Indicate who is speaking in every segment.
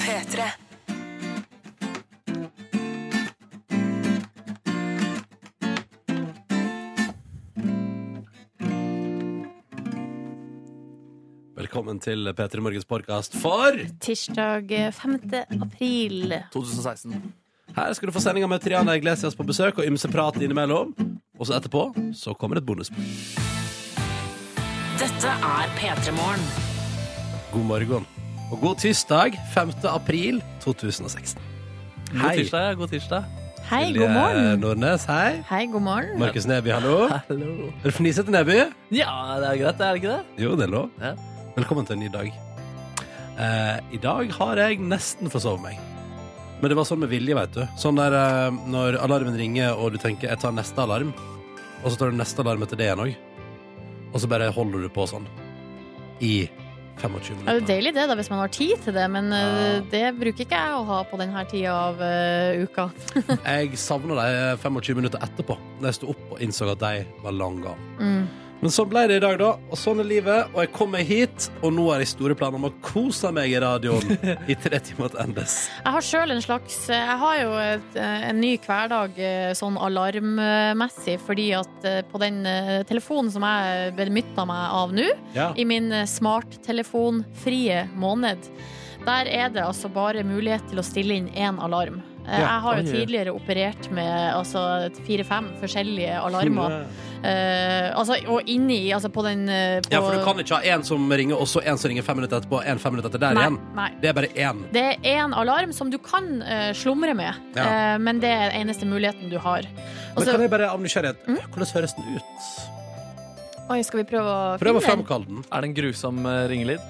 Speaker 1: P3.
Speaker 2: Velkommen til P3 Morgens podkast for
Speaker 3: Tirsdag eh, 5. april.
Speaker 4: 2016.
Speaker 2: Her skal du få sendinga med Triana Iglesias på besøk og ymse prat innimellom. Og så etterpå så kommer et bonusbord.
Speaker 1: Dette er P3 Morgen.
Speaker 2: God morgen. Og god tirsdag 5. april 2016.
Speaker 4: God tirsdag. god tirsdag
Speaker 3: Hei,
Speaker 2: Silje
Speaker 3: god morgen.
Speaker 2: Nordnes, hei.
Speaker 3: Hei, god morgen.
Speaker 2: Markus Neby, hallo.
Speaker 4: Hallo.
Speaker 2: Er du fnisete, Neby?
Speaker 4: Ja, det er greit, det er det ikke det?
Speaker 2: Jo, det er lov.
Speaker 4: Ja.
Speaker 2: Velkommen til en ny dag. Eh, I dag har jeg nesten forsovet meg. Men det var sånn med vilje, veit du. Sånn der eh, når alarmen ringer, og du tenker 'jeg tar neste alarm', og så tar du neste alarm etter det igjen òg. Og så bare holder du på sånn i 25
Speaker 3: Det er jo
Speaker 2: minutter.
Speaker 3: deilig det, da, hvis man har tid til det, men eh,
Speaker 2: Ja.
Speaker 3: det bruker ikke jeg å ha på denne tida av eh, uka.
Speaker 2: Jeg savner de 25 minutter etterpå, da jeg sto opp og innså at de var lang gang.
Speaker 3: Mm.
Speaker 2: Men sånn ble det i dag, da. Og sånn er livet. Og jeg kom meg hit, og nå har jeg store planer om å kose meg i radioen i tre timer til endes.
Speaker 3: Jeg har sjøl en slags eh, Jeg har jo et, en ny hverdag eh, sånn alarmmessig, fordi at eh, på den eh, telefonen som jeg benytta meg av nå,
Speaker 2: Ja.
Speaker 3: i min eh, smarttelefonfrie måned, der er det altså bare mulighet til å stille inn én alarm. Eh,
Speaker 2: Ja,
Speaker 3: Jeg har jo
Speaker 4: oi.
Speaker 3: tidligere operert med altså fire-fem forskjellige alarmer. Eh, altså, og inni, altså på den eh, på,
Speaker 2: Ja, for du kan ikke ha en som ringer, og så en som ringer fem minutter etterpå, og en fem minutter etter der
Speaker 3: nei,
Speaker 2: igjen.
Speaker 3: nei.
Speaker 2: Det er bare én.
Speaker 3: Det er en alarm som du kan eh, slumre med,
Speaker 2: Ja.
Speaker 3: eh, men det er den eneste muligheten du har. Og
Speaker 2: Men
Speaker 3: så-
Speaker 2: kan jeg bare av nysgjerrighet
Speaker 3: Mm?
Speaker 2: Hvordan høres den ut?
Speaker 3: Oi, skal vi prøve å
Speaker 2: Prøv å
Speaker 3: finne den?
Speaker 2: framkalle den.
Speaker 4: Er det en grusom eh, ringelyd?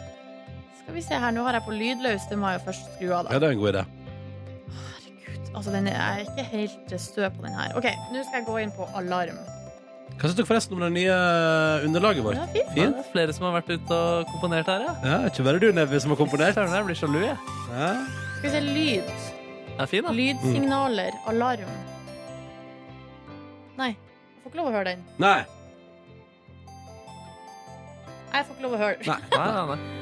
Speaker 3: Skal vi se her, Nå har jeg på lydløs, det må jeg jo først skru av, da.
Speaker 2: Ja, det er en god idé.
Speaker 3: Herregud, altså den er, jeg er ikke helt stø på den her. OK, nå skal jeg gå inn på alarm.
Speaker 2: Hva syns dere forresten om det nye eh, underlaget
Speaker 3: Det
Speaker 2: vårt?
Speaker 3: var fint.
Speaker 2: Fint.
Speaker 4: Ja, det er flere som har vært ute og komponert her, ja.
Speaker 2: Ja, ikke bare du, Neby, som har komponert.
Speaker 4: Søren, jeg blir sjalu, jeg.
Speaker 2: Ja.
Speaker 3: Skal vi se lyd.
Speaker 4: Den er fin, da.
Speaker 3: Lydsignaler. Alarm. Nei, jeg får ikke lov å høre den.
Speaker 2: Nei.
Speaker 3: Nei, Jeg får ikke lov å høre den.
Speaker 2: Nei.
Speaker 4: Nei, nei, nei.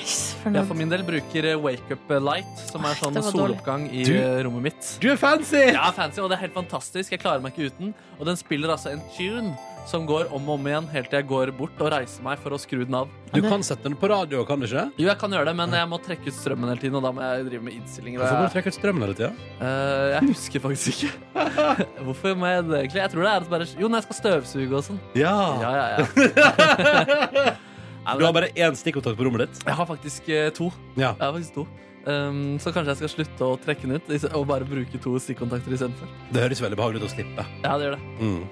Speaker 3: Nice, for
Speaker 4: Jeg
Speaker 3: noe
Speaker 4: for min del bruker eh, Wake Up Light, som er sånn
Speaker 3: Det var dårlig.
Speaker 4: soloppgang i
Speaker 2: Du-
Speaker 4: eh, rommet mitt.
Speaker 2: Du er fancy!
Speaker 4: Ja, fancy, og det er helt fantastisk. Jeg klarer meg ikke uten. Og den spiller altså en tune som går om og om igjen, helt til jeg går bort og reiser meg for å skru den av.
Speaker 2: Du kan sette den på radio, kan du ikke?
Speaker 4: Jo, jeg kan gjøre det, men jeg må trekke ut strømmen hele tiden, og da må jeg drive med innstillinger. og
Speaker 2: Hvorfor må
Speaker 4: jeg-
Speaker 2: du trekke ut strømmen hele tida?
Speaker 4: Eh, jeg husker faktisk ikke. Hvorfor må jeg det egentlig? Jeg tror det er at bare Jo, når jeg skal støvsuge og sånn.
Speaker 2: Ah.
Speaker 4: Ja, ja, ja. Nei,
Speaker 2: Du har
Speaker 4: men
Speaker 2: bare én stikkontakt på rommet ditt?
Speaker 4: jeg har faktisk eh, to.
Speaker 2: Ja.
Speaker 4: Jeg har faktisk to. Um, så kanskje jeg skal slutte å trekke den ut is- og bare bruke to stikkontakter istedenfor.
Speaker 2: Det høres veldig behagelig ut å slippe.
Speaker 4: Ja, det gjør det.
Speaker 2: Mm.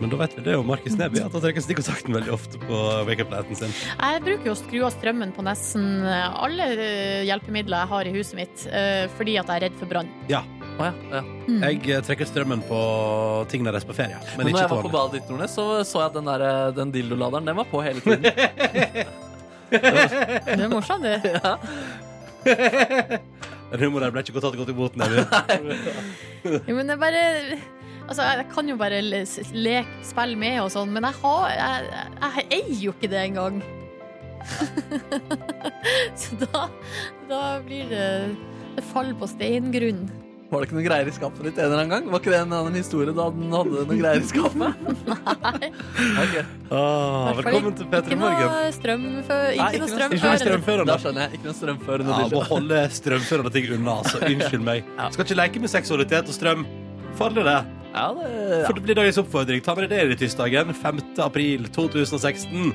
Speaker 2: Men da vet vi det jo, Markus Neby, at han trekker stikkontakten veldig ofte på wake-up-lighten sin.
Speaker 3: Jeg bruker jo å skru av strømmen på nesten alle eh, hjelpemidler jeg har i huset mitt, eh, fordi at jeg er redd for brann.
Speaker 4: Å, ja, ja.
Speaker 2: Jeg eh, trekker strømmen på ting når jeg er på ferie. Men,
Speaker 4: Men når
Speaker 2: ikke
Speaker 4: jeg
Speaker 2: på
Speaker 4: var på
Speaker 2: vanlig.
Speaker 4: badet ditt, Nordnes, så så jeg at den, der, eh, den dildoladeren den var på hele tiden.
Speaker 3: Det er morsomt, det.
Speaker 2: Den humoren ble ikke godt tatt godt imot, Neby.
Speaker 3: Jo, men det er bare Altså, jeg kan jo bare le- s- leke, spille med og sånn, men jeg har Jeg, jeg, jeg eier jo ikke det engang. Så da, da blir det Det faller på steingrunn.
Speaker 4: Var det ikke noe greier i skapet ditt en eller annen gang? Var ikke det en annen historie da den hadde noe greier i skapet? Ok.
Speaker 2: ah,
Speaker 3: Hvertfall
Speaker 2: velkommen til P3
Speaker 3: Ikke
Speaker 2: Morgen.
Speaker 3: noe strøm før
Speaker 4: Nei,
Speaker 3: Ikke noe
Speaker 4: ikke noe
Speaker 3: strøm
Speaker 2: Ikke noe
Speaker 3: før.
Speaker 4: Da
Speaker 2: strømførende.
Speaker 4: skjønner jeg. Ikke noe strømførende
Speaker 2: Ja, må
Speaker 4: dildo.
Speaker 2: holde strømførende ting unna, altså. Unnskyld meg.
Speaker 4: Ja.
Speaker 2: Skal ikke leke med seksualitet og strøm. Farlig, det.
Speaker 4: Ja, det, ja.
Speaker 2: For det blir dagens oppfordring. Ta med deg det i tirsdagen 5. april 2016.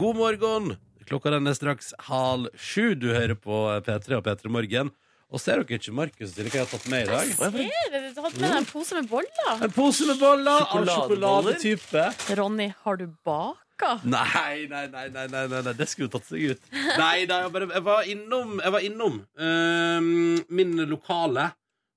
Speaker 2: God morgen! Klokka den er straks halv sju. Du hører på P3 og P3 Morgen. Og ser dere ikke Markus til hva jeg har tatt med i dag?
Speaker 3: Ser dere? Du hadde med deg en pose med boller.
Speaker 2: En pose med boller av
Speaker 4: Sjokoladeboller?
Speaker 2: sjokoladetype.
Speaker 3: Ronny, har du baka?
Speaker 2: Nei, nei, nei, nei, nei, nei, nei. det skulle jo tatt seg ut. Nei, nei jeg, bare, jeg var innom, jeg var innom ehm, min lokale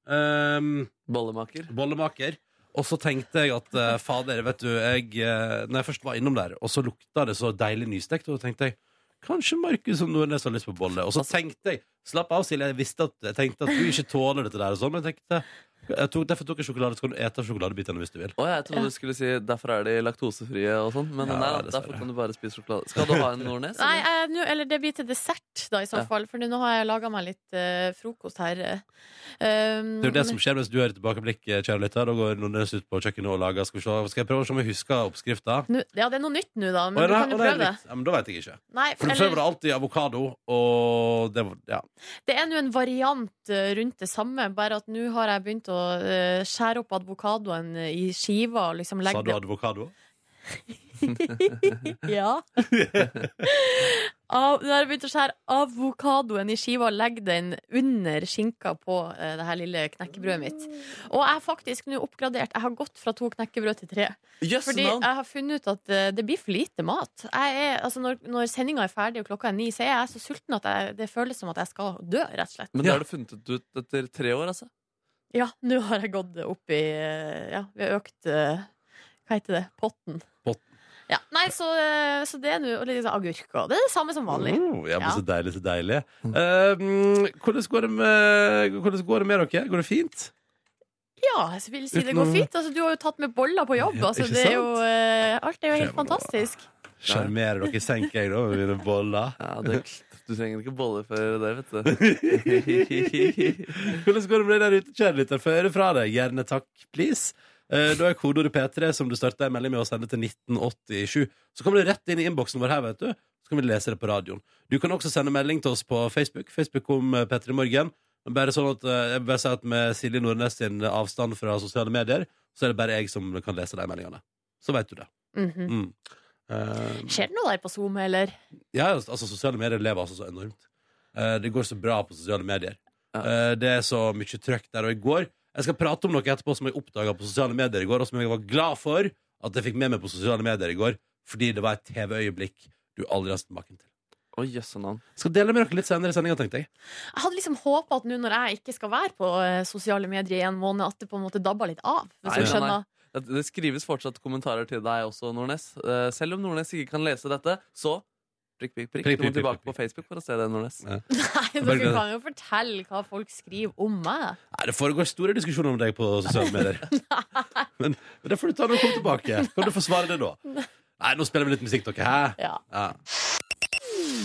Speaker 2: ehm,
Speaker 4: Bollemaker.
Speaker 2: bollemaker. Og så tenkte jeg at eh, fader, vet du jeg, eh, Når jeg først var innom der, og så lukta det så deilig nystekt, og da tenkte jeg kanskje Markus og Nordnes har lyst på bolle. Og så tenkte jeg Slapp av, Silje. Jeg visste at, jeg tenkte at du ikke tåler dette der, og sånn, men jeg tenkte Jeg tok, derfor tok jeg sjokolade, så kan du ete sjokoladebitene hvis du vil.
Speaker 4: Å, jeg trodde du skulle si derfor er de laktosefrie og sånn. Men
Speaker 2: Ja,
Speaker 4: nei, da,
Speaker 2: dessverre.
Speaker 4: derfor kan du bare spise sjokolade. Skal du ha en Nordnes?
Speaker 3: Nei,
Speaker 4: eller?
Speaker 3: jeg, nå- eller det blir til dessert, da, i så
Speaker 4: Ja.
Speaker 3: fall. For nå har jeg laga meg litt eh, frokost her. Um,
Speaker 2: Det er jo det som skjer mens du er i tilbakeblikk, eh, kjære lytter. Da går Nordnes ut på kjøkkenet og lager. Skal, vi se. skal jeg prøve å se om jeg husker oppskrifta?
Speaker 3: nå- Ja, det er noe nytt nå, da. Men
Speaker 2: Å,
Speaker 3: du
Speaker 2: nei,
Speaker 3: kan jo
Speaker 2: å, nei,
Speaker 3: prøve det.
Speaker 2: litt. Ja, men da vet jeg ikke.
Speaker 3: Nei,
Speaker 2: For du prøver
Speaker 3: eller,
Speaker 2: alltid avokado, og det var Ja.
Speaker 3: det er nå en variant eh, rundt det samme, bare at nå har jeg begynt å eh, skjære opp avokadoen eh, i skiver og liksom
Speaker 2: Sa
Speaker 3: legge
Speaker 2: du
Speaker 3: det
Speaker 2: advokado?
Speaker 3: Ja. Av, nå har jeg begynt å skjære avokadoen i skiva og legge den under skinka på eh, det her lille knekkebrødet mitt. Og jeg har faktisk nå oppgradert. Jeg har gått fra to knekkebrød til tre.
Speaker 4: Jøss,
Speaker 3: Fordi
Speaker 4: navn!
Speaker 3: jeg har funnet ut at eh, det blir for lite mat. Jeg er, altså når når sendinga er ferdig og klokka er ni, så er jeg så sulten at jeg, det føles som at jeg skal dø, rett og slett.
Speaker 4: Men det har du funnet ut etter tre år, altså?
Speaker 3: Ja, nå har jeg gått opp i eh, Ja, vi har økt eh, Hva heter det? Potten.
Speaker 2: Potten.
Speaker 3: Ja, nei, så, eh, så det er nå og litt sånn agurk og Det er det samme som vanlig.
Speaker 2: Oh, ja, men
Speaker 3: Ja.
Speaker 2: Så deilig, så deilig. Eh, mm, hvordan, går det med, hvordan går det med dere? Går det fint?
Speaker 3: Ja, jeg vil si det
Speaker 2: Uten
Speaker 3: går
Speaker 2: å-
Speaker 3: fint. Altså, du har jo tatt med boller på jobb.
Speaker 2: Ja,
Speaker 3: Altså,
Speaker 2: ikke
Speaker 3: det er jo,
Speaker 2: sant?
Speaker 3: eh, alt er jo
Speaker 2: Skjønner.
Speaker 3: helt fantastisk.
Speaker 2: Sjarmerer dere senker jeg, da, med mine boller?
Speaker 4: Ja, det, du trenger ikke boller før det, vet du.
Speaker 2: Hvordan går det med deg der ute, kjære lytter? Få høre fra deg. Gjerne takk, please. Eh, Da er kodeordet P3, som du starter en melding med å sende til 1987. Så kommer det rett inn i innboksen vår her, vet du. Så kan vi lese det på radioen. Du kan også sende melding til oss på Facebook. Facebook om eh, P3 Morgen. Men Bare sånn at, eh, jeg vil bare si at med Silje Nordnes sin avstand fra sosiale medier, så er det bare jeg som kan lese de meldingene. Så vet du det.
Speaker 3: Mhm.
Speaker 2: Mm. Eh,
Speaker 3: Skjer det noe der på Zoom, eller?
Speaker 2: ja, altså sosiale medier lever altså så enormt. Eh, det går så bra på sosiale medier. Eh, det er så mye trøkk der. Og i går Jeg skal prate om noe etterpå som jeg oppdaga på sosiale medier i går, og som jeg var glad for at jeg fikk med meg på sosiale medier i går, fordi det var et TV-øyeblikk du aldri har sett maken til.
Speaker 4: Å, jøsse navn.
Speaker 2: Skal dele med dere litt senere i sendinga, tenkte jeg.
Speaker 3: Jeg hadde liksom håpa at nå når jeg ikke skal være på eh, sosiale medier i en måned, at det på en måte dabba litt av. Hvis
Speaker 4: Nei,
Speaker 3: du
Speaker 4: nei,
Speaker 3: skjønner.
Speaker 4: Det det skrives fortsatt kommentarer til deg også, Nordnes. Eh, Selv om Nordnes ikke kan lese dette, så prikk, prikk,
Speaker 2: Prikk,
Speaker 4: prikk. Du må
Speaker 2: prikk, prikk,
Speaker 4: tilbake
Speaker 2: prikk.
Speaker 4: på Facebook for å se det, Nordnes.
Speaker 3: Nei,
Speaker 2: Bare
Speaker 3: dere
Speaker 2: gleder.
Speaker 3: kan jo fortelle hva folk skriver om meg.
Speaker 2: Nei, Det foregår store diskusjoner om deg på sosiale medier. Men, men det får du ta når du kommer tilbake. Kan du forsvare det da? Nei, nå spiller vi litt musikk, dere. Hæ?
Speaker 3: Ja.
Speaker 2: Ja.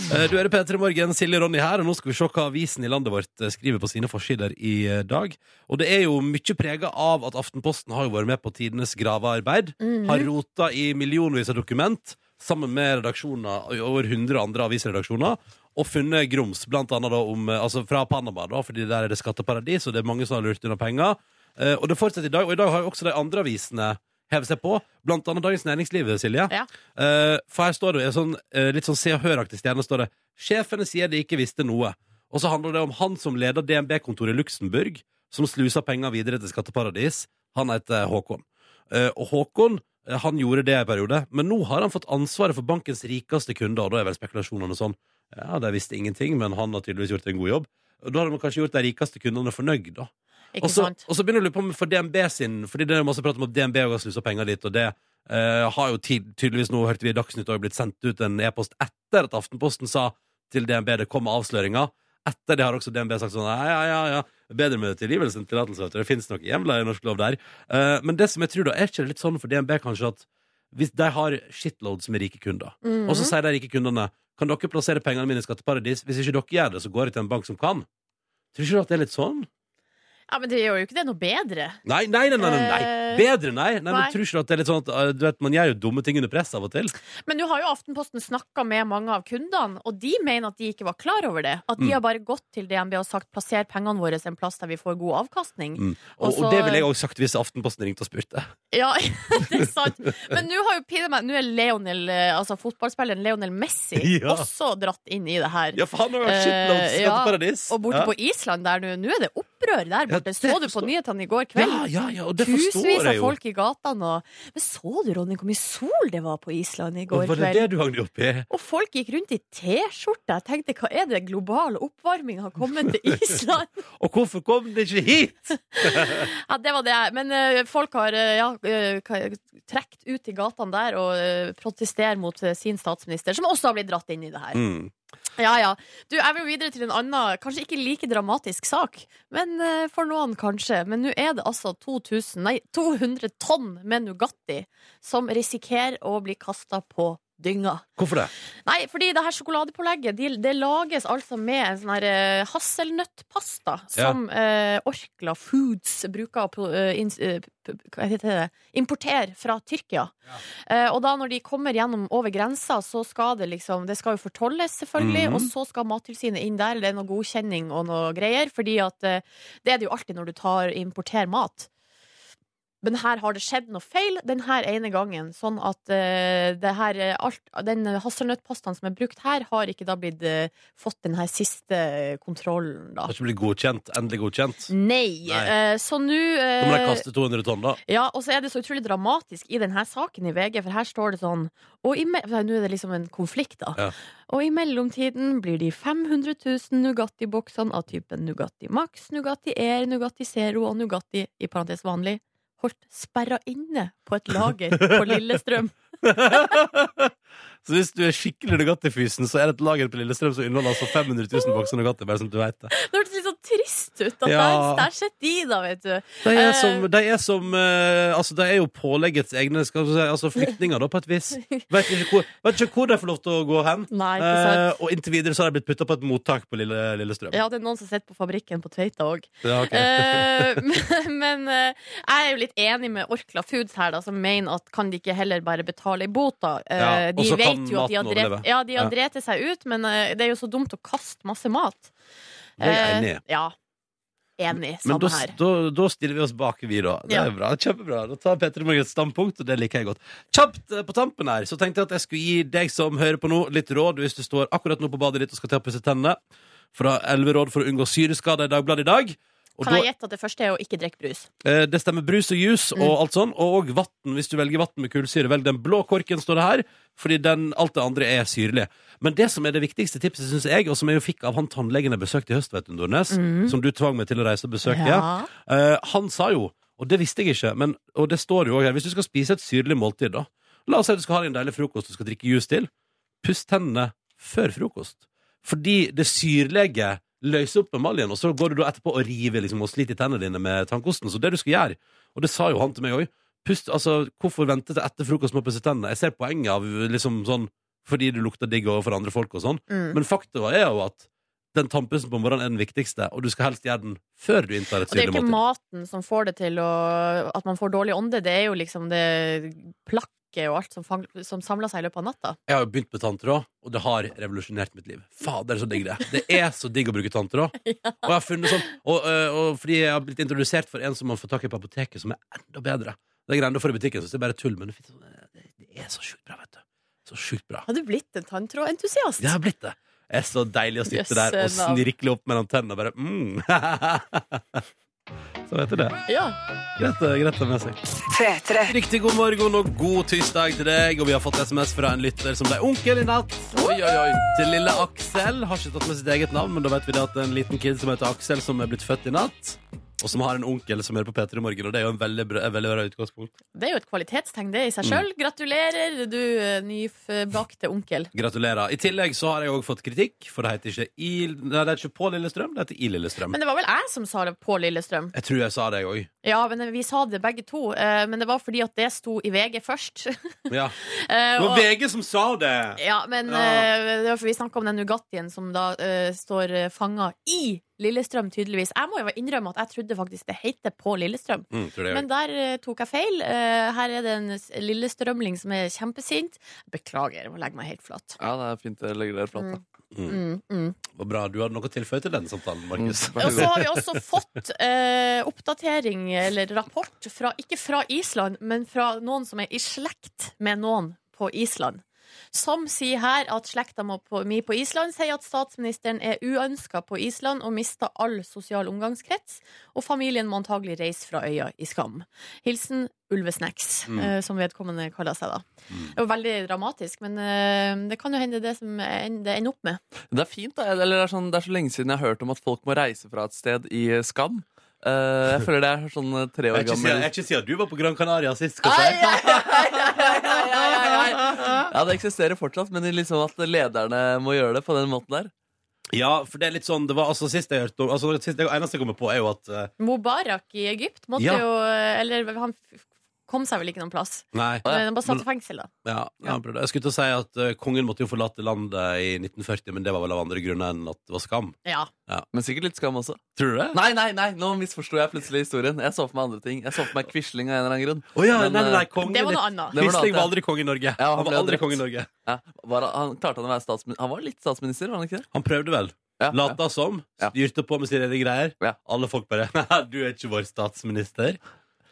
Speaker 2: Eh, Du hører P3 Morgen, Silje og Ronny her, og nå skal vi se hva avisen i landet vårt eh, skriver på sine forsider i eh, dag. Og det er jo mye prega av at Aftenposten har jo vært med på tidenes gravearbeid. Har rota i millionvis av dokument, sammen med redaksjoner, over 100 andre avisredaksjoner, og funnet grums, blant annet da om, eh, altså fra Panama, da, fordi der er det skatteparadis, og det er mange som har lurt unna penger. Eh, Og det fortsetter i dag, og i dag har jo også de andre avisene hevet seg på, blant annet Dagens Næringsliv, Silje.
Speaker 3: Ja.
Speaker 2: Eh, for her står det en sånn, eh, litt sånn Se og Hør-aktig stjerne. står det Sjefene sier de ikke visste noe. Og så handler det om han som leder DNB-kontoret i Luxembourg, som slusa penger videre til skatteparadis. Han heter Håkon. Eh, og Håkon eh, han gjorde det en periode, men nå har han fått ansvaret for bankens rikeste kunder, og da er vel spekulasjonene sånn Ja, de visste ingenting, men han har tydeligvis gjort en god jobb. Og Da har de kanskje gjort de rikeste kundene fornøyd, da.
Speaker 3: Ikke
Speaker 2: Og så,
Speaker 3: sant?
Speaker 2: og så begynner du å lure på om for DNB sin Fordi det er masse prat om at DNB har slusa penger dit, og det eh, har jo tid, tydeligvis nå hørte vi i Dagsnytt også blitt sendt ut en e-post etter at Aftenposten sa til DNB det kom avsløringer. Etter det har også DNB sagt sånn ja, ja, ja, ja. Bedre med tilgivelse enn tillatelse, vet du. Det finnes nok hjemler i norsk lov der. Eh, men det som jeg tror da, er ikke det litt sånn for DNB kanskje at hvis de har shitloads med rike kunder,
Speaker 3: Mhm.
Speaker 2: og så sier de rike kundene kan dere plassere pengene mine i skatteparadis, hvis ikke dere gjør det, så går jeg til en bank som kan. Tror ikke du at det er litt sånn?
Speaker 3: Ja, Men det gjør jo ikke det noe bedre.
Speaker 2: Nei, nei, nei, nei, nei, nei.
Speaker 3: Eh,
Speaker 2: Bedre nei. nei,
Speaker 3: nei.
Speaker 2: Men tror ikke du at det er litt sånn at eh, du vet, Man gjør jo dumme ting under press av og til.
Speaker 3: Men nå har jo Aftenposten snakka med mange av kundene, og de mener at de ikke var klar over det. At de
Speaker 2: Mm.
Speaker 3: har bare gått til DNB og sagt 'plasser pengene våre en plass der vi får god avkastning'.
Speaker 2: Mm. Og,
Speaker 3: Også-
Speaker 2: og det ville jeg også sagt hvis Aftenposten ringte og spurte.
Speaker 3: Ja, det er sant. Men nå har jo pinne meg Nå er Leonel, eh, altså fotballspilleren Leonel Messi
Speaker 2: Ja.
Speaker 3: også dratt inn i det her.
Speaker 2: Ja, faen, det var
Speaker 3: Eh,
Speaker 2: shitloads
Speaker 3: ja,
Speaker 2: skatteparadis.
Speaker 3: Og borte på Island der nå, nå er det opprør der borte.
Speaker 2: det
Speaker 3: Så du på
Speaker 2: forstår-
Speaker 3: nyhetene i går kveld?
Speaker 2: ja, ja, ja, og det
Speaker 3: Tusenvis
Speaker 2: forstår
Speaker 3: av
Speaker 2: jeg jo.
Speaker 3: folk i gatene og Men så du, Ronny, hvor mye sol det var på Island i går
Speaker 2: Og var det
Speaker 3: kveld?
Speaker 2: det du hang deg opp i?
Speaker 3: Og folk gikk rundt i T-skjorte. Jeg tenkte, hva er det global oppvarming har kommet til Island?
Speaker 2: Og hvorfor kom det ikke hit?
Speaker 3: Ja, det var det jeg Men eh, folk har eh, ja, eh, ka- trekt ut i gatene der og eh, protesterer mot eh, sin statsminister, som også har blitt dratt inn i det her.
Speaker 2: Mm.
Speaker 3: Ja, ja. Du, jeg vil videre til en annen, kanskje ikke like dramatisk sak, men eh, for noen kanskje. Men nå er det altså 2000, nei, 200 tonn med Nugatti som risikerer å bli kasta på dynga.
Speaker 2: Hvorfor det?
Speaker 3: Nei, fordi det her sjokoladepålegget de, det lages altså med en sånn her eh, hasselnøttpasta som eh, Orkla Foods bruker å pro- eh, ins- eh, p- p- hva heter det? importere fra Tyrkia. Eh, og da når de kommer gjennom over grensa, så skal det liksom Det skal jo fortolles, selvfølgelig,
Speaker 2: Mhm.
Speaker 3: og så skal Mattilsynet inn der. Det er noe godkjenning og noe greier, fordi at eh, det er det jo alltid når du tar, importerer mat. Men her har det skjedd noe feil denne ene gangen. Sånn at eh, det her, eh, alt, den hasselnøttpastaen som er brukt her, har ikke da blitt eh, fått den her siste eh, kontrollen, da.
Speaker 2: Har ikke blitt godkjent? Endelig godkjent?
Speaker 3: Nei.
Speaker 2: Nei.
Speaker 3: eh, så nå
Speaker 2: Da må de
Speaker 3: eh,
Speaker 2: kaste 200 tonn, da.
Speaker 3: ja, og så er det så utrolig dramatisk i denne saken i VG, for her står det sånn og i me Nei, Nå er det liksom en konflikt, da.
Speaker 2: Ja.
Speaker 3: Og i mellomtiden blir de 500 000 Nugatti-boksene av typen Nugatti Max, Nugatti Air, Nugatti Zero og Nugatti i parentes vanlig holdt sperra inne på et lager på Lillestrøm.
Speaker 2: Så hvis du er skikkelig Nugatti-fysen, så er det et lager på Lillestrøm som inneholder altså 500 000 bokser Nugatti. Bare som du vet det.
Speaker 3: Det hørtes litt så trist ut. At
Speaker 2: Ja.
Speaker 3: der, der sitter de, da, vet du.
Speaker 2: De er som, de er, som eh, altså, de er jo påleggets egne skal vi si, altså flyktninger, da, på et vis. Vet ikke hvor, vet ikke hvor de får lov til å gå hen.
Speaker 3: Nei, ikke sant.
Speaker 2: Eh, og inntil videre så har de blitt putta på et mottak på Lille, Lillestrøm.
Speaker 3: Ja, det er noen som sitter på fabrikken på Tveita òg.
Speaker 2: Ja, ok.
Speaker 3: Eh, men men, eh, jeg er jo litt enig med Orkla Foods her, da, som mener at kan de ikke heller bare betale i bot, da? Eh,
Speaker 2: Ja, og
Speaker 3: de
Speaker 2: så
Speaker 3: vet
Speaker 2: kan
Speaker 3: jo at de har,
Speaker 2: maten
Speaker 3: drept,
Speaker 2: overleve.
Speaker 3: ja, de har
Speaker 2: Ja.
Speaker 3: drept seg ut, men eh, det er jo så dumt å kaste masse
Speaker 2: Det
Speaker 3: mat.
Speaker 2: er jeg
Speaker 3: Eh,
Speaker 2: enig i.
Speaker 3: ja. Enig.
Speaker 2: Men
Speaker 3: Samme
Speaker 2: da,
Speaker 3: her.
Speaker 2: da, da stiller vi oss bak, vi, da. Det
Speaker 3: Ja.
Speaker 2: er bra, Kjempebra. Da tar Petter Morgen et standpunkt, og det liker jeg godt. Kjapt eh, på tampen her, så tenkte jeg at jeg skulle gi deg som hører på nå, litt råd hvis du står akkurat nå på badet ditt og skal til å pusse tennene. Fra elleve råd for å unngå syreskader i Dagbladet i dag. Og
Speaker 3: Kan
Speaker 2: da-
Speaker 3: jeg gjette at det første er å ikke drikke brus?
Speaker 2: Eh, Det stemmer brus og juice og alt sånn. Og vann, hvis du velger vann med kullsyre. Velg den blå korken, står det her, fordi den, alt det andre er syrlig. Men det som er det viktigste tipset, syns jeg, og som jeg jo fikk av han tannlegen jeg besøkte i høst, vet du, Nordnes, som du tvang meg til å reise og besøke,
Speaker 3: Ja.
Speaker 2: eh, han sa jo, og det visste jeg ikke, men, og det står jo òg her, hvis du skal spise et syrlig måltid, da La oss si du skal ha deg en deilig frokost du skal drikke juice til. Puss tennene før frokost. Fordi det syrlige løser opp emaljen, og så går du da etterpå og river liksom, og sliter tennene dine med tannkosten. Så det du skal gjøre, og det sa jo han til meg òg Pust, altså, hvorfor vente til etter frokost med å pusse tennene? Jeg ser poenget av liksom sånn fordi du lukter digg overfor andre folk og sånn,
Speaker 3: Mm.
Speaker 2: men faktum er jo at den tannpussen på morgenen er den viktigste, og du skal helst gjøre den før du inntar et
Speaker 3: Og det er jo
Speaker 2: syrlig
Speaker 3: ikke
Speaker 2: måltid.
Speaker 3: maten som får det til å, at man får dårlig ånde, det er jo liksom det plakket og alt som, fang, som samler seg i løpet av natta.
Speaker 2: Jeg har jo begynt med tanntråd, og det har revolusjonert mitt liv. Fader, så digg det er. Det er så digg å bruke tanntråd. Og jeg har funnet sånn og, øh, og fordi jeg har blitt introdusert for en som man får tak i på apoteket, som er enda bedre. Det greiene du får i butikken, syns jeg bare er tull, men det finnes sånn- det er så sjukt bra, vet du. Så sjukt bra.
Speaker 3: Har du blitt en tanntrådentusiast?
Speaker 2: Det har blitt det. Det er så deilig å sitte der og
Speaker 3: Jøsse navn.
Speaker 2: snirkle opp mellom tennene og bare mm. Så vet du det.
Speaker 3: Ja.
Speaker 2: Greit, å- greit å ha med seg.
Speaker 1: P3.
Speaker 2: Riktig god morgen og god tirsdag til deg. Og vi har fått SMS fra en lytter som ble onkel i natt. Oi, oi, oi. Til lille Aksel. Har ikke tatt med sitt eget navn, men da vet vi det at det er en liten kid som heter Aksel, som er blitt født i natt. Og som har en onkel som hører på P3 i morgen, og det er jo en veldig bra, et veldig bra utgangspunkt.
Speaker 3: Det er jo et kvalitetstegn det i seg sjøl. Gratulerer, du eh, nyfødte onkel.
Speaker 2: Gratulerer. I tillegg så har jeg òg fått kritikk, for det heter ikke i Nei, det heter ikke på Lillestrøm, det heter i Lillestrøm.
Speaker 3: Men det var vel jeg som sa det på Lillestrøm.
Speaker 2: Jeg tror jeg sa det, jeg òg.
Speaker 3: Ja, men vi sa det begge to. eh, Men det var fordi at det sto i VG først.
Speaker 2: Ja.
Speaker 3: Eh,
Speaker 2: Det var
Speaker 3: og-
Speaker 2: VG som sa det!
Speaker 3: Ja, men
Speaker 2: Ja.
Speaker 3: eh, det var for vi snakka om den Nugattien som da eh, står fanga i Lillestrøm, tydeligvis. Jeg må jo innrømme at jeg trodde faktisk det heter på Lillestrøm.
Speaker 2: Mm, tror det jeg
Speaker 3: Men der eh, tok jeg feil. Eh, her er det en s- lillestrømling som er kjempesint. Beklager, jeg må legge meg helt flat.
Speaker 4: Ja, det er fint å legge dere flat. da.
Speaker 3: Mm, mm.
Speaker 2: var bra. Du hadde noe å tilføye til den samtalen, Markus.
Speaker 4: Mm.
Speaker 3: Og så har vi også fått eh, oppdatering eller rapport, fra, ikke fra Island, men fra noen som er i slekt med noen på Island. Som sier her at slekta må på, mi på Island sier at statsministeren er uønska på Island og mista all sosial omgangskrets, og familien må antagelig reise fra øya i skam. Hilsen Ulvesnacks,
Speaker 2: Mm.
Speaker 3: eh, som vedkommende kaller seg da. Det var veldig dramatisk, men eh, det kan jo hende det som en- det ender opp med.
Speaker 4: Det er fint, da. Eller det er, sånn, det er så lenge siden jeg har hørt om at folk må reise fra et sted i skam. Eh, jeg føler det er sånn eh, tre
Speaker 2: Jeg
Speaker 4: år
Speaker 2: er ikke siden-
Speaker 4: gammel
Speaker 2: jeg er ikke siden du var på Gran Canaria sist, skal
Speaker 4: Ai,
Speaker 2: jeg si.
Speaker 4: ai, ai, ai, ai, ai, ai. Ja, det eksisterer fortsatt, men liksom at lederne må gjøre det på den måten der.
Speaker 2: Ja, for det er litt sånn Det var altså sist jeg hørte om altså, sist, Det eneste jeg kommer på, er jo at eh,
Speaker 3: Mubarak i Egypt måtte
Speaker 2: Ja.
Speaker 3: jo Eller han f- kom seg vel ikke noen plass.
Speaker 2: Nei.
Speaker 4: Ja.
Speaker 3: Men han bare satt
Speaker 2: Men-
Speaker 3: i fengsel, da.
Speaker 2: Ja, ja, bror, jeg skulle til å si at eh, kongen måtte jo forlate landet i 1940, men det var vel av andre grunner enn at det var skam.
Speaker 3: Ja.
Speaker 4: Men sikkert litt skam også.
Speaker 2: Tror du det?
Speaker 4: Nei, nei, nei, nå misforsto jeg plutselig historien. Jeg så for meg andre ting. Jeg så for meg Quisling av en eller annen grunn.
Speaker 2: Å ja,
Speaker 4: Men,
Speaker 2: nei, nei, nei,
Speaker 4: eh,
Speaker 2: kongen
Speaker 3: Det var noe
Speaker 2: litt-
Speaker 3: annet.
Speaker 4: Det var noe
Speaker 2: Quisling var
Speaker 4: annet,
Speaker 2: aldri konge i Norge.
Speaker 4: han
Speaker 2: han var
Speaker 4: ble
Speaker 2: aldri
Speaker 4: drept.
Speaker 2: konge i Norge.
Speaker 4: eh, Ja, var han, han klarte han å være statsminister? Han var litt statsminister, var han ikke det?
Speaker 2: Han prøvde vel.
Speaker 4: Ja, ja.
Speaker 2: Lata som.
Speaker 4: Ja.
Speaker 2: Styrte på med sine egne greier.
Speaker 4: Ja.
Speaker 2: Alle folk bare «Haha, 'Du er ikke vår statsminister'.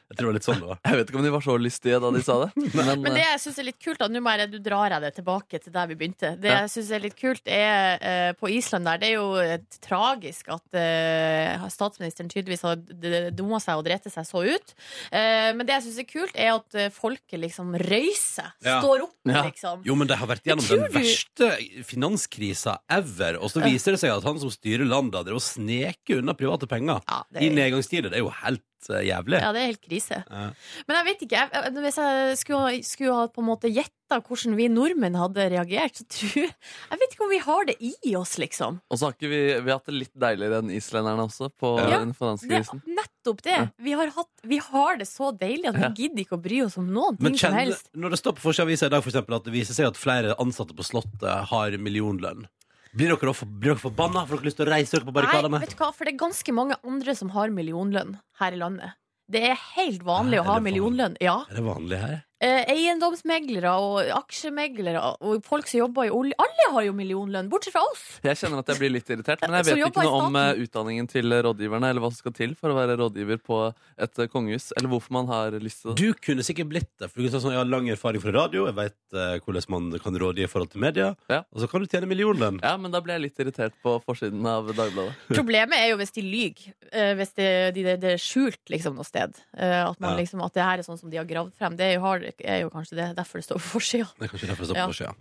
Speaker 2: Jeg tror det var litt sånn det var.
Speaker 4: Jeg vet ikke om de var så lystige da de sa det. Men,
Speaker 3: Men det
Speaker 4: eh,
Speaker 3: jeg syns er litt kult, da, nå må jeg- du drar jeg det tilbake til der vi begynte. Det
Speaker 4: Ja.
Speaker 3: jeg syns er litt kult, er eh, på Island der, det er jo eh, tragisk at eh, statsministeren tydeligvis har d- d- dumma seg og drete seg så ut. Eh, men det jeg syns er kult, er at eh, folket liksom røyser.
Speaker 2: Ja.
Speaker 3: Står opp,
Speaker 4: Ja.
Speaker 3: liksom.
Speaker 2: Jo, men de har vært gjennom den
Speaker 3: tror du-
Speaker 2: verste finanskrisa ever, og så
Speaker 3: Ja.
Speaker 2: viser det seg at han som styrer landet, drev og sneker unna private penger
Speaker 3: Ja, det
Speaker 2: i
Speaker 3: er,
Speaker 2: nedgangstider. Det er jo helt eh, jævlig.
Speaker 3: ja, det er helt krise.
Speaker 2: Ja.
Speaker 3: Men jeg vet ikke. Jeg, jeg- hvis jeg skulle, ha- skulle ha på en måte gjetta hvordan vi nordmenn hadde reagert, så tror jeg Jeg vet ikke om vi har det i oss, liksom.
Speaker 4: eh, og så har ikke vi, vi har hatt det litt deiligere enn islenderne også, på
Speaker 2: Ja.
Speaker 4: den
Speaker 3: Det,
Speaker 4: finanskrisen.
Speaker 3: nettopp det. Vi har, hatt, vi har det så deilig at
Speaker 4: Ja.
Speaker 3: vi gidder ikke å bry oss om noen
Speaker 2: Men
Speaker 3: ting som
Speaker 2: kjenner,
Speaker 3: helst.
Speaker 2: når det står på Forskjellsavisa i dag for eksempel, at det viser seg at flere ansatte på Slottet har millionlønn, blir dere, da for, blir dere forbanna? Får dere lyst til å reise dere på
Speaker 3: Nei,
Speaker 2: barrikadene?
Speaker 3: vet du hva, for det er ganske mange andre som har millionlønn her i landet. Det er helt vanlig
Speaker 2: Nei,
Speaker 3: å ha
Speaker 2: er det
Speaker 3: millionlønn. Ja.
Speaker 2: Er det vanlig her?
Speaker 3: Eh, eiendomsmeglere og aksjemeglere og folk som jobber i olje. Alle har jo millionlønn, bortsett fra oss.
Speaker 4: Jeg kjenner at jeg blir litt irritert, men jeg
Speaker 3: Så
Speaker 4: vet
Speaker 3: jobba i
Speaker 4: ikke noe om
Speaker 3: staten.
Speaker 4: eh, utdanningen til rådgiverne, eller hva som skal til for å være rådgiver på et eh, kongehus, eller hvorfor man har lyst til det.
Speaker 2: Du kunne sikkert blitt det. For du kunne sagt sånn, Jeg har lang erfaring fra radio, jeg vet eh, hvordan man kan råde i forhold til media.
Speaker 4: Ja.
Speaker 2: Og så kan du tjene millionlønn.
Speaker 4: Ja, men da ble jeg litt irritert på forsiden av Dagbladet.
Speaker 3: Problemet er jo hvis de lyver. eh, Hvis det, de, det, det er skjult liksom, noe sted. Eh, At, man,
Speaker 2: Ja.
Speaker 3: liksom, at det her er sånn som de har gravd frem. Det er jo, har, er jo kanskje det derfor det står på forsida.
Speaker 2: Det er kanskje derfor det står
Speaker 3: Ja.
Speaker 2: på forsida.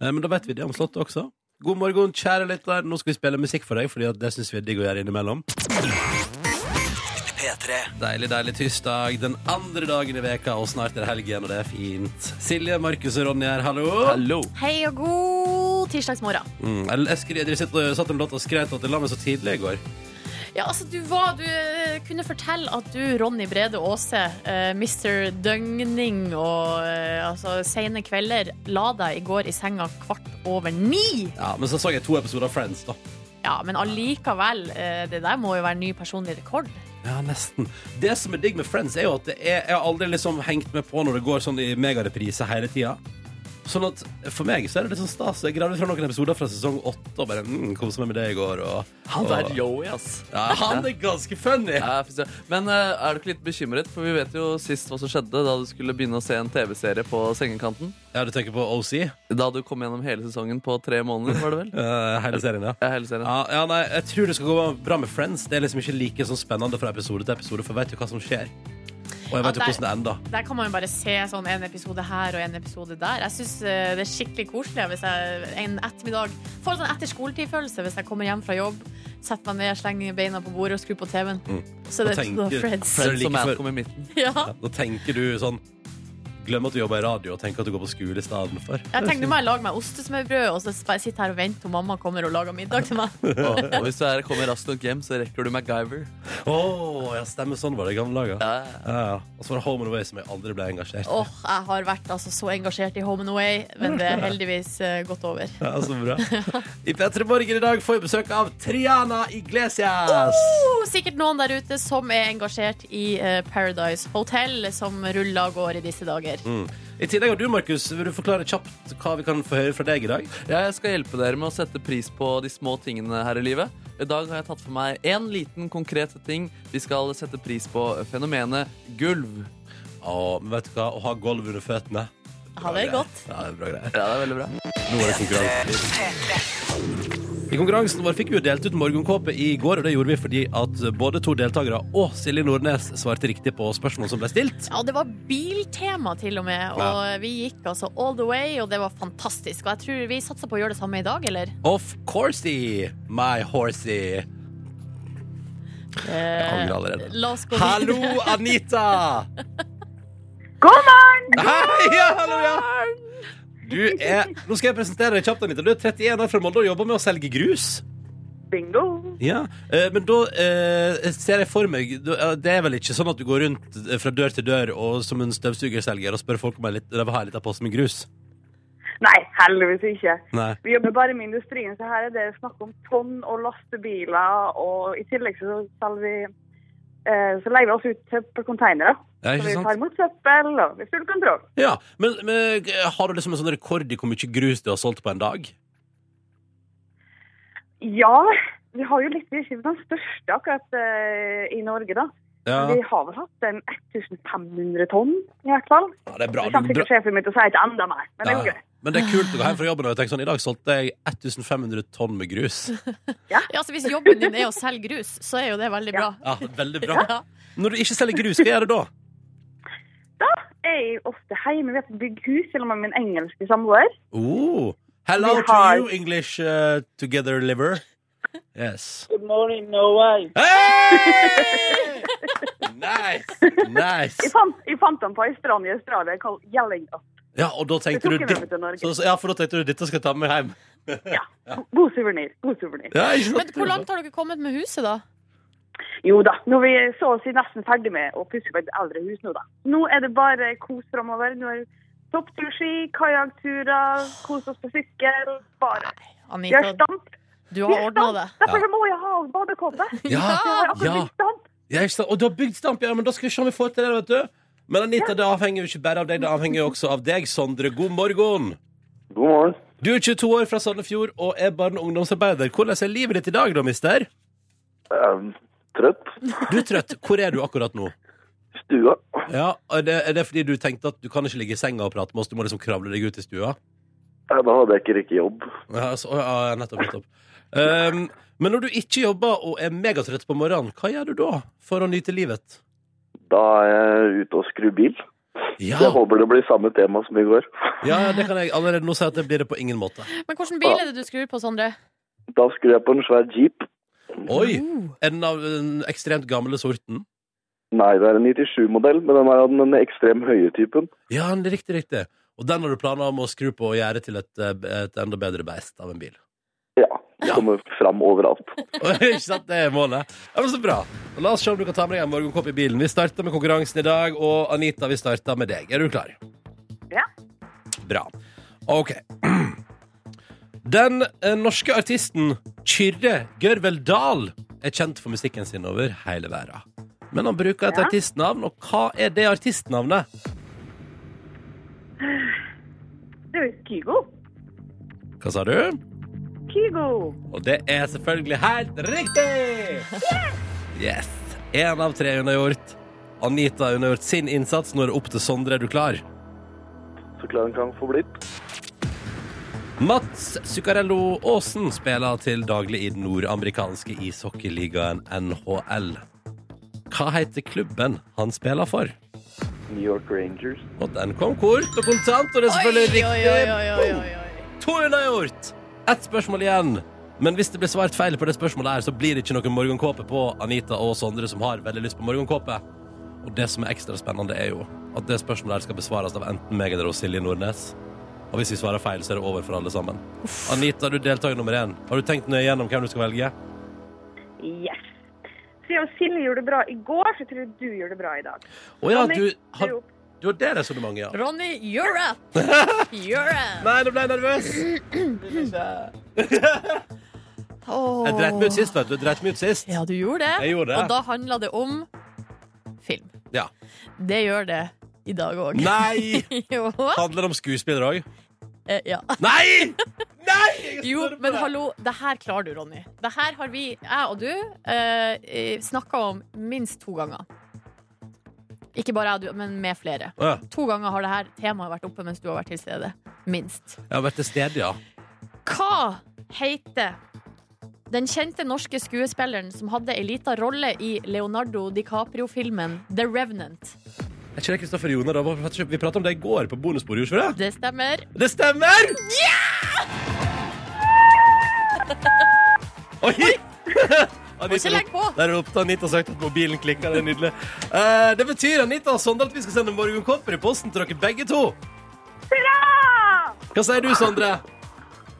Speaker 2: Eh, Men da vet vi det om Slottet også. God morgen, kjære lytter. Nå skal vi spille musikk for deg, Fordi at det syns vi er digg å gjøre innimellom. Deilig, deilig tirsdag. Den andre dagen i veka, og snart er det helgen, og det er fint. Silje, Markus og Ronny her, hallo.
Speaker 4: Hallo!
Speaker 3: Hei og god tirsdagsmorgen.
Speaker 2: Mm, jeg jeg skrev, dere sitter og- satt en låt og skrøt at jeg la meg så tidlig i går.
Speaker 3: Ja, altså, du, var, du eh, kunne fortelle at du, Ronny Brede Aase, eh, Mr. Døgning og eh, altså, sene kvelder, la deg i går i senga kvart over ni.
Speaker 2: Ja, Men så så jeg to episoder av Friends, da.
Speaker 3: Ja, men allikevel, eh, det der må jo være ny personlig rekord.
Speaker 2: Ja, nesten. Det som er digg med Friends, er jo at det er, jeg har aldri liksom hengt med på når det går sånn i megareprise hele tida. Sånn at For meg så er det litt sånn stas. Jeg gravde fra noen episoder fra sesong åtte og bare mm, kosa meg med det i går. Og,
Speaker 4: Han
Speaker 2: og,
Speaker 4: der Joey, ass.
Speaker 2: ja, han er ganske funny!
Speaker 4: Ja, jeg får se. Men eh, er du ikke litt bekymret? For vi vet jo sist hva som skjedde da du skulle begynne å se en TV-serie på sengekanten.
Speaker 2: Ja, du tenker på OC?
Speaker 4: Da du kom gjennom hele sesongen på tre måneder, var det vel?
Speaker 2: eh, hele serien, ja.
Speaker 4: Ja, hele serien.
Speaker 2: Ja, ja, nei, jeg tror det skal gå bra med Friends. Det er liksom ikke like sånn spennende fra episode til episode, for jeg vet jo hva som skjer. Og jeg
Speaker 3: Ja,
Speaker 2: vet jo
Speaker 3: der-
Speaker 2: hvordan det ender.
Speaker 3: Der kan man jo bare se sånn en episode her og en episode der. Jeg syns det er skikkelig koselig hvis jeg en ettermiddag får en sånn etter skoletid-følelse hvis jeg kommer hjem fra jobb, setter meg ned, slenger beina på bordet og skrur på TV-en.
Speaker 2: Mm.
Speaker 3: Så er det
Speaker 2: Og tenker-
Speaker 3: da Friends.
Speaker 2: Friends.
Speaker 4: Friends
Speaker 2: like
Speaker 4: og
Speaker 2: før.
Speaker 4: Malcolm i midten.
Speaker 3: Ja.
Speaker 2: Ja, da tenker du sånn Glem at du jobber i radio, og tenk at du går på skole i stedet for.
Speaker 3: Jeg tenkte nå må jeg lage meg ostesmørbrød og så bare sitte her og vente til mamma kommer og lager middag til meg.
Speaker 4: Og, og hvis du er, kommer raskt nok hjem, så rekker du MacGyver.
Speaker 2: Åh, ja, stemmer sånn var det i gamle dager.
Speaker 4: Ja,
Speaker 2: Ja, ja. Og så var det Home and Away som jeg aldri ble engasjert i.
Speaker 3: Åh, jeg har vært altså, så engasjert i Home and Away, men det er heldigvis eh, gått over.
Speaker 2: Ja, så bra. I P3 Morgen i dag får vi besøk av Triana Iglesias.
Speaker 3: Oh, sikkert noen der ute som er engasjert i eh, Paradise Hotel, som ruller og går i disse dager.
Speaker 2: Mm. I tillegg har du, Markus, vil du forklare kjapt hva vi kan få høre fra deg i dag?
Speaker 4: Ja, jeg skal hjelpe dere med å sette pris på de små tingene her i livet. I dag har jeg tatt for meg én liten, konkret ting. Vi skal sette pris på fenomenet gulv.
Speaker 2: Å, men vet du hva? Å ha gulv under føttene.
Speaker 3: Ha det godt.
Speaker 2: Ja, det er bra greier.
Speaker 4: Ja, det er veldig bra.
Speaker 2: Nå er det konkurranse. I konkurransen vår fikk vi jo delt ut morgenkåpe i går, og det gjorde vi fordi at både to deltakere og Silje Nordnes svarte riktig på spørsmål som ble stilt.
Speaker 3: Ja, det var biltema til og med, og vi gikk altså all the way, og det var fantastisk. Og jeg tror vi satser på å gjøre det samme i dag, eller?
Speaker 2: Of coursey, my horsey. Jeg
Speaker 3: Eh,
Speaker 2: angrer allerede.
Speaker 3: la oss gå
Speaker 2: Hallo,
Speaker 3: videre.
Speaker 2: Anita!
Speaker 5: God morgen!
Speaker 2: Hei, ja, hallo, ja. Du er, nå skal jeg presentere deg kjapt, Anita. Du er 31 år fra Molde og jobber med å selge grus.
Speaker 5: Bingo!
Speaker 2: Ja, eh, Men da eh, ser jeg for meg du- eh, Det er vel ikke sånn at du går rundt eh, fra dør til dør og som en støvsugerselger og spør folk om jeg vil ha en liten pose med grus?
Speaker 5: Nei, heldigvis ikke.
Speaker 2: Nei.
Speaker 5: Vi jobber bare med industrien, så her er det snakk om tonn og lastebiler. Og i tillegg så selger vi eh, Så leier vi oss ut til konteinere.
Speaker 2: Ja,
Speaker 5: Så
Speaker 2: ikke
Speaker 5: vi
Speaker 2: sant?
Speaker 5: tar imot søppel, og vi har full kontroll.
Speaker 2: Ja, men, men eh, har du liksom en sånn rekord i hvor mye grus du har solgt på en dag?
Speaker 5: Ja, vi har jo litt Vi er ikke den største akkurat eh, i Norge, da.
Speaker 2: Ja,
Speaker 5: Vi har vel hatt en 1500 tonn, i hvert fall.
Speaker 2: ja det er bra.
Speaker 5: Jeg
Speaker 2: Du,
Speaker 5: kan
Speaker 2: bra.
Speaker 5: sikkert sjefen min til å si ikke enda mer, men det
Speaker 2: Ja,
Speaker 5: går
Speaker 2: ja.
Speaker 5: greit.
Speaker 2: Men det er kult å gå hjem fra jobben og tenke sånn I dag solgte jeg 1500 tonn med grus.
Speaker 3: Ja, så hvis jobben din er å selge grus, så er jo det veldig bra.
Speaker 2: Ja, veldig bra.
Speaker 3: Ja.
Speaker 2: Når du ikke selger grus, hva gjør du da?
Speaker 5: Jeg er ofte hjemme, vi er på bygghus sammen med min engelske samboer.
Speaker 2: Oh, hello
Speaker 5: Vi
Speaker 2: to
Speaker 5: har-
Speaker 2: you, English uh, together liver. Yes.
Speaker 6: Good morning, Norway.
Speaker 2: Hey! Nice!
Speaker 5: Jeg
Speaker 2: nice.
Speaker 5: fant, jeg fant ham på ei strand i Australia kalt Yelling Up.
Speaker 2: Ja, og da
Speaker 5: Jeg
Speaker 2: tenkte
Speaker 5: tok
Speaker 2: du
Speaker 5: den
Speaker 2: ditt-
Speaker 5: med til Norge.
Speaker 2: så, så, Ja, for da tenkte du dette skal jeg ta med meg hjem.
Speaker 5: God suvenir. God suvenir.
Speaker 2: Ja, ikke sant?
Speaker 3: Men hvor langt har dere kommet med huset, da?
Speaker 5: Jo da, nå er vi så å si nesten ferdig med å pusse opp et eldre hus nå, da. Nå er det bare kos framover. Nå er det toppturski, kajakkturer, kos oss på sykkel. Bare. Vi har
Speaker 3: Anita,
Speaker 5: stamp.
Speaker 3: du
Speaker 5: Vi
Speaker 3: har
Speaker 5: har
Speaker 3: ordna
Speaker 5: stamp.
Speaker 3: det.
Speaker 5: Derfor så må jeg ha badekåpe.
Speaker 2: Ja,
Speaker 5: Jeg har akkurat
Speaker 2: ja.
Speaker 5: blitt stamp.
Speaker 2: Ja, ikke sant? Og du har bygd stamp, ja, men da skal vi se om vi får til det, vet du. Men Anita, det avhenger jo ikke bare av deg, det avhenger jo også av deg, Sondre. God morgen!
Speaker 6: God morgen.
Speaker 2: Du er 22 år fra Sandefjord og er barne- og ungdomsarbeider. Hvordan er livet ditt i dag, da, mister?
Speaker 6: Um, trøtt.
Speaker 2: Du er trøtt. Hvor er du akkurat nå?
Speaker 6: Stua.
Speaker 2: Ja, er det, er det fordi du tenkte at du kan ikke ligge i senga og prate med oss, du må liksom kravle deg ut i stua?
Speaker 6: Ja, da hadde jeg ikke riktig jobb.
Speaker 2: Ja, så, ja nettopp, nettopp. Um, men når du ikke jobber og er megatrøtt på morgenen, hva gjør du da for å nyte livet?
Speaker 6: Da er jeg ute og skrur bil.
Speaker 2: Ja,
Speaker 6: Så jeg håper det blir samme tema som i går.
Speaker 2: ja, det kan jeg allerede nå si at det blir det på ingen måte.
Speaker 3: Men hvilken bil er det du skrur på, Sondre?
Speaker 6: Da skrur jeg på en svær jeep.
Speaker 2: Oi! Er den av den ekstremt gamle sorten?
Speaker 6: Nei, det er en 97-modell, men den er av den ekstrem høye typen.
Speaker 2: Ja, det er riktig, riktig. Og den har du planer om å skru på og gjøre til et, eh, et enda bedre beist av en bil.
Speaker 6: Ja. Kommer fram overalt.
Speaker 2: Ikke sant? Det er målet. Ja, men så bra. Og la oss se om du kan ta med deg en morgenkopp i bilen. Vi starter med konkurransen i dag, og Anita, vi starter med deg. Er du klar?
Speaker 5: Ja.
Speaker 2: Bra. OK. Den eh, norske artisten Kyrre Gørvel Dahl er kjent for musikken sin over hele verden. Men han bruker et
Speaker 5: Ja.
Speaker 2: artistnavn, og hva er det artistnavnet?
Speaker 5: Det er jo Kygo.
Speaker 2: Hva sa du?
Speaker 5: Kygo.
Speaker 2: Og det er selvfølgelig helt riktig! Yes! Én av tre unnagjort. Anita har unnagjort sin innsats. Nå er det opp til Sondre. Er du klar?
Speaker 6: Så klar den kan få blitt.
Speaker 2: Mats Zuccarello Aasen spiller til daglig i den nordamerikanske ishockeyligaen NHL. Hva heter klubben han spiller for?
Speaker 6: New York Rangers.
Speaker 2: Og den kom kort og kontant, og det er selvfølgelig riktig. Boom! To unnagjort! Ett spørsmål igjen. Men hvis det blir svart feil på det spørsmålet her, så blir det ikke noen morgenkåpe på Anita og Sondre, som har veldig lyst på morgenkåpe. Og det som er ekstra spennende, er jo at det spørsmålet her skal besvares av enten meg eller oss, Silje Nordnes. Og hvis vi svarer feil, så er det over for alle sammen. Anita, du er deltaker nummer én. Har du tenkt nøye gjennom hvem du skal velge?
Speaker 5: Yes. Siden Silje gjorde det bra i går, så tror jeg du gjør det bra i dag.
Speaker 2: Å ja,
Speaker 5: Ronny,
Speaker 2: du har,
Speaker 5: du er opp.
Speaker 2: du har det resonnementet, ja.
Speaker 3: Ronny, you're up! You're up!
Speaker 2: Nei, nå ble jeg nervøs.
Speaker 3: Åh.
Speaker 2: Jeg dreit meg ut sist, vet du. Jeg Dreit meg ut sist.
Speaker 3: Ja, du gjorde det.
Speaker 2: Jeg gjorde det.
Speaker 3: Og da handla det om film.
Speaker 2: Ja.
Speaker 3: Det gjør det i dag òg.
Speaker 2: Nei!
Speaker 3: jo.
Speaker 2: Handler det om skuespillere òg?
Speaker 3: Eh, ja.
Speaker 2: Nei! Nei! jeg
Speaker 3: jo,
Speaker 2: står på
Speaker 3: men
Speaker 2: det.
Speaker 3: hallo, det her klarer du, Ronny. Det her har vi, jeg og du, eh, snakka om minst to ganger. Ikke bare jeg og du, men med flere.
Speaker 2: Å, ja.
Speaker 3: To ganger har det her temaet vært oppe mens du har vært til stede. Minst.
Speaker 2: Jeg har vært til stede, ja.
Speaker 3: Hva heter den kjente norske skuespilleren som hadde ei lita rolle i Leonardo DiCaprio-filmen The Revenant?
Speaker 2: Er ikke det Kristoffer Joner? da? Hvorfor prater ikke- Vi pratet om det i går på bonusbordet, gjorde vi ikke det?
Speaker 3: Det stemmer.
Speaker 2: Det stemmer! Oi!
Speaker 3: Må ikke legge på.
Speaker 2: Der er det opptatt Anita har sagt at mobilen klikker. Det er nydelig. Eh, det betyr Anita og Sondre at vi skal sende Morgen Kopper i posten til dere begge to.
Speaker 5: Hurra!
Speaker 2: Hva sier du, Sondre?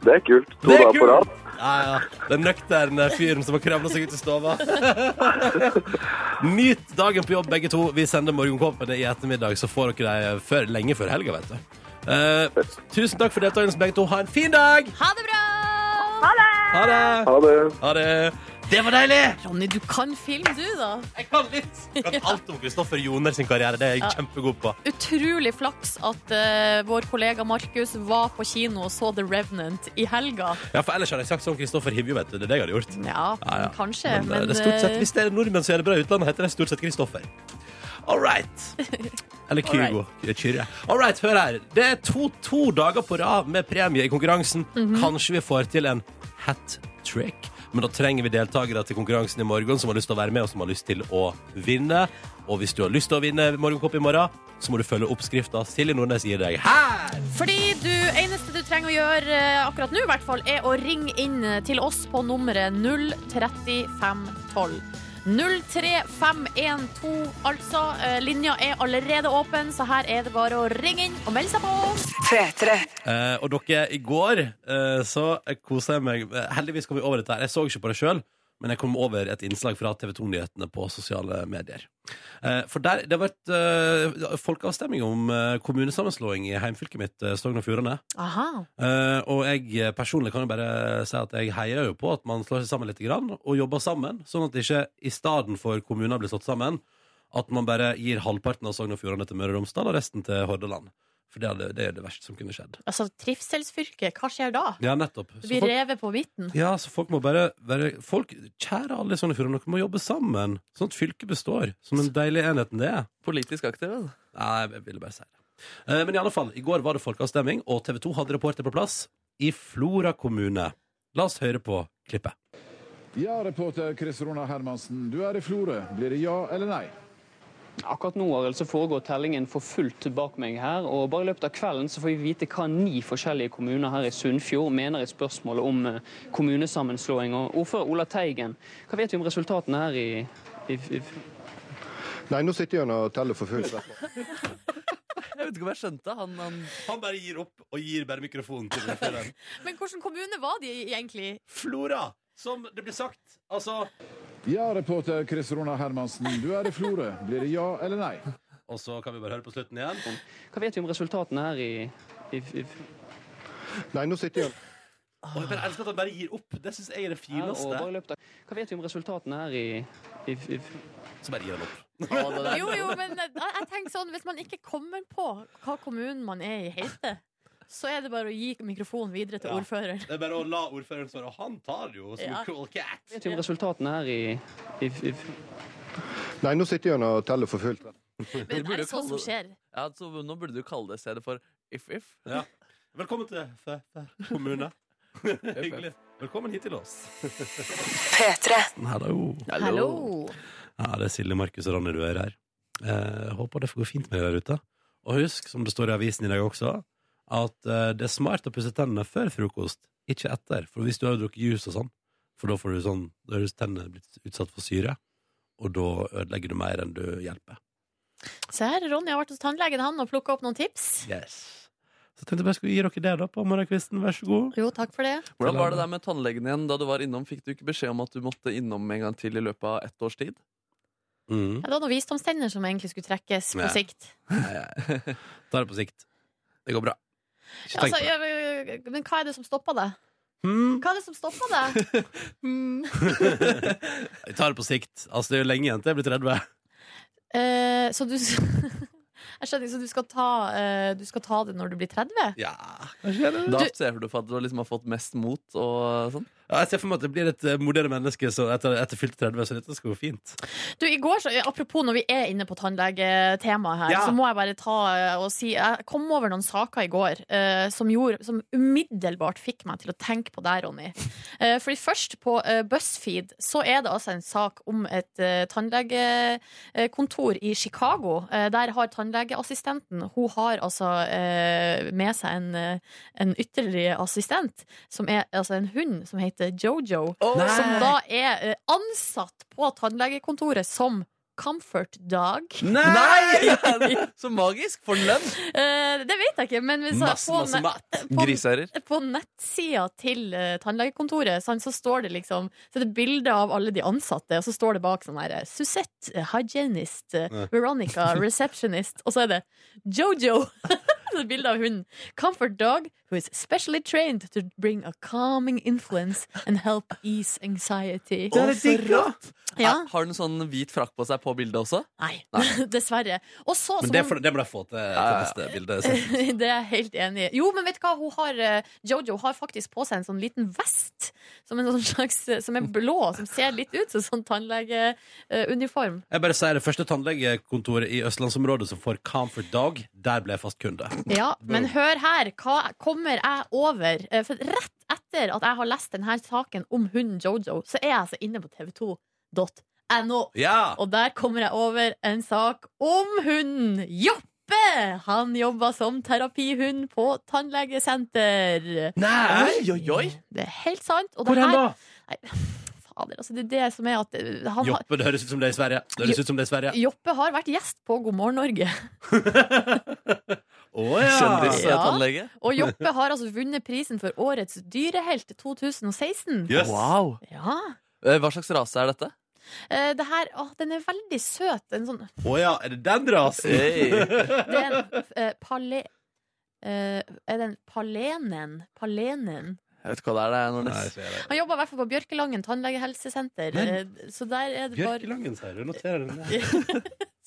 Speaker 6: Det er kult. To
Speaker 2: Det er
Speaker 6: dager på
Speaker 2: kult.
Speaker 6: rad.
Speaker 2: Ja, ja. Den nøkterne fyren som har kravla seg ut i stova. Nyt dagen på jobb, begge to. Vi sender morgenkåpene i ettermiddag, så får dere dem før, lenge før helga, vet du. Eh, tusen takk for deltakelsen, begge to. Ha en fin dag!
Speaker 3: Ha det bra!
Speaker 5: Ha det!
Speaker 2: Ha det!
Speaker 6: Ha det.
Speaker 2: Ha det. Det var deilig!
Speaker 3: Ronny, du kan film, du, da.
Speaker 2: Jeg kan litt. Jeg kan alt om Kristoffer Joner sin karriere. Det er jeg kjempegod på.
Speaker 3: Utrolig flaks at eh, vår kollega Markus var på kino og så The Revenant i helga.
Speaker 2: Ja, for ellers hadde jeg sagt sånn Kristoffer Hivju, vet du. Det er det jeg hadde gjort.
Speaker 3: Ja,
Speaker 2: Ja, ja.
Speaker 3: kanskje,
Speaker 2: Men,
Speaker 3: men,
Speaker 2: eh, det er stort sett,
Speaker 3: eh,
Speaker 2: hvis det er nordmenn som gjør det bra i utlandet, heter det stort sett Kristoffer. All right. Eller Kygo. Kyrre. All right, hør her. Det er to, to dager på rad med premie i konkurransen.
Speaker 3: Mhm.
Speaker 2: Kanskje vi får til en hat trick. Men da trenger vi deltakere til konkurransen i morgen som har lyst til å være med og som har lyst til å vinne. Og hvis du har lyst til å vinne Morgenkopp i morgen, så må du følge oppskrifta Silje Nordnes gir deg her.
Speaker 3: Fordi du, eneste du trenger å gjøre eh, akkurat nå, i hvert fall, er å ringe inn eh, til oss på nummeret 03512. 03512, altså. Eh, Linja er allerede åpen, så her er det bare å ringe inn og melde seg på.
Speaker 1: P3.
Speaker 2: Eh, og dere, i går eh, så kosa jeg meg eh, Heldigvis kom vi over dette her. Jeg så ikke på det sjøl, men jeg kom over et innslag fra TV 2-nyhetene på sosiale medier. Eh, for der, det har vært eh, folkeavstemning om eh, kommunesammenslåing i heimfylket mitt, eh, Sogn og Fjordane.
Speaker 3: Aha.
Speaker 2: Eh, og jeg eh, personlig kan jo bare si at jeg heier jo på at man slår seg sammen litt grann, og jobber sammen, sånn at ikke i stedet for kommuner blir slått sammen, at man bare gir halvparten av Sogn og Fjordane til Møre og Romsdal og resten til Hordaland. For det er det, det, er det verste som kunne skjedd.
Speaker 3: Altså, trivselsfylke, hva skjer da?
Speaker 2: Ja, nettopp.
Speaker 3: Du
Speaker 2: Så
Speaker 3: blir
Speaker 2: folk,
Speaker 3: revet på midten.
Speaker 2: ja, så folk må bare være folk, Kjære alle i Sogn og Fjordane, dere må jobbe sammen. Sånn at fylket består. Som den deilige enheten det er.
Speaker 4: Politisk altså. aktive. da.
Speaker 2: Nei, jeg ville bare si det. Eh, Men i alle fall, i går var det folkeavstemning, og TV 2 hadde reporter på plass i Flora kommune. La oss høre på klippet.
Speaker 7: Ja, reporter Chris Rona Hermansen, du er i Florø. Blir det ja eller nei?
Speaker 8: Akkurat nå Arild, så foregår tellingen for fullt bak meg her. og Bare i løpet av kvelden så får vi vite hva ni forskjellige kommuner her i Sunnfjord mener i spørsmålet om eh, kommunesammenslåing. Og Ordfører Ola Teigen, hva vet vi om resultatene her i, i, i
Speaker 9: Nei, nå sitter han og teller for fullt.
Speaker 4: Jeg vet ikke om jeg skjønte. Han, han
Speaker 2: Han bare gir opp, og gir bare mikrofonen til ordføreren.
Speaker 3: Men hvilken kommune var de i- egentlig?
Speaker 2: Flora, som det blir sagt. Altså
Speaker 7: Ja, reporter Chris Rona Hermansen, du er i Florø. Blir det ja eller nei?
Speaker 2: Og så kan vi bare høre på slutten igjen.
Speaker 8: Hva vet vi om resultatene her i, i, i
Speaker 9: Nei, nå sitter han
Speaker 2: Og jeg bare elsker at han bare gir opp. Det syns jeg er det
Speaker 8: her, og bare
Speaker 2: fineste.
Speaker 8: i løpet av, Hva vet vi om resultatene her i, i, i
Speaker 2: Så bare gir han opp.
Speaker 3: Jo, jo, men jeg, jeg tenker sånn Hvis man ikke kommer på hva kommunen man er i heter, så er det bare å gi mikrofonen videre til
Speaker 2: Ja.
Speaker 3: ordføreren.
Speaker 2: Det er bare å la ordføreren svare, og han tar det jo som
Speaker 3: Ja.
Speaker 2: en cool cat.
Speaker 8: Vet vi om resultatene her i, i, i
Speaker 9: Nei, nå sitter han og teller for fullt.
Speaker 3: Men det er
Speaker 4: burde
Speaker 3: det sånn
Speaker 4: kalle
Speaker 3: som
Speaker 4: det-
Speaker 3: skjer.
Speaker 4: ja, så Nå burde du kalle det i stedet for if-if.
Speaker 2: Velkommen til F- F- kommune. Hyggelig. Velkommen hit til oss.
Speaker 1: P3.
Speaker 2: Hallo.
Speaker 3: Hallo.
Speaker 2: Ja, det er Silje, Markus og Ronny du hører her. Eh, håper det får gå fint med deg der ute. Og husk, som det står i avisen i dag også, at eh, det er smart å pusse tennene før frokost, ikke etter. For hvis du har drukket juice og sånn, for da får du sånn, da er tennene blitt utsatt for syre, og da ødelegger du mer enn du hjelper.
Speaker 3: Se her, Ronny har vært hos tannlegen han og plukka opp noen tips.
Speaker 2: Yes. Så tenkte jeg bare skulle gi dere det da på morgenkvisten, vær så god.
Speaker 3: Jo, takk for det.
Speaker 4: Hvordan var det der med tannlegen igjen da du var innom? Fikk du ikke beskjed om at du måtte innom en gang til i løpet av ett års tid?
Speaker 2: Mm.
Speaker 3: Ja, Det var noen visdomstenner som egentlig skulle trekkes på
Speaker 2: Ja.
Speaker 3: sikt.
Speaker 2: Ta det på sikt. Det går bra. Ikke
Speaker 3: Ja,
Speaker 2: tenk
Speaker 3: altså,
Speaker 2: på det.
Speaker 3: ja, men hva er det som stopper deg?
Speaker 2: Hmm.
Speaker 3: Hva er det som stopper deg? Hmm.
Speaker 2: Jeg tar det på sikt. Altså, det er jo lenge igjen til jeg blir 30.
Speaker 3: Eh, så du Jeg skjønner, så du skal, ta, eh, du skal ta det når du blir 30?
Speaker 2: Ja.
Speaker 4: Da ser du for deg at du liksom har fått mest mot og sånn.
Speaker 2: Ja, jeg ser for meg at det blir et eh, modigere menneske så etter, etter fylte 30, så dette skal gå fint.
Speaker 3: Du, i går, så, Apropos når vi er inne på tannlegetemaet her,
Speaker 2: Ja.
Speaker 3: så må jeg bare ta eh, og si Jeg kom over noen saker i går eh, som, gjorde, som umiddelbart fikk meg til å tenke på deg, Ronny. Eh, fordi først på eh, BuzzFeed så er det altså en sak om et eh, tannlegekontor i Chicago. Eh, der har tannlegeassistenten Hun har altså eh, med seg en, eh, en ytterligere assistent, som er altså en hund som heter heter Jojo, som da er eh, ansatt på tannlegekontoret som Comfort Dog.
Speaker 4: Nei! Så magisk! For lønn!
Speaker 3: Eh, det vet jeg ikke, men hvis jeg-
Speaker 4: Masse,
Speaker 3: på
Speaker 4: masse
Speaker 3: ne-
Speaker 4: mat.
Speaker 3: på-
Speaker 4: Griseeier.
Speaker 3: på nettsida til eh, tannlegekontoret sant, så står det liksom Så er det bilder av alle de ansatte, og så står det bak sånn her eh, Suzette, eh, hygienist, eh,
Speaker 2: Ja.
Speaker 3: Veronica, receptionist, og så er det Jojo! Det er bilde av hunden. Comfort dog who is specially trained to bring a calming influence and help ease anxiety.
Speaker 4: Å, for rått!
Speaker 3: Ja.
Speaker 4: Er- Har den sånn hvit frakk på seg på bildet også?
Speaker 3: Nei, dessverre. Og så,
Speaker 2: Men
Speaker 3: som
Speaker 2: det,
Speaker 3: hun-
Speaker 2: får- det må jeg få til, til
Speaker 4: ja.
Speaker 2: neste bilde. Sett.
Speaker 3: det er jeg helt enig i. Jo, men vet du hva? Hun har, eh, Jojo har faktisk på seg en sånn liten vest som, en sånn slags, som er blå, som ser litt ut som sånn tannlegeuniform.
Speaker 2: Jeg bare sier det første tannlegekontoret i østlandsområdet som får Comfort Dog, der ble jeg fast kunde.
Speaker 3: Ja, men hør her. Hva kommer jeg over? Eh, For rett etter at jeg har lest denne saken om hunden Jojo, så er jeg altså inne på tv2.no.
Speaker 2: Ja!
Speaker 3: Og der kommer jeg over en sak om hunden Joppe! Han jobber som terapihund på tannlegesenter.
Speaker 2: Nei!
Speaker 4: Oi, oi, oi!
Speaker 3: Det er helt sant. Og det
Speaker 2: Hvor hen
Speaker 3: her-
Speaker 2: da?
Speaker 3: Fader, altså det er det som er at eh, han har,
Speaker 2: Joppe, det høres ut som det er i Sverige. Det høres ut som det er i Sverige.
Speaker 3: Joppe har vært gjest på God morgen Norge.
Speaker 2: Å ja!
Speaker 3: Ja.
Speaker 4: Kjendistannlege.
Speaker 3: Og Joppe har altså vunnet prisen for Årets dyrehelt 2016.
Speaker 2: Yes.
Speaker 4: Wow.
Speaker 3: Ja.
Speaker 4: Eh, Hva slags rase er dette?
Speaker 3: Eh, Det her, å, den er veldig søt. En sånn
Speaker 2: Å ja, er det den rasen?
Speaker 4: Hey.
Speaker 3: Det er en eh, pale... eh, er den palenen? Palenen.
Speaker 4: Jeg vet ikke hva det er. det er noe
Speaker 2: Nei,
Speaker 4: nes-
Speaker 2: ser jeg.
Speaker 3: Han jobber i hvert fall på Bjørkelangen tannlegehelsesenter.
Speaker 2: Men-
Speaker 3: eh, Så der er det bare
Speaker 2: Bjørkelangen, sier du. Noterer den der.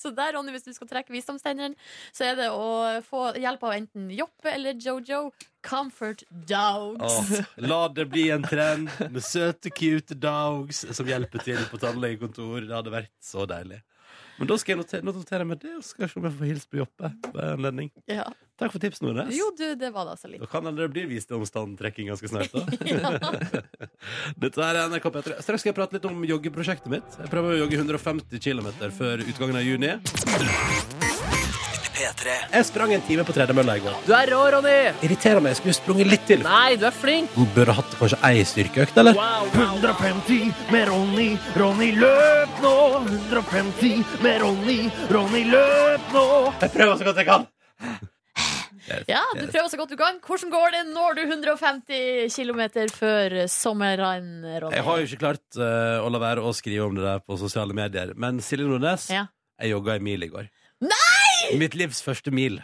Speaker 3: Så der, Ronny, hvis du skal trekke visdomstennene, så er det å få hjelp av enten Joppe eller Jojo. Comfort dogs.
Speaker 2: Å, La det bli en trend med søte, cute dogs som hjelper til på tannlegekontor. Det hadde vært så deilig. Men da skal jeg notere, nå noterer jeg meg det, og skal jeg se om jeg får hilse på Joppe. Ved anledning.
Speaker 3: Ja.
Speaker 2: Takk for tipsene våre.
Speaker 3: Jo, du, det var det altså litt.
Speaker 2: Da kan det bli visdomstanntrekking ganske snart. da Dette her er NRK P3. Straks skal jeg prate litt om joggeprosjektet mitt. Jeg prøver å jogge 150 km før utgangen av juni. Jeg sprang en time på tredemølla i går.
Speaker 4: Du er rå, Ronny!
Speaker 2: Irriterer meg. Jeg skulle sprunget litt til.
Speaker 4: Nei, du er flink!
Speaker 2: Burde hatt kanskje ei styrkeøkt, eller?
Speaker 10: 150 med Ronny, Ronny løp nå! 150 med Ronny, Ronny løp nå!
Speaker 2: Jeg prøver så godt jeg kan.
Speaker 3: Ja, du prøver så godt du kan. Hvordan går det? Når du 150 km før sommeren, Ronny?
Speaker 2: Jeg har jo ikke klart eh, å la være å skrive om det der på sosiale medier, men Silje Nordnes,
Speaker 3: Ja.
Speaker 2: jeg jogga en mil i går. Nei! Mitt livs første mil.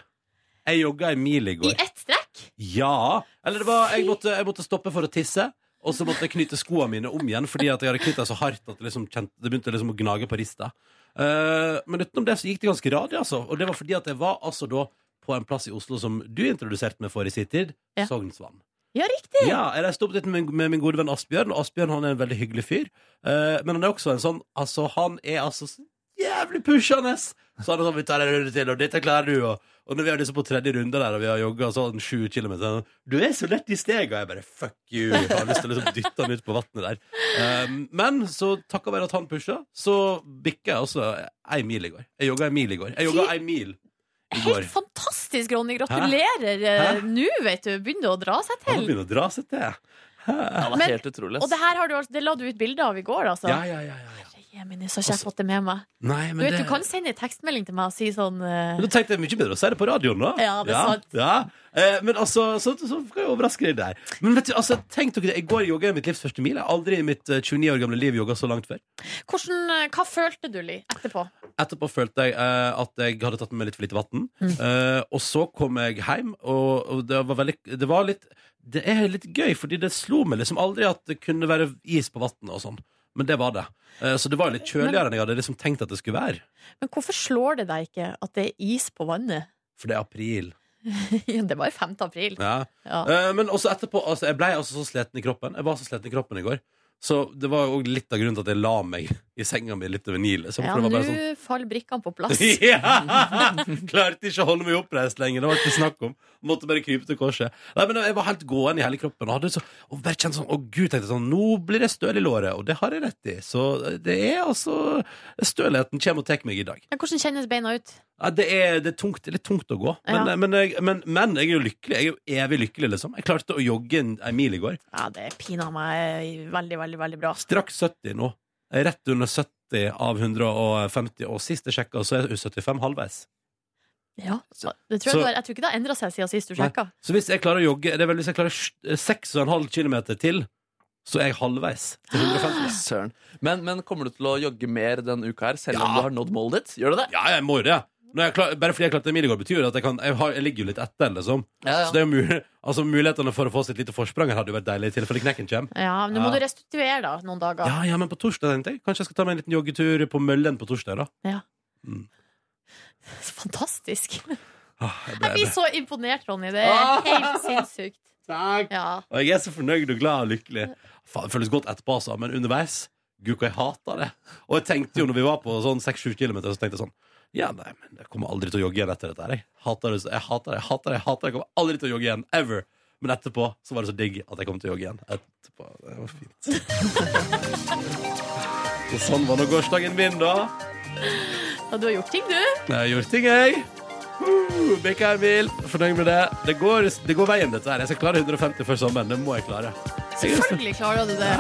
Speaker 2: Jeg jogga en mil i går.
Speaker 3: I ett strekk?
Speaker 2: Ja. Eller det var, jeg måtte, jeg måtte stoppe for å tisse. Og så måtte jeg knyte skoene mine om igjen fordi at jeg hadde knytta så hardt at det, liksom kjente, det begynte liksom å gnage på rista. Eh, men utenom det så gikk det ganske radig, altså. Og det var fordi at jeg var altså da på en plass i Oslo som du introduserte meg for i sin tid.
Speaker 3: Ja.
Speaker 2: Sognsvann.
Speaker 3: Ja, riktig!
Speaker 2: Ja, jeg reiste opp dit med, med min gode venn Asbjørn, og Asbjørn han er en veldig hyggelig fyr. Eh, men han er også en sånn Altså, han er altså så jævlig pushende! Så han er sånn, vi tar en runde til, og dette klarer du, og, og når vi har liksom på tredje runde der, og vi har jogga sånn sju kilometer, du er så lett i steg, og jeg bare fuck you! Jeg har lyst til å liksom dytte han ut på vannet der. Eh, men så takka være at han pusha, så bikka jeg også ei mil i går. Jeg jogga ei mil i går. Jeg jogga ei mil i går.
Speaker 3: Helt fantastisk, Ronny. Gratulerer. eh,
Speaker 2: Hæ?
Speaker 3: Nå, vet du, begynner det å dra seg
Speaker 2: Han
Speaker 3: til.
Speaker 2: begynner å dra seg til.
Speaker 4: Ja, det er
Speaker 3: Men-
Speaker 4: helt utrolig.
Speaker 3: Og
Speaker 4: ass.
Speaker 3: det her har du, altså- det la du ut bilde av i går, altså.
Speaker 2: Ja, ja, ja, ja, ja.
Speaker 3: Jemini, så har ikke jeg fått det med meg.
Speaker 2: Nei, Altså, men
Speaker 3: Du vet,
Speaker 2: det...
Speaker 3: du kan sende en tekstmelding til meg og si sånn eh,
Speaker 2: Men da tenkte jeg mye bedre å si det på radioen, da.
Speaker 3: Ja, det er sant.
Speaker 2: Ja, Eh, men altså, så, så kan jeg overraske deg der. Men vet du, altså, tenk dere det. I går jogga jeg mitt livs første mil. Jeg har aldri i mitt eh, 29 år gamle liv jogga så langt før.
Speaker 3: hvordan, eh, Hva følte du, Li, etterpå?
Speaker 2: Etterpå følte jeg eh, at jeg hadde tatt med meg litt for lite vann.
Speaker 3: Mm.
Speaker 2: Eh, og så kom jeg hjem, og, og det var veldig Det var litt Det er litt gøy, fordi det slo meg liksom aldri at det kunne være is på vannet og sånn. Men det var det. Eh, så det var jo litt kjøligere enn jeg hadde liksom tenkt at det skulle være.
Speaker 3: Men hvorfor slår det deg ikke at det er is på vannet?
Speaker 2: For det er april.
Speaker 3: Ja, det var jo 5. april.
Speaker 2: Ja.
Speaker 3: Ja.
Speaker 2: Eh, men også etterpå altså, Jeg ble altså så sliten i kroppen Jeg var så sliten i kroppen i går Så det var jo også litt av grunnen til at jeg la meg i senga mi litt over Nilen. Så jeg
Speaker 3: Ja,
Speaker 2: tror det
Speaker 3: nå
Speaker 2: var bare sånn
Speaker 3: faller brikkene på plass.
Speaker 2: ja! Klarte ikke å holde meg oppreist lenger. Det var ikke snakk om. Måtte bare krype til korset. Nei, men Jeg var helt gåen i hele kroppen og hadde så, og bare kjent sånn Å, gud, tenkte jeg sånn Nå blir jeg støl i låret, og det har jeg rett i. Så det er altså Stølheten kommer og tar meg i dag.
Speaker 3: Men hvordan kjennes beina ut?
Speaker 2: Ja, det, er, det, er tungt, det er litt tungt å gå, men, eh,
Speaker 3: Ja.
Speaker 2: men, jeg- men, men jeg er jo lykkelig. Jeg er jo evig lykkelig, liksom. Jeg klarte å jogge en, en mil i går.
Speaker 3: Ja, det pina meg veldig, veldig, veldig bra.
Speaker 2: Straks 70 nå. Jeg er Rett under 70 av 150, og sist jeg sjekka, så er jeg 75 halvveis.
Speaker 3: Ja, det tror jeg,
Speaker 2: Så-
Speaker 3: du har- jeg tror ikke det har endra seg siden sist du
Speaker 2: Nei.
Speaker 3: sjekka.
Speaker 2: Så hvis jeg klarer å jogge Det er vel hvis jeg klarer sj- 6,5 km til, så er jeg halvveis til 150.
Speaker 4: Søren. Men, men kommer du til å jogge mer denne uka her, selv om du har nådd målet ditt? Gjør du det?
Speaker 2: Ja, jeg må jo det. Når jeg klar, bare fordi jeg klarte mil i går, betyr det at jeg, kan, jeg, har, jeg ligger jo litt etter. Liksom.
Speaker 4: Ja, ja.
Speaker 2: Så det er jo mulig, altså, mulighetene for å få sitt lite forsprang her hadde jo vært deilig i tilfelle knekken kommer.
Speaker 3: Ja, men Nå må
Speaker 2: Ja.
Speaker 3: du restituere da, noen dager.
Speaker 2: Ja, ja, men på torsdag tenkte jeg Kanskje jeg skal ta meg en liten joggetur på Møllen på torsdag da
Speaker 3: Ja.
Speaker 2: Mm.
Speaker 3: Fantastisk.
Speaker 2: Åh, jeg,
Speaker 3: Ah, Jeg
Speaker 2: ble,
Speaker 3: blir så imponert, Ronny. Det
Speaker 11: Ah.
Speaker 3: er helt sinnssykt.
Speaker 2: Takk.
Speaker 3: Ja.
Speaker 2: Og jeg er så fornøyd og glad og lykkelig Faen, det føles godt etterpå altså Men underveis, gud hva jeg hater det Og jeg tenkte jo når vi var på sånn 6-7 kilometer Så tenkte jeg sånn Ja, nei, men jeg kommer aldri til å jogge igjen etter dette her Jeg hater det, så- jeg hater det, jeg hater det, jeg hater det Jeg kommer aldri til å jogge igjen, ever Men etterpå så var det så digg at jeg kom til å jogge igjen Etterpå, det var fint Så sånn var nå gårsdagen min da
Speaker 3: Og du har gjort ting, du.
Speaker 2: Jeg har gjort ting, jeg. Uh, Bikka en bil. Fornøyd med det. Det går, det går veien, dette her. Jeg skal klare 150 før sommeren. Det må jeg klare.
Speaker 3: Selvfølgelig klarer du det.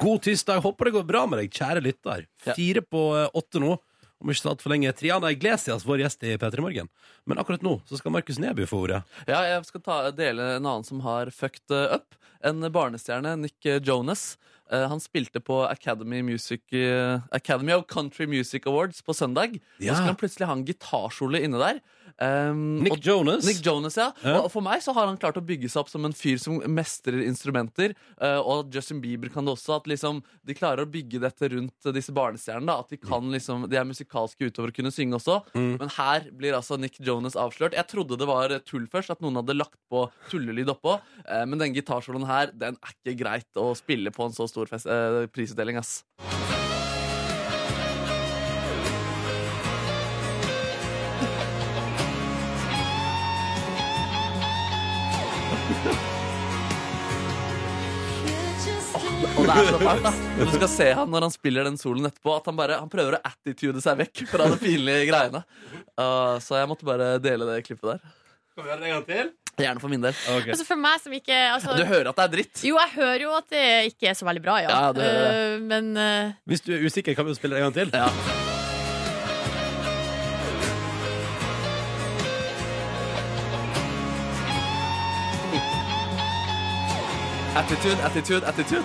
Speaker 2: God tirsdag. Håper det går bra med deg, kjære lytter. Fire på eh, åtte nå. Om ikke så altfor lenge. Triana Iglesias, vår gjest i P3 Morgen. Men akkurat nå så skal Markus Neby få ordet.
Speaker 4: Ja, jeg skal ta, dele en annen som har fucked eh, up. En barnestjerne, Nick eh, Jonas. Eh, Han spilte på Academy, Music, eh, Academy of Country Music Awards på søndag. Og
Speaker 2: Ja.
Speaker 4: så kan han plutselig ha en gitarkjole inne der. Um,
Speaker 2: Nick
Speaker 4: og-
Speaker 2: Jonas?
Speaker 4: Nick Jonas, ja.
Speaker 2: Ja.
Speaker 4: Og for meg så har han klart å bygge seg opp som en fyr som mestrer instrumenter. eh, Og Justin Bieber kan det også. At liksom de klarer å bygge dette rundt eh, disse barnestjernene. da. At de, kan liksom, de er musikalske utover å kunne synge også.
Speaker 2: Mm.
Speaker 4: Men her blir altså Nick Jonas avslørt. Jeg trodde det var tull først, at noen hadde lagt på tullelyd oppå. eh, Men den gitarsoloen her, den er ikke greit å spille på en så stor fest, eh, prisutdeling, ass. Og det er så fælt, da. Du skal se han når han spiller den solen etterpå, at han bare han prøver å attitude seg vekk fra de pinlige greiene. Eh, så jeg måtte bare dele det klippet der.
Speaker 2: Skal vi gjøre det en gang til?
Speaker 4: Gjerne for min del.
Speaker 3: Altså for meg som ikke altså,
Speaker 4: Du hører at det er dritt.
Speaker 3: Jo, jeg hører jo at det ikke er så veldig bra, ja.
Speaker 4: Ja, det hører
Speaker 3: Eh, Men eh,
Speaker 2: Hvis du er usikker, kan vi jo spille det en gang til.
Speaker 4: Ja. Attitude, attitude, attitude.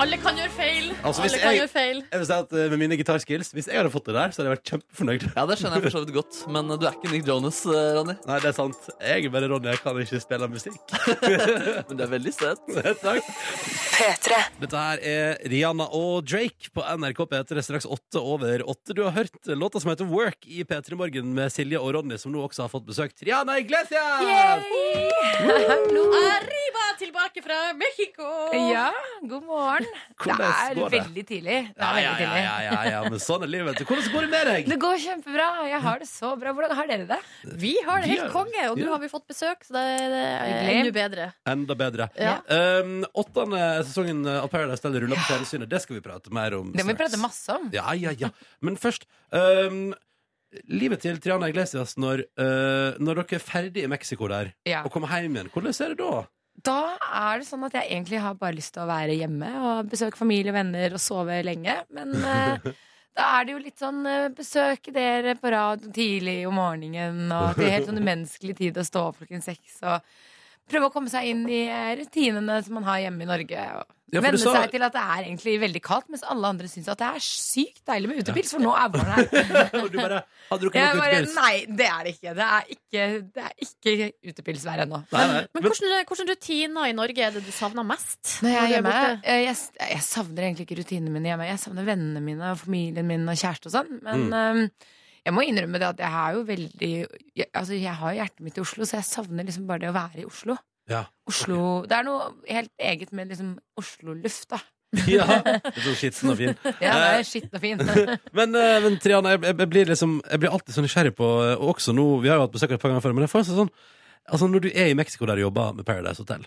Speaker 3: alle kan gjøre feil.
Speaker 2: Altså, hvis
Speaker 3: alle kan
Speaker 2: jeg-
Speaker 3: gjøre feil.
Speaker 2: Jeg vil si at eh, Med mine gitarskills, hvis jeg hadde fått det der, så hadde jeg vært kjempefornøyd.
Speaker 4: Ja, det skjønner jeg for så vidt godt, men uh, du er ikke Nick Jonas, eh, Ronny.
Speaker 2: Nei, det er sant. Jeg er bare Ronny, jeg kan ikke spille musikk.
Speaker 4: Men du er veldig søt.
Speaker 2: Takk.
Speaker 1: P3.
Speaker 2: Dette her er Rihanna og Drake på NRK P3 straks åtte over åtte. Du har hørt låta som heter Work i P3 Morgen med Silje og Ronny, som nå også har fått besøk. Rihanna Iglesias!
Speaker 3: Arriba tilbake fra Mexico!
Speaker 11: Ja, god morgen.
Speaker 2: Hvordan
Speaker 11: det
Speaker 2: går
Speaker 11: er
Speaker 2: det?
Speaker 11: veldig tidlig. Det
Speaker 2: Ja,
Speaker 11: er
Speaker 2: ja,
Speaker 11: veldig
Speaker 2: ja,
Speaker 11: tidlig.
Speaker 2: ja, ja, ja, men sånn er livet. Hvordan går det med deg?
Speaker 11: Det går kjempebra. Jeg har det så bra. Hvordan har dere det?
Speaker 3: Vi har det
Speaker 2: Vi
Speaker 3: helt
Speaker 2: har-
Speaker 3: konge, og nå
Speaker 2: ja.
Speaker 3: har vi fått besøk, så det, det er
Speaker 11: Hyggelig.
Speaker 3: enda bedre.
Speaker 2: Enda bedre.
Speaker 3: Ja.
Speaker 2: Um, åttende sesongen av Paradise Del ruller på fjernsynet. Det skal vi prate mer om
Speaker 11: Det må vi
Speaker 2: straks.
Speaker 11: prate masse om.
Speaker 2: Ja, ja, ja. Men først um, Livet til Triana Iglesias når, uh, når dere er ferdig i Mexico der
Speaker 11: Ja.
Speaker 2: og kommer hjem igjen. Hvordan er det da?
Speaker 11: Da er det sånn at jeg egentlig har bare lyst til å være hjemme og besøke familie og venner og sove lenge. Men eh, da er det jo litt sånn eh, besøke dere på radio tidlig om morgenen, og det er helt sånn umenneskelig tid å stå opp klokken seks og prøve å komme seg inn i eh, rutinene som man har hjemme i Norge. og
Speaker 2: Ja, for
Speaker 11: Venne
Speaker 2: du sa-
Speaker 11: seg til at det er egentlig veldig kaldt, mens alle andre syns at det er sykt deilig med utepils, for nå er våren her.
Speaker 2: Og du bare Har drukket
Speaker 11: Jeg
Speaker 2: nok
Speaker 11: bare,
Speaker 2: utepils?
Speaker 11: nei, det er det ikke. Det er ikke, det er ikke utepilsvær ennå.
Speaker 2: Nei, nei.
Speaker 3: Men
Speaker 2: Men-
Speaker 3: hvordan, hvordan rutiner i Norge er det du savner mest?
Speaker 11: Når jeg er
Speaker 3: du
Speaker 11: hjemme,
Speaker 3: borte?
Speaker 11: eh, jeg, s- jeg savner egentlig ikke rutinene mine hjemme. Jeg savner vennene mine og familien min og kjæreste og sånn. Men eh, jeg må innrømme det at jeg har jo veldig jeg, Altså, jeg har jo hjertet mitt i Oslo, så jeg savner liksom bare det å være i Oslo.
Speaker 2: Ja.
Speaker 11: Oslo Det er noe helt eget med liksom Oslo-luft, da.
Speaker 2: Ja, det er så skitten og fin.
Speaker 11: Ja, det
Speaker 2: Eh,
Speaker 11: er skitten og fin.
Speaker 2: men, eh, men Triana, jeg, jeg, blir liksom, jeg blir alltid så nysgjerrig på eh, Og også nå, vi har jo hatt besøk av et par ganger før Men jeg får en sånn, altså når du er i Mexico der du jobber med Paradise Hotel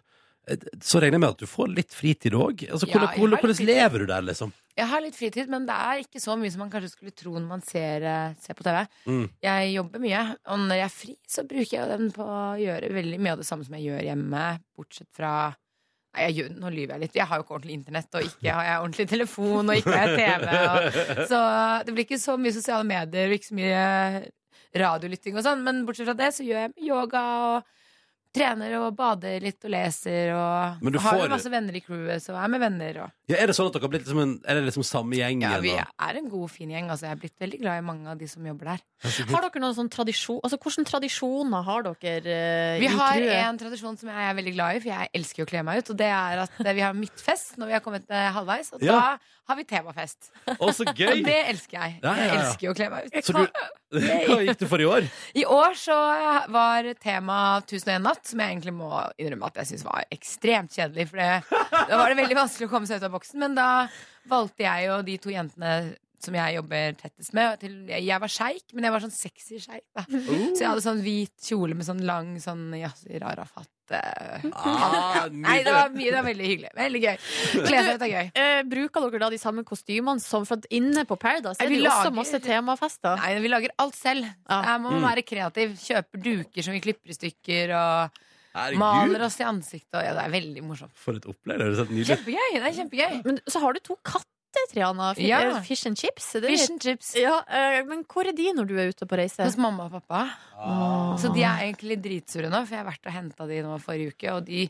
Speaker 2: eh, Så regner jeg med at du får litt fritid også altså,
Speaker 11: Ja, jeg
Speaker 2: hvordan, hvordan,
Speaker 11: har litt
Speaker 2: hvordan lever du der liksom?
Speaker 11: Jeg har litt fritid, men det er ikke så mye som man kanskje skulle tro når man ser, eh, ser på TV.
Speaker 2: Mm.
Speaker 11: Jeg jobber mye, og når jeg er fri, så bruker jeg jo den på å gjøre veldig mye av det samme som jeg gjør hjemme, bortsett fra Nei, jeg, gjør- nå lyver jeg litt. Jeg har jo ikke ordentlig internett, og ikke har jeg ordentlig telefon, og ikke har jeg TV. Og, så det blir ikke så mye sosiale medier, og ikke så mye radiolytting og sånn. Men bortsett fra det så gjør jeg yoga og trener og bader litt og leser og
Speaker 2: Men du
Speaker 11: har
Speaker 2: får-
Speaker 11: jo masse venner i crewet, så er med venner og
Speaker 2: Ja, er det sånn at dere har blitt liksom en, Er det liksom samme gjeng?
Speaker 11: ja, vi
Speaker 2: igjen, da?
Speaker 11: er en god, fin gjeng. Altså, jeg er blitt veldig glad i mange av de som jobber der.
Speaker 3: Har dere noen sånn tradisjon Altså, Hvilke tradisjoner har dere eh,
Speaker 11: Vi
Speaker 3: i
Speaker 11: har
Speaker 3: crewet?
Speaker 11: en tradisjon som jeg er veldig glad i, for jeg elsker å kle meg ut. Og det er at eh, vi har midtfest når vi har kommet eh, halvveis, og
Speaker 2: Ja.
Speaker 11: da har vi temafest.
Speaker 2: Å, så gøy!
Speaker 11: Og det elsker jeg.
Speaker 2: Ja, ja,
Speaker 11: Jeg
Speaker 2: ja.
Speaker 11: elsker jo å kle meg ut.
Speaker 2: Så du, hva gikk du for i år?
Speaker 11: I år så var tema 1001 natt, som jeg egentlig må innrømme at jeg syns var ekstremt kjedelig. For det, da var det veldig vanskelig å komme seg ut av boksen. Men da valgte jeg og de to jentene som jeg jobber tettest med til, Jeg var sjeik, men jeg var sånn sexy sjeik. da. Så jeg hadde sånn hvit kjole med sånn lang sånn Yasir Arafat. eh,
Speaker 2: Ah,
Speaker 11: Nei, det var, mye, det var veldig hyggelig. Veldig gøy. Kle seg ut er gøy.
Speaker 3: Eh, bruker dere da de samme kostymene som for at inne på Paradise?
Speaker 11: Nei,
Speaker 3: Er
Speaker 11: vi
Speaker 3: det jo
Speaker 11: lager-
Speaker 3: også masse temafester?
Speaker 11: Nei, vi lager alt selv. Her må man
Speaker 3: Mm.
Speaker 11: være kreativ. Kjøper duker som vi klipper i stykker, og
Speaker 2: Herregud.
Speaker 11: maler oss i ansiktet. Og, ja, det er veldig morsomt.
Speaker 2: For et opplegg, det er sett nydelig
Speaker 11: Kjempegøy! det er kjempegøy
Speaker 3: Men så har du to katter, Triana. Fi-
Speaker 11: Ja.
Speaker 3: eh, Fish Altså, and chips? er det
Speaker 11: Fish
Speaker 3: litt-
Speaker 11: and chips.
Speaker 3: Ja, eh, men hvor er de når du er ute på reise?
Speaker 11: Hos mamma og pappa. Så de er egentlig dritsure nå, for jeg har vært og henta de nå forrige uke. Og de,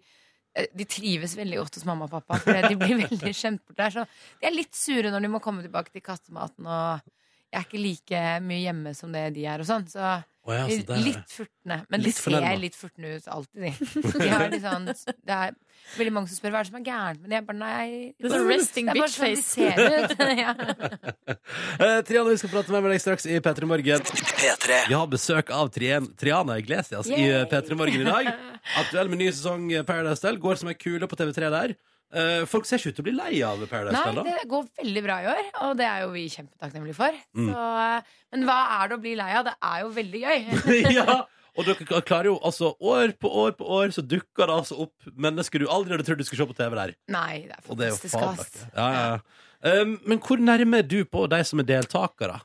Speaker 11: eh, de trives veldig godt hos mamma og pappa, for de blir veldig skjemt bort der. Så de er litt sure når de må komme tilbake til kattematen, og jeg er ikke like mye hjemme som det de er, og sånn. Så,
Speaker 2: Å ja, så der-
Speaker 11: litt furtne. Men
Speaker 2: Litt
Speaker 11: de ser
Speaker 2: fornærma.
Speaker 11: litt furtne ut alltid, de. de har litt sånn, det er veldig mange som spør hva er det som er gærent, men jeg bare nei.
Speaker 3: Det er sånn resting
Speaker 11: Det er bare
Speaker 3: bitch
Speaker 11: sånn de ser
Speaker 3: face.
Speaker 11: ut. ja.
Speaker 2: Eh, Triana, vi skal prate mer med deg straks i P3 Morgen. Vi har besøk av Trien, Triana Iglesias i
Speaker 10: Yay.
Speaker 2: P3 Morgen i dag. Aktuell med ny sesong eh, Paradise Del. Går som ei kule på TV3 der. Eh, folk ser ikke ut til å bli lei av Paradise
Speaker 11: Nei,
Speaker 2: Del, da.
Speaker 11: det går veldig bra i år, og det er jo vi kjempetakknemlige for.
Speaker 2: Mm.
Speaker 11: Så, eh, men hva er det å bli lei av? Det er jo veldig gøy.
Speaker 2: ja. Og dere klarer jo altså år på år på år så dukker det altså opp mennesker du aldri hadde trodd du skulle se på TV der.
Speaker 11: Nei, det er
Speaker 2: Og det er jo
Speaker 11: fantastisk. ass.
Speaker 2: faen Ja, ja. ja. Um, men hvor nærme er du på de som er deltakere?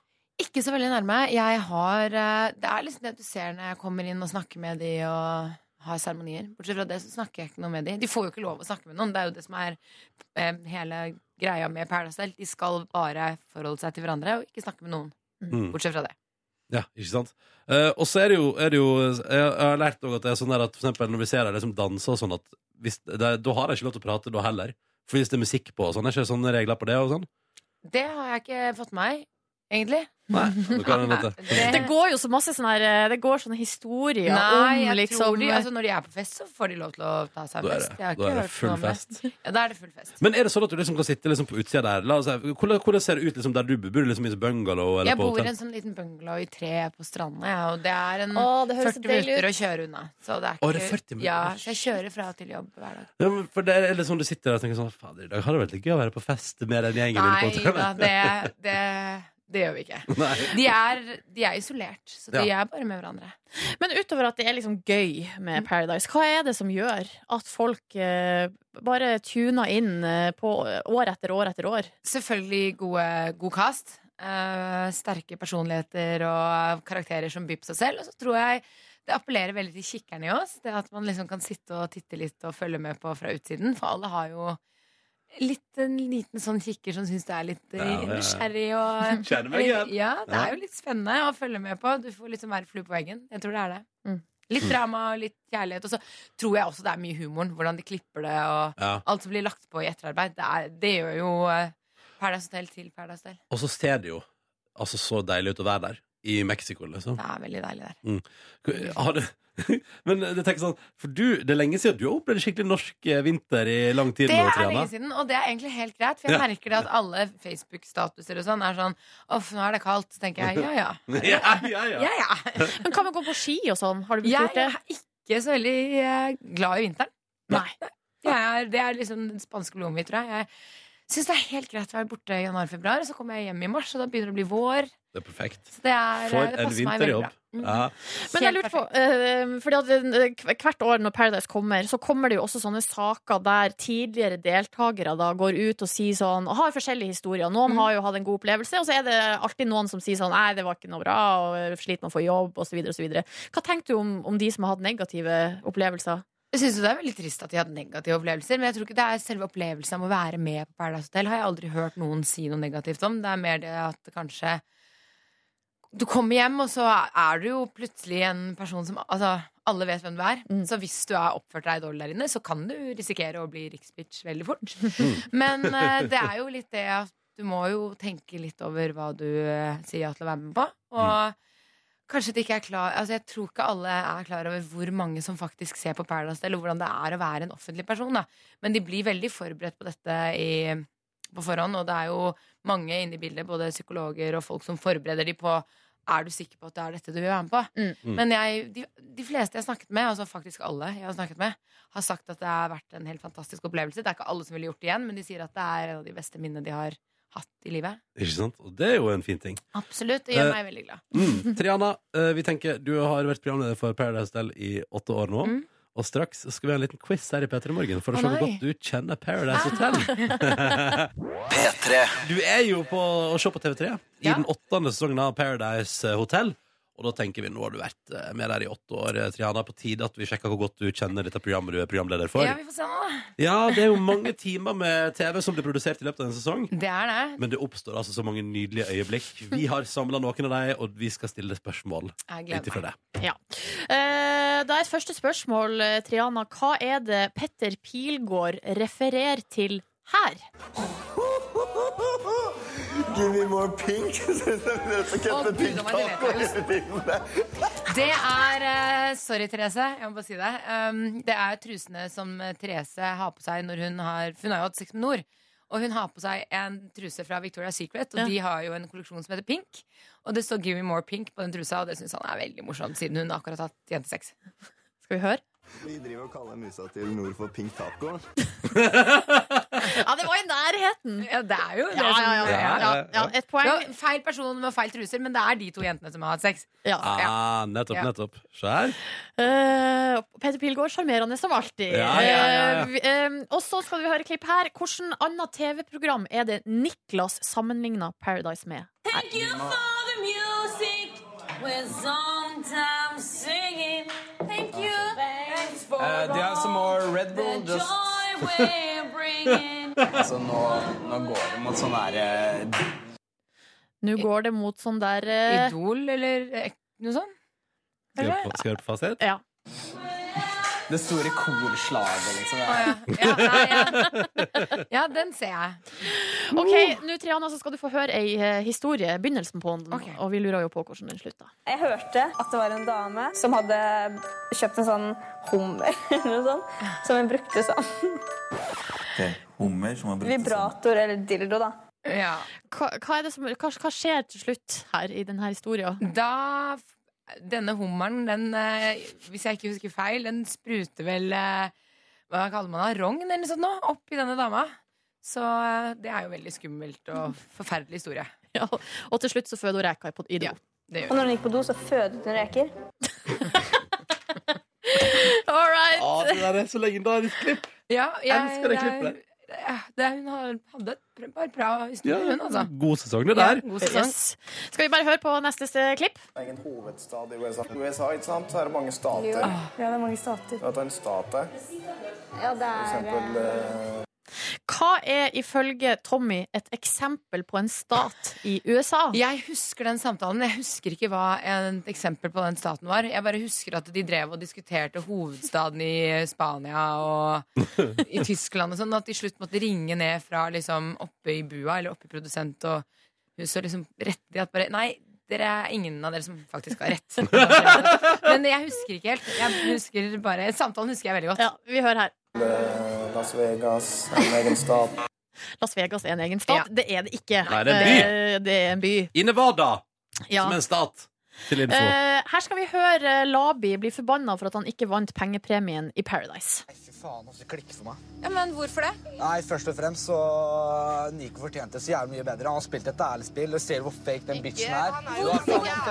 Speaker 11: Ikke så veldig nærme. Jeg har eh, Det er liksom det du ser når jeg kommer inn og snakker med de og har seremonier. Bortsett fra det så snakker jeg ikke noe med de. De får jo ikke lov å snakke med noen. Det er jo det som er eh, hele greia med Paradise Del. De skal bare forholde seg til hverandre og ikke snakke med noen.
Speaker 2: Mm.
Speaker 11: Bortsett fra det.
Speaker 2: Ja, ikke sant? Eh, og så er det jo, er det jo jeg, jeg har lært også at det er sånn der at for eksempel når vi ser deg liksom danse og sånn at hvis, det, Da har jeg ikke lov til å prate da heller. For hvis det er musikk på og sånn, er ikke det sånne regler på det og sånn?
Speaker 11: Det har jeg ikke fått med meg, egentlig.
Speaker 2: Nei, da kan jeg låte.
Speaker 3: Det går jo så masse sånn her eh, Det går sånne historier
Speaker 11: Nei,
Speaker 3: om
Speaker 11: jeg
Speaker 3: liksom
Speaker 11: tror de, altså når de er på fest, så får de lov til å ta seg en
Speaker 2: Da er
Speaker 11: fest.
Speaker 2: det-
Speaker 11: Jeg har
Speaker 2: da
Speaker 11: ikke
Speaker 2: er det
Speaker 11: hørt
Speaker 2: full
Speaker 11: noe om det.
Speaker 2: fest.
Speaker 11: Ja, da er det full fest.
Speaker 2: Men er det sånn at du liksom kan sitte liksom på utsida der? La oss, si, hvordan, hvordan ser det ut liksom der du bor? Bor du liksom i bungalow? Eller
Speaker 11: Jeg
Speaker 2: på
Speaker 11: bor i
Speaker 2: hotell?
Speaker 11: en sånn liten bungalow i tre på stranda, ja, og det er en
Speaker 3: Å, det høres så
Speaker 11: 40
Speaker 3: deilig ut.
Speaker 11: minutter å kjøre unna. Så det er
Speaker 2: Å,
Speaker 11: ikke,
Speaker 2: det er 40 minutter?
Speaker 11: Ja, så jeg kjører fra og til jobb hver dag.
Speaker 2: Ja, men for det er liksom du sitter der og tenker sånn Fader, i dag hadde det vært litt gøy å være på fest med den gjengen.
Speaker 11: Nei
Speaker 2: din på
Speaker 11: da,
Speaker 2: hotellet.»
Speaker 11: det, det, det gjør vi ikke.
Speaker 2: Nei.
Speaker 11: De er, de er isolert, så de
Speaker 2: Ja.
Speaker 11: er bare med hverandre.
Speaker 3: Men utover at det er liksom gøy med Paradise, hva er det som gjør at folk eh, bare tuner inn eh, på år etter år etter år?
Speaker 11: Selvfølgelig gode, god cast. eh, sterke personligheter og karakterer som byr på seg selv. Og så tror jeg det appellerer veldig til kikkerne i oss. Det At man liksom kan sitte og titte litt og følge med på fra utsiden. For alle har jo litt, en liten sånn kikker som syns det er litt eh,
Speaker 10: Ja, ja, ja.
Speaker 11: nysgjerrig og
Speaker 10: Kjenner meg igjen.
Speaker 11: Ja, det
Speaker 10: Ja.
Speaker 11: er jo litt spennende å følge med på. Du får liksom være flue på veggen. Jeg tror det er det.
Speaker 3: Mm.
Speaker 11: Litt
Speaker 10: Mm.
Speaker 11: drama og litt kjærlighet. Og så tror jeg også det er mye humoren. Hvordan de klipper det, og
Speaker 2: Ja.
Speaker 11: alt som blir lagt på i etterarbeid. Det, er, det gjør jo eh, Paradise Hotel til Paradise Hotel.
Speaker 2: Og så ser det jo altså så deilig ut å være der. I Mexico, liksom.
Speaker 11: Det er veldig deilig der.
Speaker 2: Mm. Har du Men jeg tenker sånn For du, det er lenge siden du har opplevd skikkelig norsk eh, vinter i lang tid
Speaker 11: Det
Speaker 2: nå,
Speaker 11: er
Speaker 2: Triana.
Speaker 11: lenge siden, og det er egentlig helt greit. For jeg
Speaker 2: Ja.
Speaker 11: merker det at alle Facebook-statuser og sånn er sånn Uff, nå er det kaldt. Så tenker jeg ja ja.
Speaker 2: ja, ja, ja.
Speaker 11: ja, ja.
Speaker 3: Men hva med å gå på ski og sånn? Har du blitt
Speaker 11: Jeg
Speaker 3: gjort det?
Speaker 11: er ikke så veldig eh, glad i vinteren.
Speaker 3: Nei.
Speaker 11: Jeg er, det er liksom den spanske blodet mitt, tror jeg. Jeg syns det er helt greit å være borte i januar-februar, og så kommer jeg hjem i mars, og da begynner det å bli vår.
Speaker 2: Det er perfekt.
Speaker 11: Så det er, eh,
Speaker 2: For
Speaker 11: det passer meg
Speaker 2: en
Speaker 11: veldig
Speaker 2: vinterjobb.
Speaker 11: bra. Mm.
Speaker 2: Ja.
Speaker 3: Men jeg lurte på, eh, fordi at eh, hver- Hvert år når Paradise kommer, så kommer det jo også sånne saker der tidligere deltakere da går ut og sier sånn og har forskjellige historier. Noen har jo hatt en god opplevelse, og så er det alltid noen som sier sånn Nei, det var ikke noe bra, og sliter med å få jobb, osv. osv. Hva tenker du om, om de som har hatt negative opplevelser?
Speaker 11: Jeg synes jo det er veldig trist at de har hatt negative opplevelser, men jeg tror ikke det er selve opplevelsen av å være med på Paradise Hotel. Har jeg aldri hørt noen si noe negativt om. Det er mer det at det kanskje Du kommer hjem, og så er du jo plutselig en person som Altså, alle vet hvem du er. Så hvis du har oppført deg dårlig der inne, så kan du risikere å bli riksbitch veldig fort. Men eh, det er jo litt det at du må jo tenke litt over hva du eh, sier ja til å være med på. Og kanskje det ikke er klar Altså Jeg tror ikke alle er klar over hvor mange som faktisk ser på Paradise Hotel, og hvordan det er å være en offentlig person. da Men de blir veldig forberedt på dette i, på forhånd, og det er jo mange inne i bildet, både psykologer og folk som forbereder de på er du sikker på at det er dette du vil være med på?
Speaker 12: Mm.
Speaker 11: Men jeg, de, de fleste jeg har snakket med, altså faktisk alle jeg har snakket med, har sagt at det har vært en helt fantastisk opplevelse. Det er ikke alle som ville gjort det igjen, men de sier at det er en av de beste minnene de har hatt i livet.
Speaker 2: Ikke sant? Og det er jo en fin ting.
Speaker 11: Absolutt. Det gjør
Speaker 2: Eh,
Speaker 11: meg veldig glad.
Speaker 2: Mm. Triana, eh, vi tenker, du har vært programleder for Paradise Del i åtte år nå. Og straks skal vi ha en liten quiz her i P3 Morgen for
Speaker 11: Mm. Å,
Speaker 2: å se
Speaker 11: nei.
Speaker 2: hvor
Speaker 11: Ah.
Speaker 2: godt du kjenner Paradise Hotel. Du er jo på å se på TV3 i den åttende sesongen av Paradise eh, Hotel. Og da tenker vi, nå har du vært eh, med der i åtte år, eh, Triana. På tide at vi sjekker hvor godt du kjenner dette programmet du er programleder for.
Speaker 11: Ja, vi får se nå, da.
Speaker 2: Ja, det er jo mange timer med TV som blir produsert i løpet av en sesong.
Speaker 11: Det er det.
Speaker 2: Men det oppstår altså så mange nydelige øyeblikk. Vi har samla noen av dem, og vi skal stille spørsmål
Speaker 3: Jeg gleder
Speaker 2: ut ifra det.
Speaker 3: Ja. Eh, Da er første spørsmål, eh, Triana. Hva er det Petter Pilgaard refererer til her?
Speaker 13: Give me more pink.
Speaker 11: Å, Gud, da må jeg Det er eh, Sorry, Therese. Jeg må bare si det. Um, det er trusene som eh, Therese har på seg når hun har Hun har jo hatt sex med Nord. Og hun har på seg en truse fra Victoria's Secret, og
Speaker 12: Ja.
Speaker 11: de har jo en kolleksjon som heter Pink. Og det står 'Give me more pink' på den trusa, og det syns han er veldig morsomt, siden hun akkurat har hatt jentesex.
Speaker 3: Skal vi høre?
Speaker 13: Vi driver og kaller musa til nord for pink taco.
Speaker 3: Ja, det var i nærheten!
Speaker 11: Ja, det er jo det.
Speaker 3: Ja,
Speaker 11: som-
Speaker 3: ja, ja.
Speaker 2: Ja, ja, ja.
Speaker 3: Et poeng.
Speaker 11: Det var Feil person med feil truser, men det er de to jentene som har hatt sex.
Speaker 2: Ah, nettopp,
Speaker 11: Ja.
Speaker 2: nettopp. Se her.
Speaker 3: Eh, Petter Pilgaard, sjarmerende som alltid.
Speaker 2: Ja, ja, ja, ja.
Speaker 3: Eh, vi- eh, og så skal vi høre klipp her. Hvilket annet TV-program er det Niklas sammenligner Paradise med?
Speaker 12: Thank you for the music. We're sometimes singing. Thank you. Thanks for
Speaker 14: Uh, they have some more Red Bull,
Speaker 12: the
Speaker 14: just-
Speaker 12: joy we're bringing.
Speaker 14: Så nå, nå går det mot sånn her eh,
Speaker 3: Nå går det mot sånn der eh,
Speaker 11: Idol, eller eh, noe sånt?
Speaker 2: Skal jeg høre på- skal jeg høre på fasit?
Speaker 3: Ja.
Speaker 14: Det store korslaget, liksom.
Speaker 11: Ja, nei, ja. ja, den ser jeg.
Speaker 3: Ok, nå Triana, så skal du få høre ei eh, historie, begynnelsen på den. Og vi lurer jo på hvordan den slutta.
Speaker 15: Jeg hørte at det var en dame som hadde kjøpt en sånn hummer eller noe sånt, som hun brukte sånn
Speaker 13: Hummer som har
Speaker 15: vibrator eller dildo, da.
Speaker 3: Hva, hva, er det som, hva, hva skjer til slutt her i denne historia?
Speaker 11: Da f- Denne hummeren, den eh, Hvis jeg ikke husker feil, den spruter vel eh, Hva kaller man det? Rogn eller noe sånt nå? Oppi denne dama. Så eh, det er jo veldig skummelt og forferdelig historie.
Speaker 3: Ja, og til slutt så føder hun reka i pod- i do.
Speaker 15: Og når hun gikk på do, så fødet hun reker.
Speaker 3: All right.
Speaker 14: Ah,
Speaker 2: Ja, det der er så legendarisk klipp.
Speaker 11: Ja, jeg,
Speaker 2: Elsker det klippet der.
Speaker 11: det- det- hun har, hadde et pr- par bra historier, hun, altså.
Speaker 2: God sesong, det der.
Speaker 11: Ja, god sesong.
Speaker 3: Yes. Skal vi bare høre på neste eh, klipp?
Speaker 13: Egen hovedstad i USA. USA, ikke sant? Så er det mange stater.
Speaker 15: det er mange stater.
Speaker 13: At det er en stat der.
Speaker 15: Ja, det
Speaker 13: For eksempel eh,
Speaker 3: Hva er ifølge Tommy et eksempel på en stat i USA?
Speaker 11: Jeg husker den samtalen. Jeg husker ikke hva et eksempel på den staten var. Jeg bare husker at de drev og diskuterte hovedstaden i Spania og i Tyskland og sånn. At de slutt måtte ringe ned fra liksom oppe i bua eller oppe i produsent og hus og liksom rette de at bare Nei, dere er ingen av dere som faktisk har rett. Men jeg husker ikke helt. Jeg husker bare, Samtalen husker jeg veldig godt.
Speaker 3: Ja, vi hører her.
Speaker 13: eh, Las Vegas er en egen stat.
Speaker 3: Las Vegas er en egen stat. Det er det ikke.
Speaker 2: Nei, det er en by.
Speaker 3: Eh, Det er en by.
Speaker 2: I Nevada,
Speaker 3: Ja.
Speaker 2: som er en stat. Til info.
Speaker 3: Eh, her skal vi høre Labi bli forbanna for at han ikke vant pengepremien i Paradise.
Speaker 14: Fy faen, altså, det klikker for meg.
Speaker 11: Ja, men hvorfor det?
Speaker 14: Nei, først og fremst så Nico fortjente så jævlig mye bedre. Han har spilt et ærlig spill. Du ser hvor fake den bitchen er.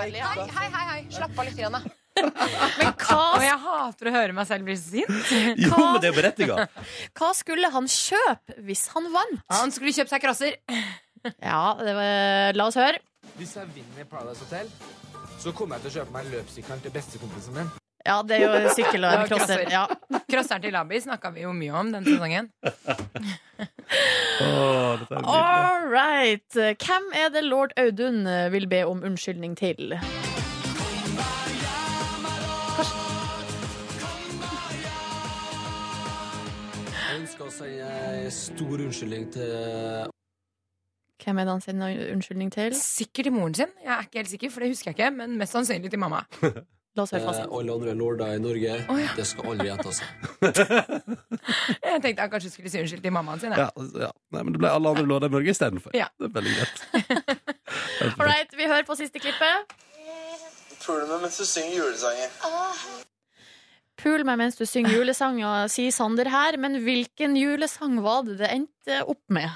Speaker 11: Hei, hei, hei, hei. Slapp av litt. Grann, da.
Speaker 3: Hva,
Speaker 11: Og jeg hater å høre meg selv bli så sint.
Speaker 2: Jo, men det er berettiget.
Speaker 3: hva skulle han kjøpe hvis han vant?
Speaker 11: Han skulle kjøpt seg krasser.
Speaker 3: Ja, det var, la oss høre.
Speaker 14: Hvis jeg vinner Paradise Hotel, så kommer jeg til å kjøpe meg løpssykkelen til bestekompisen min.
Speaker 3: Ja, det er jo sykkel og
Speaker 11: Det
Speaker 3: en
Speaker 11: var
Speaker 3: crosser.
Speaker 11: crosser.
Speaker 3: Ja.
Speaker 11: Crosseren til Labi snakka vi jo mye om den sesongen.
Speaker 2: Åh, dette er nydelig.
Speaker 3: All right. Hvem er det lord Audun eh, vil be om unnskyldning til?
Speaker 14: Jeg ønsker å si eh, stor unnskyldning til
Speaker 3: Hvem er det han sender unnskyldning til?
Speaker 11: Sikkert til moren sin. Jeg er ikke helt sikker, for det husker jeg ikke. Men mest sannsynlig til mamma.
Speaker 3: La oss høre
Speaker 14: eh,
Speaker 3: fasiten.
Speaker 14: alle andre lorder i Norge. Det skal aldri gjette altså. seg.
Speaker 11: Jeg tenkte han kanskje skulle si unnskyld til mammaen sin. jeg.
Speaker 2: Ja, ja. Nei, men det ble alle andre låter i Norge istedenfor.
Speaker 11: Ja.
Speaker 2: Det er veldig greit.
Speaker 3: All right, vi hører på siste klippet.
Speaker 13: Puler meg mens du synger julesanger.
Speaker 3: Pul meg mens du synger julesanger, sier Sander her. Men hvilken julesang var det det endte opp med?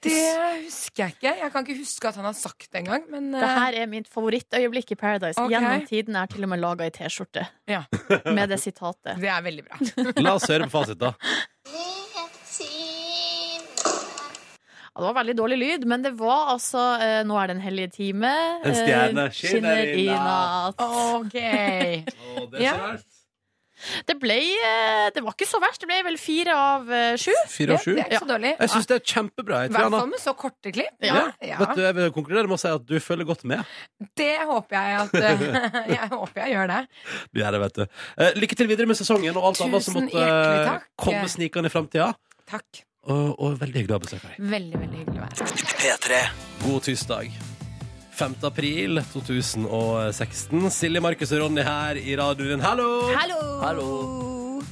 Speaker 11: Det husker jeg ikke. Jeg kan ikke huske at han har sagt det engang. Men
Speaker 3: Det her er mitt favorittøyeblikk i Paradise.
Speaker 11: Ok.
Speaker 3: Gjennom tiden er til og med laga ei T-skjorte
Speaker 11: Ja.
Speaker 3: med det sitatet.
Speaker 11: eh, det er veldig bra.
Speaker 2: La oss høre på fasit, da.
Speaker 3: Ja, Det var veldig dårlig lyd, men det var altså eh, Nå er det en hellige time.
Speaker 2: En stjerne
Speaker 3: eh, skinner i natt.
Speaker 11: Ok.
Speaker 3: er så Ja. Det ble eh, Det var ikke så verst. Det ble vel fire av eh, sju.
Speaker 2: Fire av sju.
Speaker 11: Det er ikke så dårlig.
Speaker 2: Jeg syns det er
Speaker 11: I
Speaker 2: kjempebra. Jeg,
Speaker 11: hvert
Speaker 2: Triana.
Speaker 11: fall med så korte klipp.
Speaker 2: Ja.
Speaker 11: Ja.
Speaker 2: Vet du, jeg vil konkludere med å si at du følger godt med.
Speaker 11: Det håper jeg at Jeg håper jeg gjør det.
Speaker 2: Du gjør det, vet du. Eh, lykke til videre med sesongen og alt annet som
Speaker 11: Tusen
Speaker 2: måtte
Speaker 11: hjertelig
Speaker 2: eh,
Speaker 11: takk.
Speaker 2: komme snikende i framtida.
Speaker 11: Takk.
Speaker 2: Og, og veldig glad besøk av deg.
Speaker 11: Veldig, veldig hyggelig å være her.
Speaker 2: God tirsdag. 5. april 2016. Silje, Markus og Ronny her i radioen. Hallo!
Speaker 11: Hallo!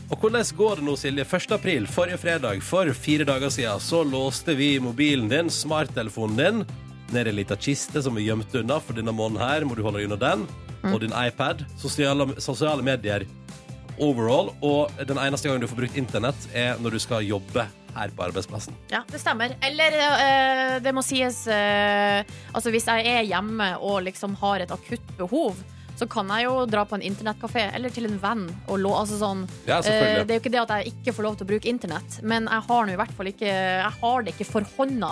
Speaker 2: Og hvordan går det nå, Silje? 1. april, forrige fredag, for fire dager siden, så låste vi mobilen din, smarttelefonen din, ned i en liten kiste som vi gjemte unna, for denne måneden her må du holde deg unna den,
Speaker 3: Mm.
Speaker 2: og din iPad, sosiale, sosiale medier overall, og den eneste gangen du får brukt internett er når du skal jobbe her på arbeidsplassen.
Speaker 3: Ja, det stemmer. Eller eh, det må sies eh, Altså hvis jeg er hjemme og liksom har et akutt behov, så kan jeg jo dra på en internettkafé eller til en venn. Og lå, altså sånn,
Speaker 2: Ja, selvfølgelig.
Speaker 3: eh, det er jo ikke det at jeg ikke får lov til å bruke internett, men jeg har nå i hvert fall ikke Jeg har det ikke for hånda.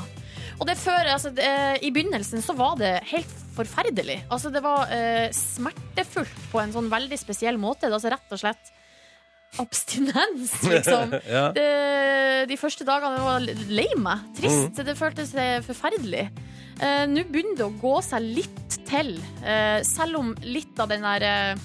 Speaker 3: Og det før, altså, det, eh, I begynnelsen så var det helt forferdelig. Altså, det var eh, smertefullt på en sånn veldig spesiell måte. Det er Altså rett og slett abstinens, liksom.
Speaker 2: Ja.
Speaker 3: det, de første dagene var jeg lei meg. Trist. Det føltes eh, forferdelig. Eh, Nå begynner det å gå seg litt til, eh, selv om litt av den der eh,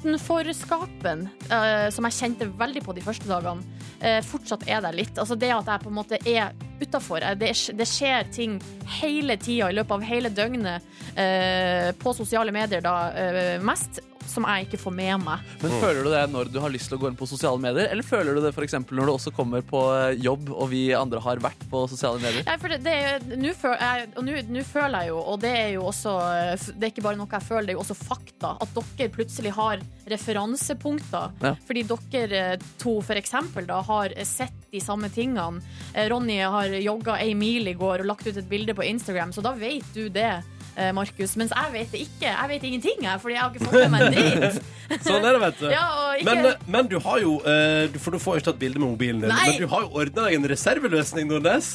Speaker 3: utenforskapen, eh, som jeg kjente veldig på de første dagene, eh, fortsatt er der litt. Altså det at jeg på en måte er utafor. Det, det skjer ting hele tida i løpet av hele døgnet eh, på sosiale medier da eh, mest, som jeg ikke får med meg.
Speaker 4: Men Føler du det når du har lyst til å gå inn på sosiale medier, eller føler du det for eksempel når du også kommer på eh, jobb og vi andre har vært på sosiale medier?
Speaker 3: Nei, for det, det, er- nå føl- jeg- og nå- nå føler jeg jo, og det er jo også eh, f- Det er ikke bare noe jeg føler, det er jo også fakta. At dere plutselig har referansepunkter.
Speaker 12: Ja.
Speaker 3: Fordi dere eh, to for eksempel da, har eh, sett de samme tingene. Eh, Ronny har jogga ei mil i går og lagt ut et bilde på Instagram, så da vet du det. eh, Markus, mens jeg vet det ikke. Jeg vet ingenting, jeg, fordi jeg har ikke fått med meg en dritt.
Speaker 2: Sånn er det, vet du.
Speaker 3: Ja, og ikke-
Speaker 2: men, men du har jo eh, du- For du får jo ikke tatt bilde med mobilen din,
Speaker 3: Nei.
Speaker 2: men du har jo ordna deg en reserveløsning, Nordnes.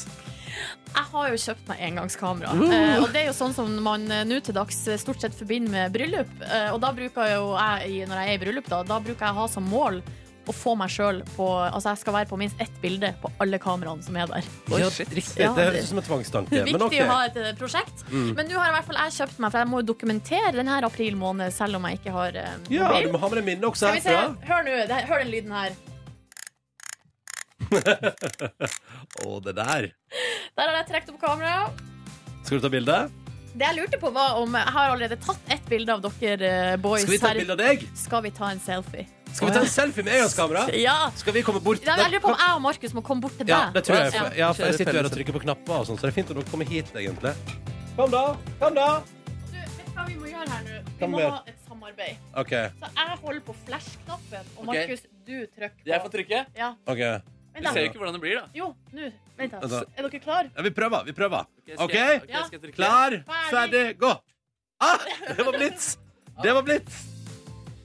Speaker 3: Jeg har jo kjøpt meg engangskamera.
Speaker 2: Uh.
Speaker 3: Eh, og det er jo sånn som man eh, nå til dags eh, stort sett forbinder med bryllup. Eh, og da bruker jo jeg, i- når jeg er i bryllup, da, da bruker jeg å ha som mål å få meg sjøl på Altså jeg skal være på minst ett bilde på alle kameraene som er der.
Speaker 2: ja, riktig.
Speaker 3: Ja,
Speaker 2: det
Speaker 3: det-
Speaker 2: høres ut som en tvangstanke.
Speaker 3: Det er viktig
Speaker 2: men ok.
Speaker 3: å ha et eh, prosjekt.
Speaker 2: Mm.
Speaker 3: Men nå har i hvert fall jeg kjøpt meg, for jeg må jo dokumentere denne april måned, selv om jeg ikke har eh,
Speaker 2: Ja,
Speaker 3: mobil.
Speaker 2: du må ha med deg minnet også
Speaker 3: Skal vi se.
Speaker 2: herfra.
Speaker 3: Hør nå. det- Hør den lyden her.
Speaker 2: Å, det der.
Speaker 3: Der har jeg trukket opp kameraet.
Speaker 2: Skal du ta bilde?
Speaker 3: Det jeg lurte på var om Jeg har allerede tatt ett bilde av dere eh, boys.
Speaker 2: Skal vi ta et
Speaker 3: her.
Speaker 2: bilde av deg?
Speaker 3: Skal vi ta en selfie?
Speaker 2: Skal vi ta en selfie med engangskamera?
Speaker 3: Ja.
Speaker 2: Skal vi komme bort?
Speaker 3: Nei, men Jeg lurer på om jeg og Markus må komme bort til deg.
Speaker 2: Ja, det tror jeg. For, ja, for jeg
Speaker 4: Kjøre
Speaker 2: sitter jo her og
Speaker 4: felles.
Speaker 2: trykker på knapper, og sånn, så det er fint om dere kommer hit, egentlig. Kom, da. Kom, da.
Speaker 3: Du, vet du hva vi må gjøre her nå?
Speaker 2: Hva
Speaker 3: Vi
Speaker 2: må
Speaker 3: må
Speaker 2: vi
Speaker 3: ha
Speaker 2: gjøre?
Speaker 3: et samarbeid.
Speaker 2: OK.
Speaker 3: Så jeg holder på flash-knappen, og
Speaker 4: Ok.
Speaker 3: Markus, du trykker på.
Speaker 4: Jeg får trykke?
Speaker 3: Ja.
Speaker 2: ok
Speaker 3: Vent
Speaker 4: Vi
Speaker 3: da.
Speaker 4: ser jo ikke hvordan det blir, da.
Speaker 3: Jo, nå. Vent
Speaker 2: Vent da.
Speaker 3: da. Er dere klar?
Speaker 2: Ja, vi prøver. Vi prøver.
Speaker 4: skal jeg-
Speaker 2: OK?
Speaker 4: ok, skal jeg trykke?
Speaker 2: Klar,
Speaker 3: Ferdig.
Speaker 2: ferdig, gå! Ah, det var blitz! Det var blitz!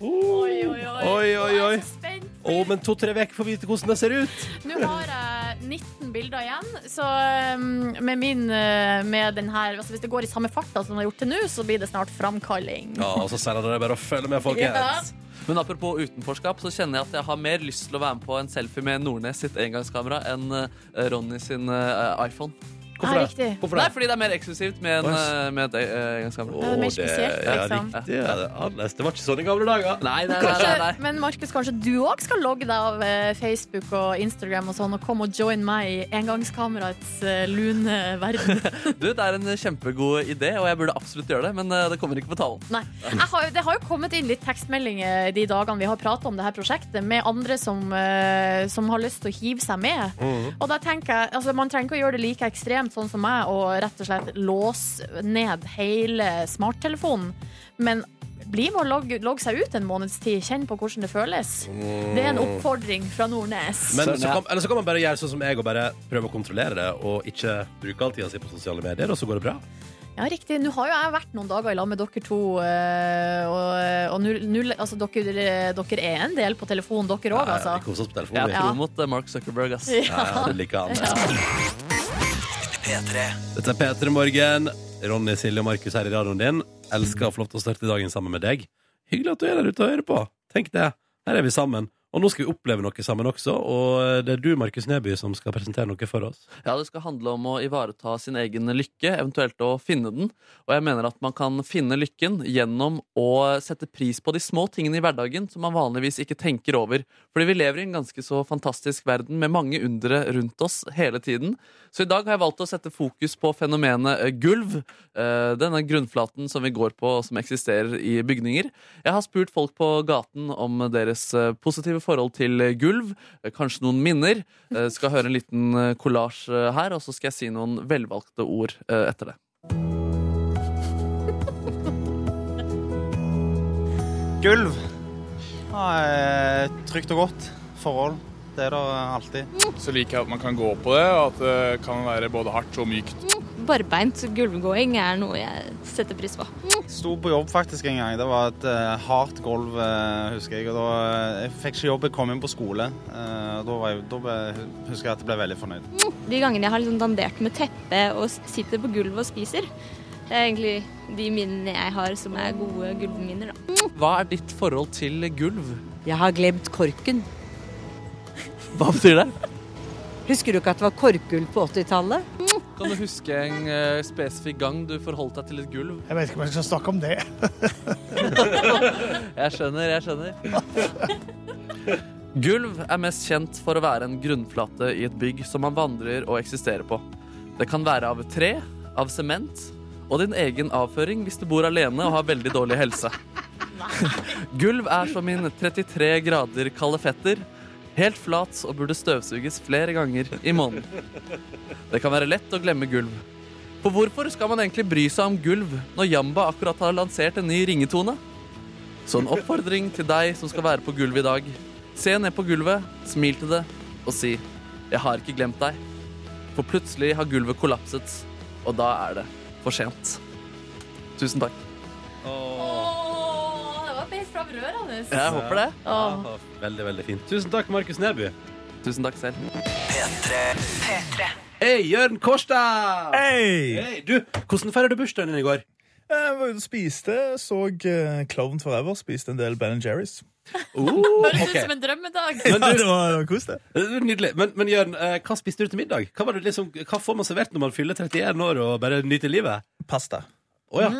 Speaker 3: Oi, oi, oi.
Speaker 2: Oi, oi,
Speaker 3: Jeg
Speaker 2: oi.
Speaker 3: er så spent.
Speaker 2: Å, men to-tre uker får vite hvordan det ser ut.
Speaker 3: Nå har jeg 19 bilder igjen, så um, med min uh, med den her, altså Hvis det går i samme farta som det har gjort til nå, så blir det snart framkalling.
Speaker 2: Ja, og så senere er det bare å følge med,
Speaker 3: Ja.
Speaker 2: folkens.
Speaker 4: Men apropos utenforskap, så kjenner jeg at jeg har mer lyst til å være med på en selfie med Nordnes sitt engangskamera enn eh, Ronny sin eh, iPhone.
Speaker 3: Hvorfor Ja, det? riktig. Hvorfor det?
Speaker 4: Nei, fordi det er mer eksklusivt med, en,
Speaker 2: Yes.
Speaker 4: eh, med et eh, engangskamera.
Speaker 3: Ja, det er mer Å, det- spesielt, liksom.
Speaker 2: Ja, riktig. Ja, det, er annerledes. det var ikke sånn i gamle dager.
Speaker 4: Nei, nei, nei,
Speaker 3: Kanskje,
Speaker 4: nei, nei.
Speaker 3: men Markus, kanskje du òg skal logge deg av eh, Facebook og Instagram og sånn, og komme og join meg i engangskamerats eh, lune verden.
Speaker 4: Du, det er en kjempegod idé, og jeg burde absolutt gjøre det, men eh, det kommer ikke på talen.
Speaker 3: Nei. Jeg har, jo- det har jo kommet inn litt tekstmeldinger de dagene vi har prata om det her prosjektet, med andre som, eh, som har lyst til å hive seg med. Og da tenker jeg, altså Man trenger ikke å gjøre det like ekstremt sånn som meg og rett og slett låse ned hele smarttelefonen. Men bli med og logge, logge seg ut en måneds tid. Kjenn på hvordan det føles. Det er en oppfordring fra Nordnes.
Speaker 2: Men så kan, eller så kan man bare gjøre sånn som jeg og bare prøve å kontrollere det, og ikke bruke all tida si på sosiale medier, og så går det bra.
Speaker 3: Ja, riktig. Nå har jo jeg vært noen dager i lag med dere to, eh, og, og nu- nu- altså, dere, dere er en del på telefon, dere òg, altså.
Speaker 2: Vi koser oss på telefonen.
Speaker 4: Jeg
Speaker 2: vi.
Speaker 4: er tro mot eh, Mark Zuckerberg, ass.
Speaker 3: Ja. Ja,
Speaker 2: du liker han.
Speaker 4: P3.
Speaker 2: Dette er P3 Morgen. Ronny, Silje og Markus her i radioen din. Elsker å få lov til å starte dagen sammen med deg. Hyggelig at du er der ute og hører på. Tenk det. Her er vi sammen. Og nå skal vi oppleve noe sammen også, og det er du, Markus Neby, som skal presentere noe for oss.
Speaker 4: Ja, det skal handle om å ivareta sin egen lykke, eventuelt å finne den. Og jeg mener at man kan finne lykken gjennom å sette pris på de små tingene i hverdagen som man vanligvis ikke tenker over. Fordi vi lever i en ganske så fantastisk verden med mange undre rundt oss hele tiden. Så i dag har jeg valgt å sette fokus på fenomenet eh, gulv. eh, Denne grunnflaten som vi går på, og som eksisterer i bygninger. Jeg har spurt folk på gaten om deres eh, positive forhold til eh, gulv, eh, kanskje noen minner. Eh, Skal høre en liten eh, kollasj eh, her, og så skal jeg si noen velvalgte ord eh, etter det.
Speaker 16: Gulv. Ja, eh, trygt og godt forhold. Det er det alltid.
Speaker 17: Så liker jeg at man kan gå på det, og at det kan være både hardt og mykt.
Speaker 18: Barbeint gulvgåing er noe jeg setter pris på.
Speaker 16: Sto på jobb faktisk en gang. Det var et eh, hardt gulv, eh, husker jeg. Og da, eh, jeg fikk ikke jobb, jeg kom inn på skole. Eh, og da, var jeg, da ble, husker jeg at jeg ble veldig fornøyd.
Speaker 18: De gangene jeg har liksom dandert med teppe og s- sitter på gulvet og spiser, det er egentlig de minnene jeg har som er gode gulvminner, da.
Speaker 4: Hva er ditt forhold til gulv?
Speaker 19: Jeg har glemt korken.
Speaker 4: Hva betyr det?
Speaker 19: Husker du ikke at det var korkgull på 80-tallet?
Speaker 4: Kan du huske en eh, spesifikk gang du forholdt deg til et gulv?
Speaker 20: Jeg vet ikke om jeg skal snakke om det.
Speaker 4: Jeg skjønner, jeg skjønner. Gulv er mest kjent for å være en grunnflate i et bygg som man vandrer og eksisterer på. Det kan være av tre, av sement og din egen avføring hvis du bor alene og har veldig dårlig helse. Gulv er som min 33 grader kalde fetter. Helt flat og burde støvsuges flere ganger i måneden. Det kan være lett å glemme gulv. For hvorfor skal man egentlig bry seg om gulv når Jamba akkurat har lansert en ny ringetone? Så en oppfordring til deg som skal være på gulvet i dag. Se ned på gulvet, smil til det og si 'Jeg har ikke glemt deg'. For plutselig har gulvet kollapset, og da er det for sent. Tusen takk.
Speaker 3: Åh, det var mer fravrørende.
Speaker 4: Jeg håper det.
Speaker 3: Åh.
Speaker 2: Veldig, veldig fint. Tusen takk, Markus Neby.
Speaker 4: Tusen takk selv.
Speaker 2: Hei, Jørn Kårstad! Hei, Du, hvordan feirer du bursdagen din i går?
Speaker 20: Jeg var ute og spiste, så eh, Clown Forever, spiste en del Ben Jerry's.
Speaker 3: Høres
Speaker 2: Oh, ok.
Speaker 3: ut som en drømmedag.
Speaker 20: Ja, det var, det var kos, det.
Speaker 2: Det er Eh, Nydelig. Men, men Jørn, eh, hva spiste du til middag? Hva, var det liksom, hva får man servert når man fyller 31 år og bare nyter livet?
Speaker 20: Pasta.
Speaker 2: Å ja.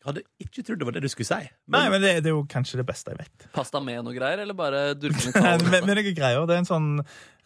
Speaker 2: Hadde ikke trodd det var det du skulle si.
Speaker 20: Nei, men det, det er jo kanskje det beste jeg vet.
Speaker 4: Pasta med noe greier, eller bare durkende
Speaker 20: Men,
Speaker 4: kald?
Speaker 20: men det er greier. Det er en sånn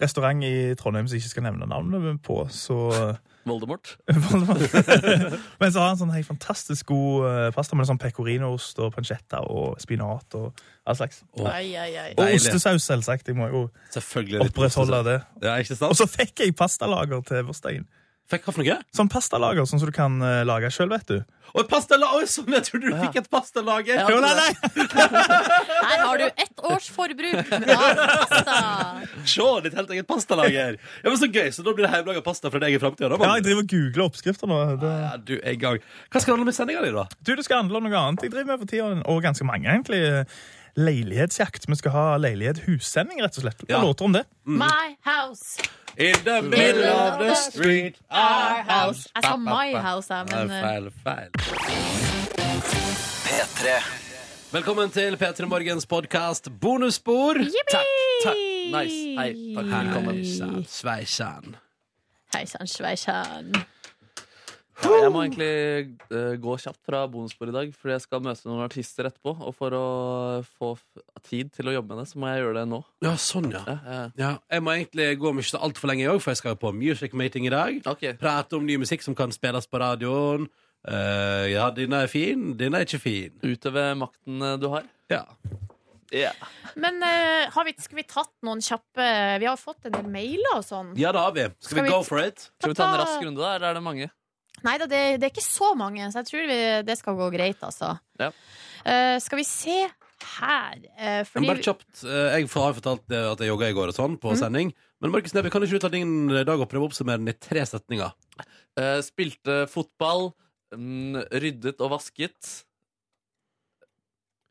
Speaker 20: restaurant i Trondheim som jeg ikke skal nevne navnet på, så
Speaker 4: Voldemort?
Speaker 20: Men så har han sånn helt fantastisk god eh, pasta med sånn pecorino-ost og pancetta og spinat og all slags.
Speaker 3: Ai, ai, ai.
Speaker 20: Og
Speaker 3: Deilig.
Speaker 20: ostesaus, selvsagt. Jeg må jo
Speaker 2: Selvfølgelig litt
Speaker 20: opprettholde det.
Speaker 2: ostesaus. Ja, ikke sant?
Speaker 20: Og så fikk jeg pastalager til bursdagen.
Speaker 2: Fikk hva for noe?
Speaker 20: Sånn pastalager sånn som du kan eh, lage sjøl, vet du.
Speaker 2: Og pastala, oi, sånn, jeg trodde du fikk et pastalager!
Speaker 20: Jo, nei, nei.
Speaker 3: Her har du ett års forbruk av pasta.
Speaker 2: Se, ditt helt eget pastalager! Ja, men Så gøy, så da blir det hjemmelaga pasta fra deg i framtida?
Speaker 20: Ja, jeg driver og googler oppskrifter nå. Det...
Speaker 2: du er i gang. Hva skal det handle om i sendinga di, da?
Speaker 20: Du, Det skal handle om noe annet. Jeg driver med for tida, og ganske mange, egentlig. Leilighetsjakt. Vi skal ha leilighet-hussending, rett og slett. Hva låter om det?
Speaker 3: My house.
Speaker 2: In the Mm. middle of the street,
Speaker 3: our house. Jeg sa my house, jeg,
Speaker 2: Nei,
Speaker 3: men eh,
Speaker 2: feil, feil. P3. Velkommen til P3 Morgens podkast Bonusspor. Takk,
Speaker 3: eh,
Speaker 2: takk. Nice. Hei. Takk. Velkommen. Sveisan.
Speaker 3: Hei sann, sveisann.
Speaker 4: Ja, jeg må egentlig eh, gå kjapt fra bonusbord i dag, for jeg skal møte noen artister etterpå. Og for å få f- tid til å jobbe med det, så må jeg gjøre det nå.
Speaker 2: Ja, sånn, ja.
Speaker 4: ja.
Speaker 2: Ja, jeg må egentlig gå om ikke så altfor lenge, jeg også, for jeg skal jo på Music Mating i dag. Prate om ny musikk som kan spilles på radioen. Eh, ja, denne er fin, denne er ikke fin.
Speaker 4: Utøve makten eh, du har.
Speaker 2: Ja.
Speaker 3: Men eh, har vi, skulle vi tatt noen kjappe eh, Vi har fått en del mailer og sånn.
Speaker 2: Ja, det har vi. Skal,
Speaker 3: Skal
Speaker 2: vi,
Speaker 3: vi-
Speaker 2: go for it?
Speaker 3: Skal vi ta en rask runde,
Speaker 4: da, eller er det mange?
Speaker 3: Nei da, det, det er ikke så mange, så jeg tror vi, det skal gå greit, altså.
Speaker 4: Ja.
Speaker 3: Eh, skal vi se her eh,
Speaker 2: Men
Speaker 3: fordi,
Speaker 2: Bare kjapt. eh, Jeg har fortalt eh, at jeg jogga i går og sånn, på sending. Men Markus Neby, kan ikke du ta din eh, dag og prøve å oppsummere den i tre setninger?
Speaker 4: Eh, spilte fotball, mm, ryddet og vasket.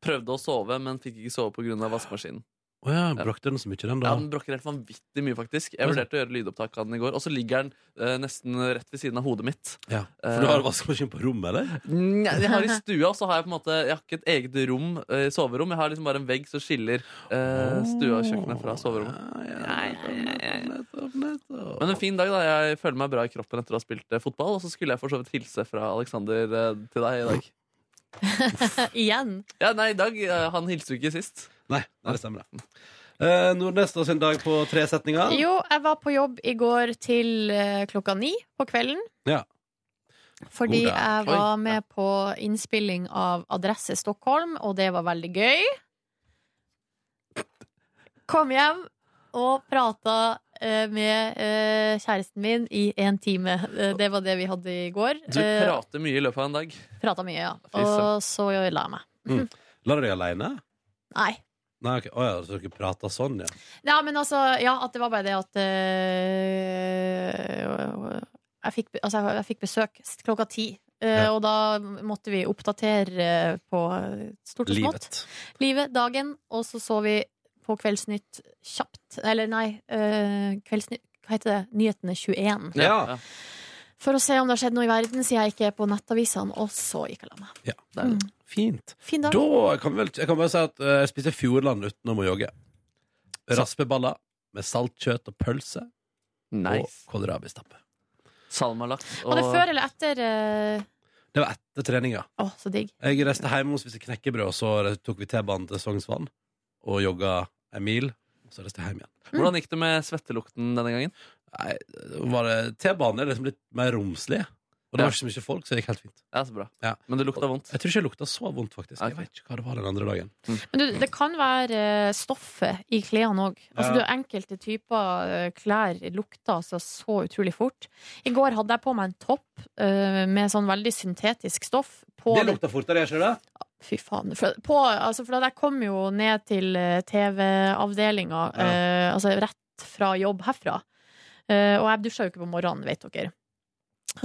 Speaker 4: Prøvde å sove, men fikk ikke sove pga. vaskemaskinen.
Speaker 2: Å ja, brakte den så mye, den, da?
Speaker 4: Ja, den brokker helt vanvittig mye, faktisk. Jeg
Speaker 2: Oi,
Speaker 4: vurderte å gjøre lydopptak av den i går, og så ligger den eh, nesten rett ved siden av hodet mitt.
Speaker 2: Ja. For du har vaskemaskin på rommet, eller?
Speaker 4: Nei, Jeg har i stua, og så har jeg på en måte Jeg har ikke et eget rom, eh, soverom. Jeg har liksom bare en vegg som skiller eh, stua og kjøkkenet fra soverommet. Men en fin dag, da. Jeg føler meg bra i kroppen etter å ha spilt eh, fotball. Og så skulle jeg for så vidt hilse fra Aleksander eh, til deg i dag.
Speaker 3: Eh, Igjen.
Speaker 4: Ja, nei, i dag eh, Han hilste jo ikke sist.
Speaker 2: Nei, nei, det stemmer, det. Eh, Nordnes da sin dag på tre setninger.
Speaker 3: Jo, jeg var på jobb i går til eh, klokka ni på kvelden.
Speaker 2: Ja.
Speaker 3: Fordi
Speaker 2: God dag.
Speaker 3: jeg
Speaker 2: Oi,
Speaker 3: var med på innspilling av Adresse Stockholm, og det var veldig gøy. Kom hjem og prata eh, med eh, kjæresten min i en time. Eh, Det var det vi hadde i går.
Speaker 4: Du
Speaker 3: Eh,
Speaker 4: prater mye i løpet av en dag.
Speaker 3: Prata mye, ja.
Speaker 4: Fy søren.
Speaker 3: Og så la jeg meg.
Speaker 2: Mm. La du deg aleine?
Speaker 3: Nei.
Speaker 2: Nei, ok. Å ja, så dere prata sånn, ja.
Speaker 3: Ja, men altså, ja, at det var bare det at eh, jeg, fikk, altså, jeg- jeg fikk besøk s- klokka ti. eh, Og da måtte vi oppdatere eh, på stort og smått.
Speaker 2: Livet.
Speaker 3: Livet, dagen. Og så så vi på Kveldsnytt kjapt. Eller nei, eh, Kveldsnytt Hva heter det? Nyhetene 21.
Speaker 2: Ja.
Speaker 3: For å se om det har skjedd noe i verden, siden jeg ikke er på nettavisene. Og så gikk jeg la meg.
Speaker 2: ja.
Speaker 3: Mm.
Speaker 2: Fint.
Speaker 3: Fin dag.
Speaker 2: Da kan vi vel, jeg kan bare si at eh, jeg spiste Fjordland utenom å jogge. Raspeballer med salt kjøtt og pølse.
Speaker 4: Nice.
Speaker 2: Og kålrabistappe.
Speaker 4: Salmalaks
Speaker 3: Var det før eller etter? eh,
Speaker 2: Det var etter treninga.
Speaker 3: Å, så digg.
Speaker 2: Jeg reiste hjem og spiste knekkebrød, og så tok vi T-banen til Sognsvann og jogga en mil. Og så reiste jeg hjem igjen.
Speaker 3: mm.
Speaker 4: Hvordan gikk det med svettelukten denne gangen?
Speaker 2: Nei, var det T-banen er liksom litt mer romslig. Og det var ikke så mye folk, så det gikk helt fint.
Speaker 4: Ja, så bra. Men det lukta vondt?
Speaker 2: Jeg tror ikke det lukta så vondt, faktisk. Jeg vet ikke hva det var den andre dagen.
Speaker 3: Men du, det kan være eh, stoffet i klærne òg. Altså,
Speaker 2: Ja.
Speaker 3: du, enkelte typer eh, klær lukter altså så utrolig fort. I går hadde jeg på meg en topp eh, med sånn veldig syntetisk stoff. På
Speaker 2: Det lukta fortere, jeg ser det.
Speaker 3: Fy faen. For, på, altså, for da jeg kom jo ned til eh, TV-avdelinga, eh, altså rett fra jobb herfra. Eh, og jeg dusja jo ikke på morgenen, vet dere.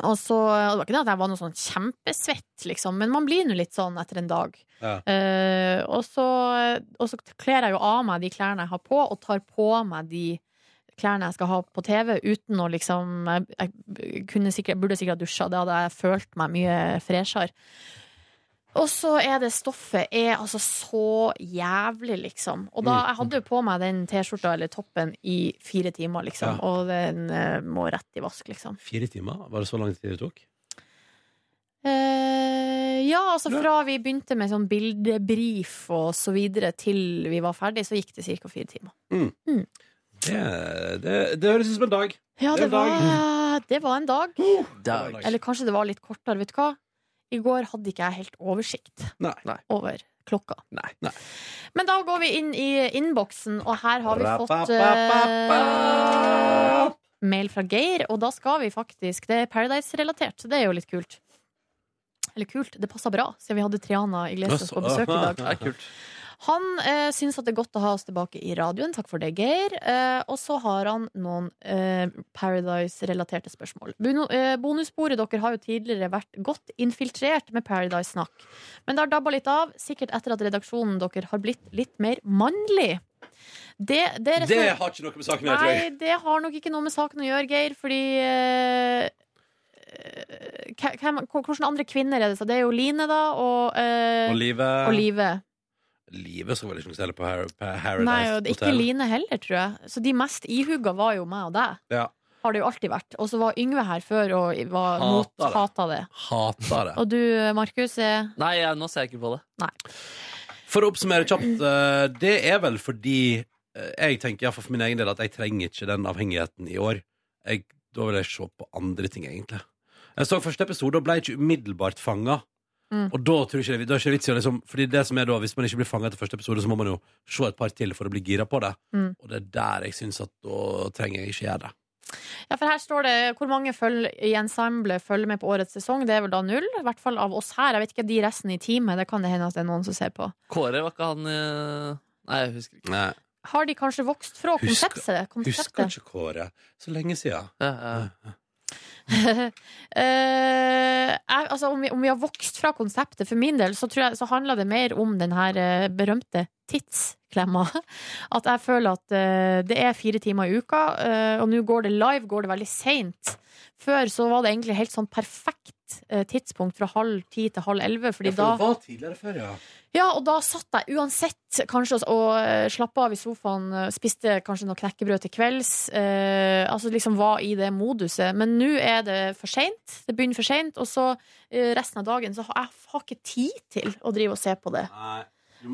Speaker 3: Og så, Det var ikke det at jeg var noe sånn kjempesvett, liksom, men man blir nå litt sånn etter en dag.
Speaker 2: Ja.
Speaker 3: Eh, og, så, og så kler jeg jo av meg de klærne jeg har på, og tar på meg de klærne jeg skal ha på TV, uten å liksom Jeg, jeg kunne sikkert, burde sikkert ha dusja, det hadde jeg følt meg mye freshere. Og så er det stoffet er altså så jævlig, liksom. Og da,
Speaker 2: Mm.
Speaker 3: jeg hadde jo på meg den T-skjorta eller toppen i fire timer, liksom.
Speaker 2: Ja.
Speaker 3: Og den eh, må rett i vask, liksom.
Speaker 2: Fire timer? Var det så lang tid det tok?
Speaker 3: Eh, ja, altså fra vi begynte med sånn bildebrif og så videre til vi var ferdig, så gikk det ca. fire timer.
Speaker 2: Mm. Det, det, det høres ut som en dag.
Speaker 3: Ja, det
Speaker 2: en dag.
Speaker 3: var, det var en dag.
Speaker 2: Dag.
Speaker 3: Eller kanskje det var litt kortere, vet du hva. I går hadde ikke jeg helt oversikt over klokka. Men da går vi inn i innboksen, og her har vi fått eh, mail fra Geir, og da skal vi faktisk Det er Paradise-relatert, så det er jo litt kult. Eller kult, det passer bra, siden vi hadde Triana Iglesias på besøk i dag.
Speaker 4: Det er kult.
Speaker 3: Han eh, syns at det er godt å ha oss tilbake i radioen. Takk for det, Geir. Eh, og så har han noen eh, Paradise-relaterte spørsmål. Bono, eh, bonussporet dere har jo tidligere vært godt infiltrert med Paradise-snakk. Men det har dabba litt av, sikkert etter at redaksjonen dere har blitt litt mer mannlig. Det, det,
Speaker 2: Det har ikke noe med saken å gjøre, tror jeg.
Speaker 3: Nei, det har nok ikke noe med saken å gjøre, Geir, fordi eh, eh, hvem, Hvilke andre kvinner er det? Så det er jo Line, da, og eh,
Speaker 2: Og Live.
Speaker 3: Og Live.
Speaker 2: Livet skal vel ikke stelle på Har- på Paradise
Speaker 3: Nei, og det er ikke
Speaker 2: Hotel.
Speaker 3: Line heller, tror jeg. Så de mest ihuga var jo meg og deg.
Speaker 2: Ja.
Speaker 3: Har det jo alltid vært. Og så var Yngve her før og var
Speaker 4: Hater
Speaker 3: mot,
Speaker 4: det.
Speaker 3: hata det.
Speaker 2: Hater det.
Speaker 3: Og du, Markus, er
Speaker 4: Nei, jeg- nå ser jeg ikke på det.
Speaker 2: For å oppsummere kjapt, eh, det er vel fordi eh, jeg tenker, i hvert fall for min egen del, at jeg trenger ikke den avhengigheten i år. Jeg, da vil jeg se på andre ting, egentlig. Jeg så første episode og ble ikke umiddelbart fanga.
Speaker 10: Mm.
Speaker 2: Og da tror jeg ikke det, da er ikke det vits i å liksom Fordi det som er da, hvis man ikke blir fanga etter første episode, så må man jo se et par til for å bli gira på det.
Speaker 3: Mm.
Speaker 2: Og det er der jeg syns at da trenger jeg ikke gjøre det.
Speaker 3: Ja, for her står det hvor mange følger i ensemblet følger med på årets sesong. Det er vel da null? I hvert fall av oss her. Jeg vet ikke de resten i teamet. Det kan det hende at det er noen som ser på.
Speaker 4: Kåre var ikke han eh, Nei, jeg husker ikke.
Speaker 3: Har de kanskje vokst fra
Speaker 2: Husker-
Speaker 3: konseptet?
Speaker 2: Husker
Speaker 3: konseptet?
Speaker 2: ikke Kåre. Så lenge siden.
Speaker 3: Eh, jeg- altså, om, vi, om vi har vokst fra konseptet, for min del, så, tror jeg, så handler det mer om den her eh, berømte tidsklemma. At jeg føler at eh, det er fire timer i uka, eh, og nå går det live, går det veldig seint. Før så var det egentlig helt sånn perfekt eh, tidspunkt fra halv ti til halv elleve, fordi da
Speaker 2: tidligere før, ja.
Speaker 3: ja, og da satt jeg uansett kanskje og- og eh, slappet av i sofaen, eh, spiste kanskje noe knekkebrød til kvelds, eh, altså liksom var i det moduset. Men nå er det for sent, det begynner for sent, og så eh, resten av dagen så har jeg har ikke tid til å drive og se på det.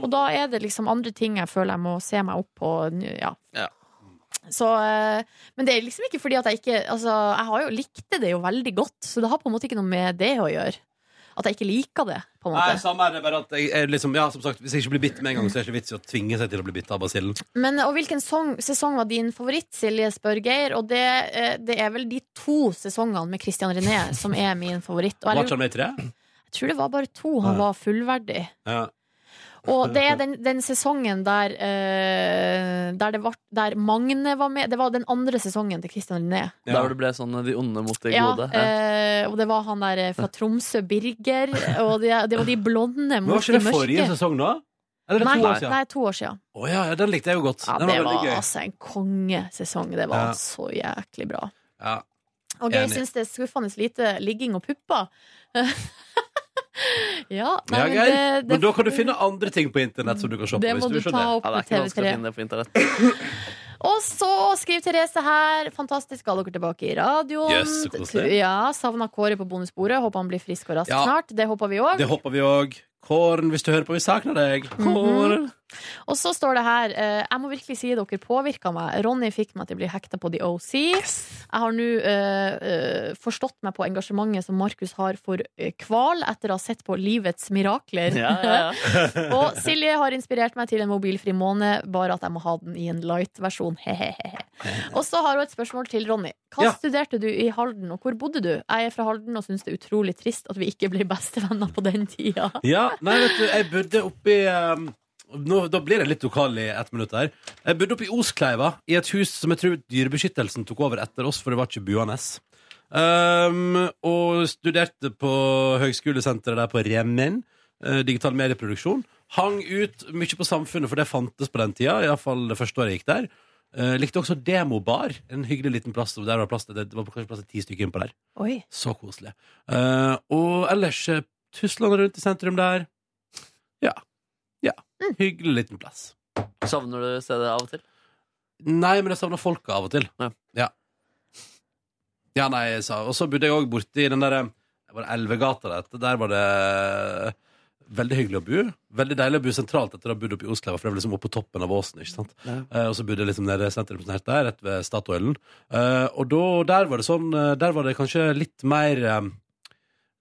Speaker 3: Og da er det liksom andre ting jeg føler jeg må se meg opp på, nå, ja.
Speaker 4: Ja.
Speaker 3: Så, eh, men det er liksom ikke fordi at jeg ikke, altså jeg har jo likte det jo veldig godt, så det har på en måte ikke noe med det å gjøre. At jeg ikke liker det, på en måte.
Speaker 2: Nei, samme er det bare at jeg, er liksom, ja, som sagt, Hvis jeg ikke blir bitt med en gang, så er det ikke vits i å tvinge seg til å bli bitt av basillen.
Speaker 3: Men, og hvilken song, sesong var din favoritt, Silje, spør Geir. Og det, eh, det er vel de to sesongene med Christian René som er min favoritt. Og jeg,
Speaker 2: Var ikke han
Speaker 3: lurer-
Speaker 2: med i tre?
Speaker 3: jeg tror det var bare to han
Speaker 2: Ja.
Speaker 3: var fullverdig.
Speaker 2: Ja.
Speaker 3: Og det er den, den sesongen der, eh, der, det var, der Magne var med. Det var den andre sesongen til Christian René.
Speaker 4: Der hvor det ble sånn eh, de onde mot de
Speaker 3: Ja,
Speaker 4: gode.
Speaker 3: eh, og det var han der eh, fra Tromsø, Birger. Og det, det var de blonde
Speaker 2: Men
Speaker 3: mot
Speaker 2: Var ikke
Speaker 3: de
Speaker 2: det forrige
Speaker 3: mørke.
Speaker 2: sesong, da? Eller
Speaker 3: nei,
Speaker 2: er det to år siden?
Speaker 3: nei, to år siden.
Speaker 2: Å ja, ja, den likte jeg jo godt.
Speaker 3: Ja,
Speaker 2: den
Speaker 3: det
Speaker 2: var veldig
Speaker 3: var
Speaker 2: gøy.
Speaker 3: altså en kongesesong. Det var
Speaker 2: Ja.
Speaker 3: så jæklig bra.
Speaker 2: Ja.
Speaker 3: Og Geir
Speaker 2: Enig.
Speaker 3: syns det er skuffende lite ligging og pupper. ja, nei,
Speaker 2: ja, Geir.
Speaker 3: det- det-
Speaker 2: Men da kan du finne andre ting på internett som du kan se på.
Speaker 3: Det må
Speaker 2: hvis du
Speaker 3: du ta
Speaker 2: skjønner.
Speaker 3: opp Ja, det er med ikke vanskelig å TV3. finne
Speaker 4: det på internett.
Speaker 3: Og så skriver Therese her. Fantastisk, skal dere tilbake i radioen.
Speaker 2: Yes, så koselig.
Speaker 3: ja, Savna Kåre på bonusbordet. Håper han blir frisk og rask
Speaker 2: Ja.
Speaker 3: snart. Det håper vi òg.
Speaker 2: Det hopper vi òg. Kåren, hvis du hører på, vi savner deg.
Speaker 3: Mhm.
Speaker 2: Kåren.
Speaker 3: Og så står det her eh, Jeg må virkelig si dere påvirka meg. Ronny fikk meg til å bli hekta på The OC. Jeg har nå eh, eh, forstått meg på engasjementet som Markus har for eh, hval, etter å ha sett på Livets mirakler.
Speaker 12: Ja, ja,
Speaker 3: og Silje har inspirert meg til en mobilfri måned, bare at jeg må ha den i en light-versjon. Hehehe. og så har hun et spørsmål til Ronny. Hva
Speaker 12: Ja.
Speaker 3: studerte du i Halden, og hvor bodde du? Jeg er fra Halden og syns det er utrolig trist at vi ikke ble bestevenner på den tida.
Speaker 2: Ja, nei, vet du, jeg bodde oppi um, nå, Da blir jeg litt lokal i ett minutt her. Jeg bodde oppi Oskleiva, i et hus som jeg tror Dyrebeskyttelsen tok over etter oss, for det var ikke buende. Um, og studerte på høgskolesenteret der på Remen. eh, digital medieproduksjon. Hang ut mye på samfunnet, for det fantes på den tida. Iallfall det første året jeg gikk der. Eh, likte også demobar. En hyggelig liten plass. Der var plass til, det var kanskje plass til ti stykker innpå der.
Speaker 3: Oi.
Speaker 2: Så koselig. Eh, og ellers eh, Tyskland rundt i sentrum der. Ja. ja. Hyggelig liten plass.
Speaker 4: Savner du stedet av og til?
Speaker 2: Nei, men jeg savner folket av og til. Ja. ja. nei, jeg sa Og så bodde jeg òg borti den derre Var det Elvegata det het? Der var det eh, veldig hyggelig å bo. Veldig deilig å bo sentralt etter å ha bodd oppe i Oslo, for det var liksom oppe på toppen av åsen. ikke sant?
Speaker 4: Ja.
Speaker 2: Eh, og så bodde jeg liksom nede sentrumsnært der, rett ved Statoilen. Eh, og da, der var det sånn eh, Der var det kanskje litt mer eh,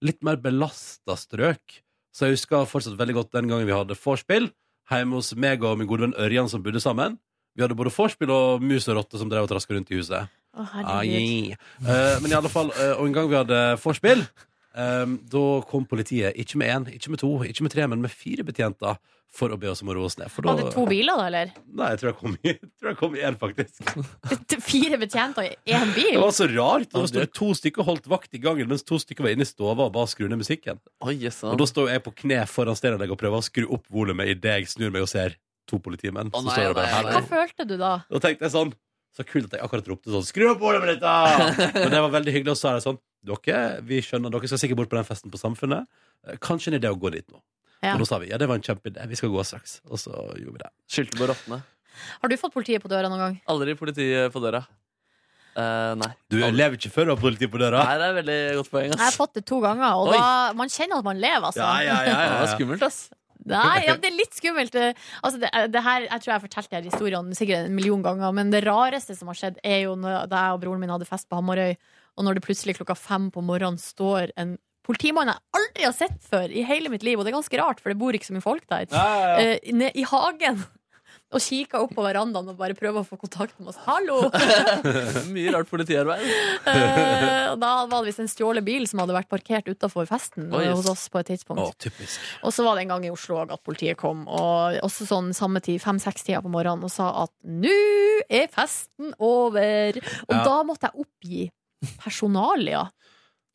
Speaker 2: Litt mer belasta strøk. Så jeg husker fortsatt veldig godt den gangen vi hadde vorspiel hjemme hos meg og min gode venn Ørjan, som bodde sammen. Vi hadde både vorspiel og mus og rotte som drev og traska rundt i huset.
Speaker 3: Å,
Speaker 2: Ah, yeah.
Speaker 3: herregud.
Speaker 2: Eh, men i alle fall, eh, og en gang vi hadde vorspiel, eh, da kom politiet ikke med én, ikke med to, ikke med tre, men med fire betjenter for å be oss om å roe oss ned. For da,
Speaker 3: Var det to biler, da, eller?
Speaker 2: Nei, jeg tror jeg kom i- jeg tror jeg kom i én, faktisk.
Speaker 3: T- Fire betjenter i én
Speaker 2: Det
Speaker 3: bil?
Speaker 2: var så rart. Det sto to stykker og holdt vakt i gangen, mens to stykker var inne i stova og bare skru ned musikken. og da står jeg på kne foran stereoanlegget og prøver å skru opp volumet idet jeg snur meg og ser to politimenn.
Speaker 4: Å,
Speaker 2: Så
Speaker 4: nei,
Speaker 2: står jeg bare
Speaker 4: nei,
Speaker 2: her.
Speaker 4: nei.
Speaker 3: Hva følte du da?
Speaker 2: Da tenkte jeg sånn Så kult at jeg akkurat ropte sånn Skru opp ordet mitt da! Men det var veldig hyggelig Og så er det sånn Dere, vi skjønner Dere skal sikkert bort på den festen på samfunnet Eh, Kanskje en idé å gå dit nå
Speaker 3: Ja.
Speaker 2: Og da sa vi Ja, det var en kjempeidé Vi skal gå straks Og så gjorde vi det
Speaker 4: Skyldte på rottene
Speaker 3: Har du fått politiet på døra noen gang?
Speaker 4: Aldri politiet på døra Eh, Nei
Speaker 2: Du lever ikke før du har politi på døra
Speaker 4: Nei, det er et veldig godt poeng
Speaker 3: Jeg har
Speaker 4: ass.
Speaker 3: fått det to ganger, og
Speaker 4: Oi.
Speaker 3: da, man kjenner at man lever, altså.
Speaker 4: Det var skummelt ass
Speaker 3: Nei, ja, det er litt skummelt. Eh, Altså, det, det her, jeg tror jeg har fortalt de her historiene sikkert en million ganger, men det rareste som har skjedd, er jo når da jeg og broren min hadde fest på Hamarøy, og når det plutselig klokka fem på morgenen står en politimann jeg aldri har sett før i hele mitt liv, og det er ganske rart, for det bor ikke så mye folk der,
Speaker 12: Ja, ja, ja.
Speaker 3: eh, ned i hagen. Og kikker opp på verandaen og bare prøver å få kontakt med oss. Hallo!
Speaker 4: Mye rart politiarbeid
Speaker 3: Eh, og da var det visst en stjålet bil som hadde vært parkert utafor festen
Speaker 4: Oi,
Speaker 3: eh,
Speaker 4: jøss.
Speaker 3: hos oss på et tidspunkt.
Speaker 2: Å, typisk
Speaker 3: Og så var det en gang i Oslo også at politiet kom, og også sånn samme tid, fem-seks tida på morgenen, og sa at nå er festen over. Og
Speaker 12: Ja.
Speaker 3: da måtte jeg oppgi personalia.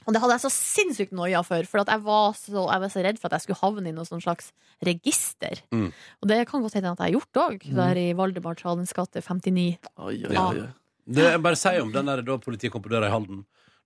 Speaker 3: Og det hadde jeg så sinnssykt noia for, for at jeg, var så, jeg var så redd for at jeg skulle havne i noe sånn slags register.
Speaker 2: Mm.
Speaker 3: Og det kan godt hende at jeg har gjort òg, der i Valdemar Tradens gate 59.
Speaker 2: Ja.
Speaker 3: Ja.
Speaker 2: Det jeg bare sier om den der da politiet kom på døra i Halden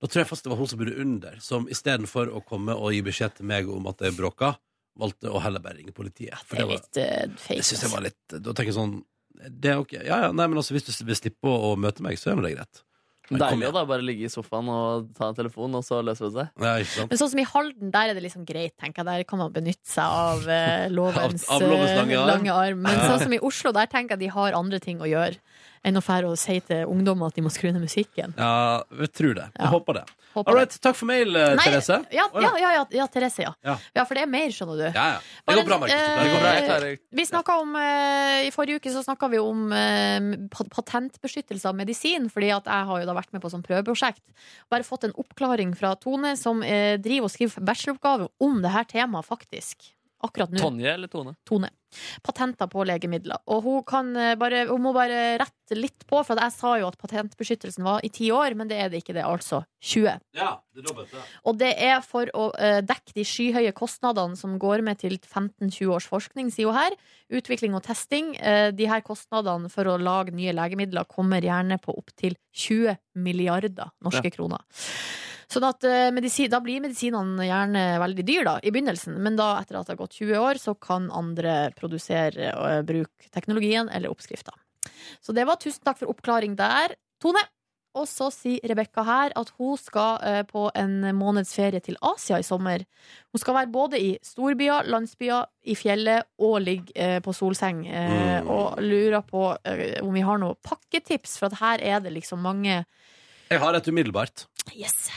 Speaker 2: Da tror jeg faktisk det var hun som bodde under Som i stedet for å komme og gi beskjed til meg om at jeg bråka Valgte å heller bare ringe politiet For
Speaker 3: Det er
Speaker 2: var-
Speaker 3: litt eh, fake.
Speaker 2: Jeg synes jeg var litt Da tenker jeg sånn Det er ok Ja, ja, nei, men altså Hvis du vil slippe å å møte meg Så er nå det greit Men kom
Speaker 4: Deilig å da bare ligge i sofaen og ta en telefon Og så løser det seg
Speaker 2: Ja, ikke sant
Speaker 3: Men sånn som i Halden, der er det liksom greit, tenker jeg. Der kan man benytte seg av eh, lovens,
Speaker 2: Av- av lovens
Speaker 3: eh,
Speaker 2: lange arm.
Speaker 3: Men
Speaker 2: Ja.
Speaker 3: sånn som i Oslo, der tenker jeg de har andre ting å gjøre enn å fære og si til ungdommer at de må skru ned musikken.
Speaker 2: Ja, jeg tror det Jeg håper det
Speaker 3: Håper
Speaker 2: All right, takk for mail, eh,
Speaker 3: Nei,
Speaker 2: Therese
Speaker 3: Ja,
Speaker 2: Å,
Speaker 3: ja, ja, ja, ja Therese, ja.
Speaker 2: Ja.
Speaker 3: Ja, for det er mer, skjønner du.
Speaker 2: Ja, ja Det går bra, Markus
Speaker 3: Eh,
Speaker 2: Det går bra, jeg klarer
Speaker 3: Vi snakket om, eh, I forrige uke så snakka vi om eh, pat- patentbeskyttelse av medisin, fordi at jeg har jo da vært med på sånn prøveprosjekt. Bare fått en oppklaring fra Tone, som eh, driver og skriver bacheloroppgave om det her temaet, faktisk. Akkurat nå.
Speaker 4: Tonje eller Tone?
Speaker 3: Tone. Patenter på legemidler. Og hun, kan eh, bare, hun må bare rette litt på, for at jeg sa jo at patentbeskyttelsen var i ti år, men det er det ikke, det er altså 20.
Speaker 2: Ja, det er dobbelt ja.
Speaker 3: Og det er for å eh, dekke de skyhøye kostnadene som går med til 15-20 års forskning, sier hun her. Utvikling og testing. Eh, de her kostnadene for å lage nye legemidler kommer gjerne på opptil 20 milliarder norske
Speaker 12: Ja.
Speaker 3: kroner. Sånn at eh, medisin, Da blir medisinene gjerne veldig dyre da, i begynnelsen, men da etter at det har gått 20 år, så kan andre produsere og eh, bruke teknologien eller oppskrifta. Så det var tusen takk for oppklaring der, Tone. Og så sier Rebekka her at hun skal eh, på en måneds ferie til Asia i sommer. Hun skal være både i storbyer, landsbyer, i fjellet og ligge eh, på solseng. eh, Og lurer på eh, om vi har noen pakketips, for at her er det liksom mange
Speaker 2: Jeg har et umiddelbart
Speaker 3: Yes!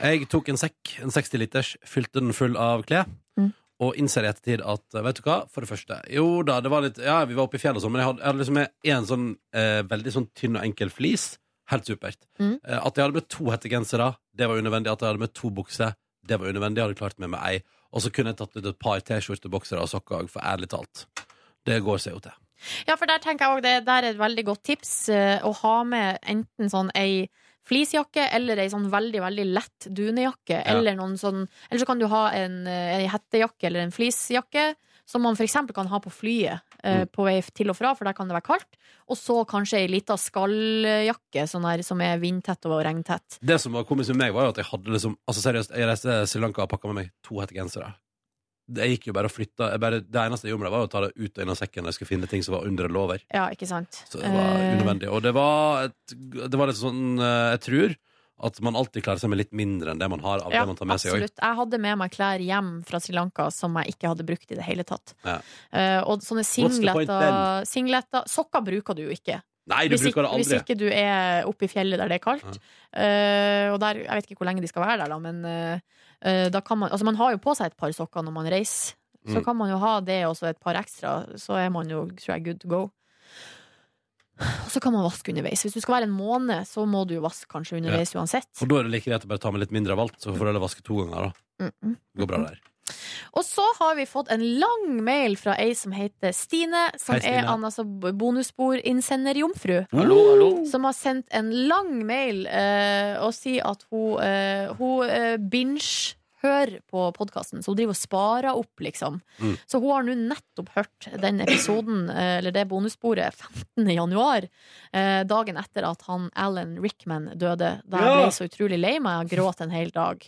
Speaker 2: Jeg tok en sekk, en 60 liters, fylte den full av klær.
Speaker 3: Mm.
Speaker 2: Og innser i ettertid at vet du hva, for det første Jo da, det var litt Ja, vi var oppe i fjellet og sånn, men jeg hadde, jeg hadde liksom én sånn eh, veldig sånn tynn og enkel flis. Helt supert.
Speaker 12: Mm.
Speaker 2: Eh, at jeg hadde med to hettegensere, det var unødvendig. At jeg hadde med to bukser, det var unødvendig. Jeg hadde klart meg med ei. Og så kunne jeg tatt ut et par T-skjorteboksere og sokker òg, for ærlig talt. Det går seg jo til.
Speaker 3: Ja, for der tenker jeg også det der er et veldig godt tips eh, å ha med enten sånn ei fleecejakke eller ei sånn veldig, veldig lett dunejakke.
Speaker 12: Ja.
Speaker 3: Eller noen sånn Eller så kan du ha en, eh, ei hettejakke eller en fleecejakke. Som man f.eks. kan ha på flyet eh,
Speaker 12: Mm.
Speaker 3: på vei til og fra, for der kan det være kaldt. Og så kanskje ei lita skalljakke sånn her, som er vindtett og regntett.
Speaker 2: Det som var komisk med meg, var jo at jeg hadde liksom Altså seriøst, jeg reiste til Sri Lanka og pakka med meg to hettegensere. Jeg gikk jo bare og flytta jeg bare, Det eneste jeg gjorde med det, var jo å ta det ut og inn av sekken når jeg skulle finne ting som var under eller over.
Speaker 3: Ja, ikke sant?
Speaker 2: Så det var
Speaker 3: Eh,
Speaker 2: unødvendig. Og det var, et, det var litt sånn eh, Jeg tror at man alltid klarer seg med litt mindre enn det man har av det man tar med seg òg.
Speaker 3: absolutt. Jeg hadde med meg klær hjem fra Sri Lanka som jeg ikke hadde brukt i det hele tatt.
Speaker 2: Ja.
Speaker 3: Eh, og sånne
Speaker 2: What's the point
Speaker 3: singleter,
Speaker 2: then?
Speaker 3: singleter Sokker bruker du jo ikke.
Speaker 2: Nei, du
Speaker 3: hvis,
Speaker 2: bruker det
Speaker 3: ikke, hvis
Speaker 2: aldri.
Speaker 3: ikke du er oppe i fjellet der det er kaldt. Eh, og der, jeg vet ikke hvor lenge de skal være der, da, men eh, eh, da kan man Altså, man har jo på seg et par sokker når man reiser. Så
Speaker 12: Mm.
Speaker 3: kan man jo ha det og så et par ekstra, så er man jo, tror jeg, good to go. Og så kan man vaske underveis. Hvis du skal være en måned, så må du jo vaske kanskje underveis
Speaker 2: Ja.
Speaker 3: uansett.
Speaker 2: For da er det like greit å bare ta med litt mindre av alt, så får du heller vaske to ganger. da
Speaker 3: Mm -mm.
Speaker 2: Det går bra der.
Speaker 3: Og så har vi fått en lang mail fra ei som heter Stine, som
Speaker 2: Hei, Stine. Mm.
Speaker 3: er Anna som bonusbord-innsenderjomfru.
Speaker 2: Hallo, hallo.
Speaker 3: Som har sendt en lang mail eh, og sier at hun, eh, hun eh, binge-hører på podkasten, så hun driver og sparer opp, liksom.
Speaker 12: Mm.
Speaker 3: Så hun har nå nettopp hørt den episoden, eh, eller det bonussporet, 15. januar. Eh, dagen etter at han Alan Rickman døde. Da jeg
Speaker 12: Ja.
Speaker 3: ble så utrolig lei meg, jeg gråt en hel dag.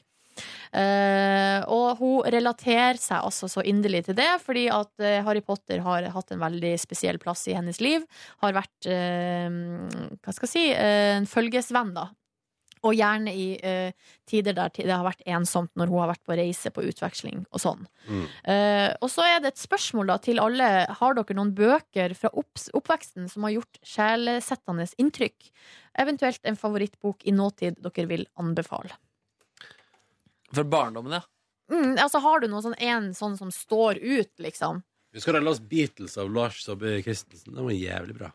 Speaker 3: Eh, og hun relaterer seg altså så inderlig til det, fordi at eh, Harry Potter har hatt en veldig spesiell plass i hennes liv. Har vært eh, hva skal jeg si, eh, en følgesvenn, da. Og gjerne i eh, tider der det har vært ensomt, når hun har vært på reise, på utveksling og sånn. Eh, og så er det et spørsmål da til alle. Har dere noen bøker fra opps- oppveksten som har gjort sjelesettende inntrykk? Eventuelt en favorittbok i nåtid dere vil anbefale?
Speaker 4: Fra barndommen, ja.
Speaker 3: Mm, altså Har du noe sånn en sånn som står ut, liksom?
Speaker 2: Vi skal relle oss Beatles av Lars Saabye Christensen. Det var jævlig bra.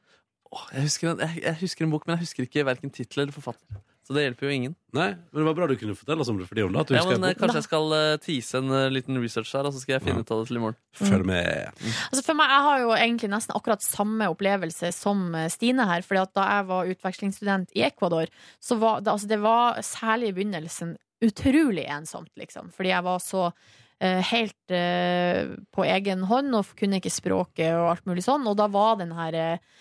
Speaker 4: Jeg husker, en, jeg, jeg husker en bok, men jeg husker ikke hverken tittel eller forfatter. Så det hjelper jo ingen.
Speaker 2: Nei, men det var bra du kunne fortelle oss om det. Fordi om det at du
Speaker 4: Ja,
Speaker 2: husker
Speaker 4: men eh,
Speaker 2: boken.
Speaker 4: Kanskje jeg skal eh, tease en eh, liten research her, og så skal jeg finne ut av det til i morgen.
Speaker 3: eh,
Speaker 2: Følg med.
Speaker 3: Altså for meg, Jeg har jo egentlig nesten akkurat samme opplevelse som eh, Stine her. Fordi at da jeg var utvekslingsstudent i Ecuador, så var det, altså det var særlig i begynnelsen utrolig ensomt, liksom. Fordi jeg var så eh, helt eh, på egen hånd og kunne ikke språket og alt mulig sånn. Og da var den her eh,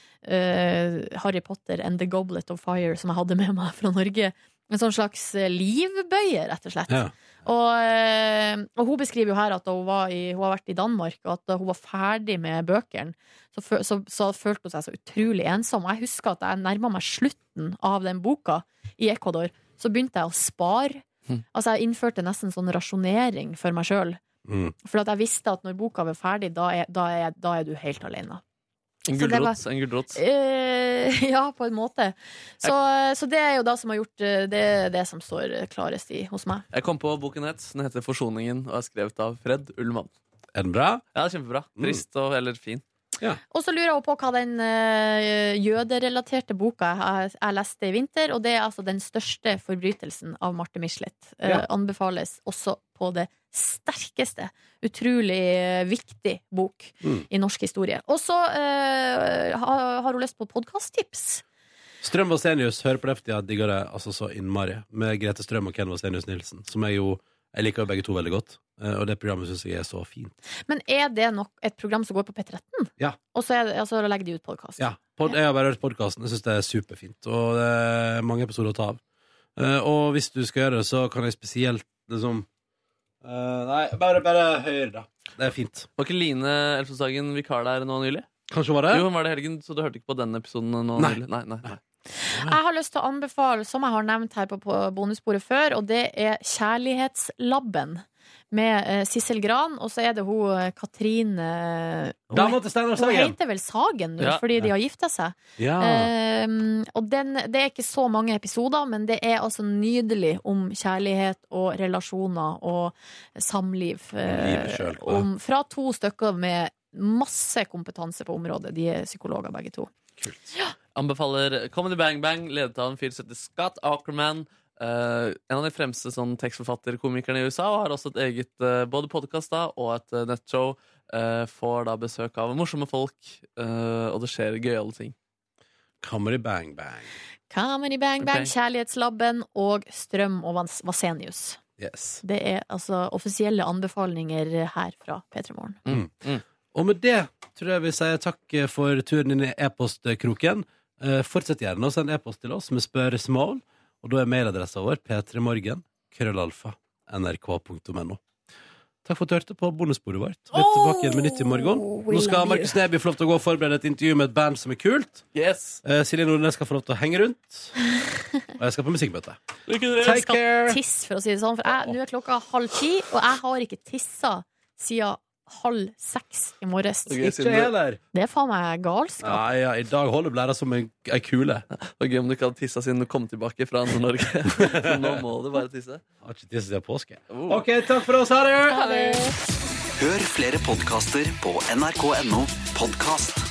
Speaker 3: Harry Potter and The Goblet of Fire som jeg hadde med meg fra Norge, en sånn slags eh, livbøye, rett og slett.
Speaker 2: Ja.
Speaker 3: Og, eh, og hun beskriver jo her at da hun, var i, hun har vært i Danmark, og at da hun var ferdig med bøkene, så, fø- så, så følte hun seg så utrolig ensom. Og jeg husker at jeg nærma meg slutten av den boka i Ecuador. Så begynte jeg å spare.
Speaker 12: Mm.
Speaker 3: Altså Jeg innførte nesten sånn rasjonering for meg sjøl.
Speaker 2: Mm.
Speaker 3: For at jeg visste at når boka var ferdig, da er, da er, da er du helt alene.
Speaker 4: En
Speaker 3: Så det var-
Speaker 4: gulrot. En gulrot.
Speaker 3: Eh, ja, på en måte. Så, så det er jo da som har gjort eh, det, det som står klarest i hos meg.
Speaker 4: Jeg kom på hva boken het. Den heter Forsoningen og er skrevet av Fred Ullmann.
Speaker 2: Er den bra?
Speaker 4: Ja, kjempebra.
Speaker 2: Mm.
Speaker 4: Trist og eller fin.
Speaker 3: Og så lurer jeg på hva den eh, jøderelaterte boka jeg, jeg leste i vinter, og det er altså Den største forbrytelsen av Marte Michelet. Eh,
Speaker 12: Ja.
Speaker 3: Anbefales også på det sterkeste. Utrolig eh, viktig bok
Speaker 2: Mm.
Speaker 3: i norsk historie. Og så eh, har, har hun lyst på podkasttips.
Speaker 2: Strøm Vasenius, hør på det for tida. Jeg Digger det altså så innmari. Med Grete Strøm og Ken Vasenius Nilsen. Som jeg jo Jeg liker jo begge to veldig godt. eh, Og det programmet syns jeg er så fint.
Speaker 3: Men er det nok et program som går på P13?
Speaker 2: Ja.
Speaker 3: Og så, er det, og så legger de ut podkast?
Speaker 2: Ja, pod, jeg har bare hørt podkasten. Jeg syns det er superfint. Og det er mange episoder å ta av. Eh, og hvis du skal gjøre det, så kan jeg spesielt liksom eh, Nei, bare, bare hør, da. Det er fint.
Speaker 4: Var ikke Line Elfsåshagen vikar der nå nylig?
Speaker 2: Kanskje hun var det?
Speaker 4: Jo, hun var det i helgen, så du hørte ikke på den episoden nå
Speaker 2: Nei.
Speaker 4: nylig? Nei, nei, nei.
Speaker 3: Jeg har lyst til å anbefale, som jeg har nevnt her på på bonusbordet før, og det er Kjærlighetslabben med eh, Sissel Gran, og så er det hun eh, Katrine Hun-
Speaker 2: Dama til Steinar Sagen.
Speaker 3: Hun heter vel Sagen nå,
Speaker 2: Ja.
Speaker 3: fordi de har gifta seg.
Speaker 2: Ja.
Speaker 3: Eh, og den, det er ikke så mange episoder, men det er altså nydelig om kjærlighet og relasjoner og samliv. eh,
Speaker 2: Livet selv, ja.
Speaker 3: om, fra to stykker med masse kompetanse på området. De er psykologer, begge to.
Speaker 4: Anbefaler Comedy Bang Bang, ledet av en fyr som heter Scott Ackerman. eh, en av de fremste sånn, tekstforfatterkomikerne i USA, og har også et eget eh, både podkast og et eh, nettshow. eh, får da besøk av morsomme folk, eh, og det skjer gøyale ting.
Speaker 2: Comedy Bang Bang.
Speaker 3: Comedy Bang Bang,
Speaker 4: Bang.
Speaker 3: Kjærlighetslabben og Strøm og Vas- Vasenius.
Speaker 2: Yes.
Speaker 3: Det er altså offisielle anbefalinger her fra P3 Morgen.
Speaker 2: Mm. Og med det tror jeg vi sier takk for turen inn i e-postkroken. Eh, Fortsett gjerne å sende e-post til oss med spørsmål. Og da er mailadressa vår p3morgen krøllalfa nrk.no. Takk for at du hørte på bonusbordet vårt. Vi er tilbake igjen med nytt i morgen.
Speaker 4: we
Speaker 2: Nå skal
Speaker 4: love
Speaker 2: Markus Neby få lov til å gå og forberede et intervju med et band som er kult. Eh, Silje Nordnes skal få lov til å henge rundt. Og jeg skal på musikkmøte.
Speaker 3: Jeg skal tisse, for å si det sånn. For jeg, nå er klokka halv ti, og jeg har ikke tissa siden halv seks i morges.
Speaker 2: Ok, Ikke siden du- heller.
Speaker 3: Det er faen meg galskap.
Speaker 2: Nei, ja, I dag holder blæra som en- ei kule.
Speaker 4: Det var gøy om du ikke hadde tissa siden du kom tilbake fra Nord-Norge. For nå må du bare tisse.
Speaker 2: Har ikke tisset siden påske. OK, takk for oss. Ha det!
Speaker 21: Hør flere podkaster på nrk.no podkast.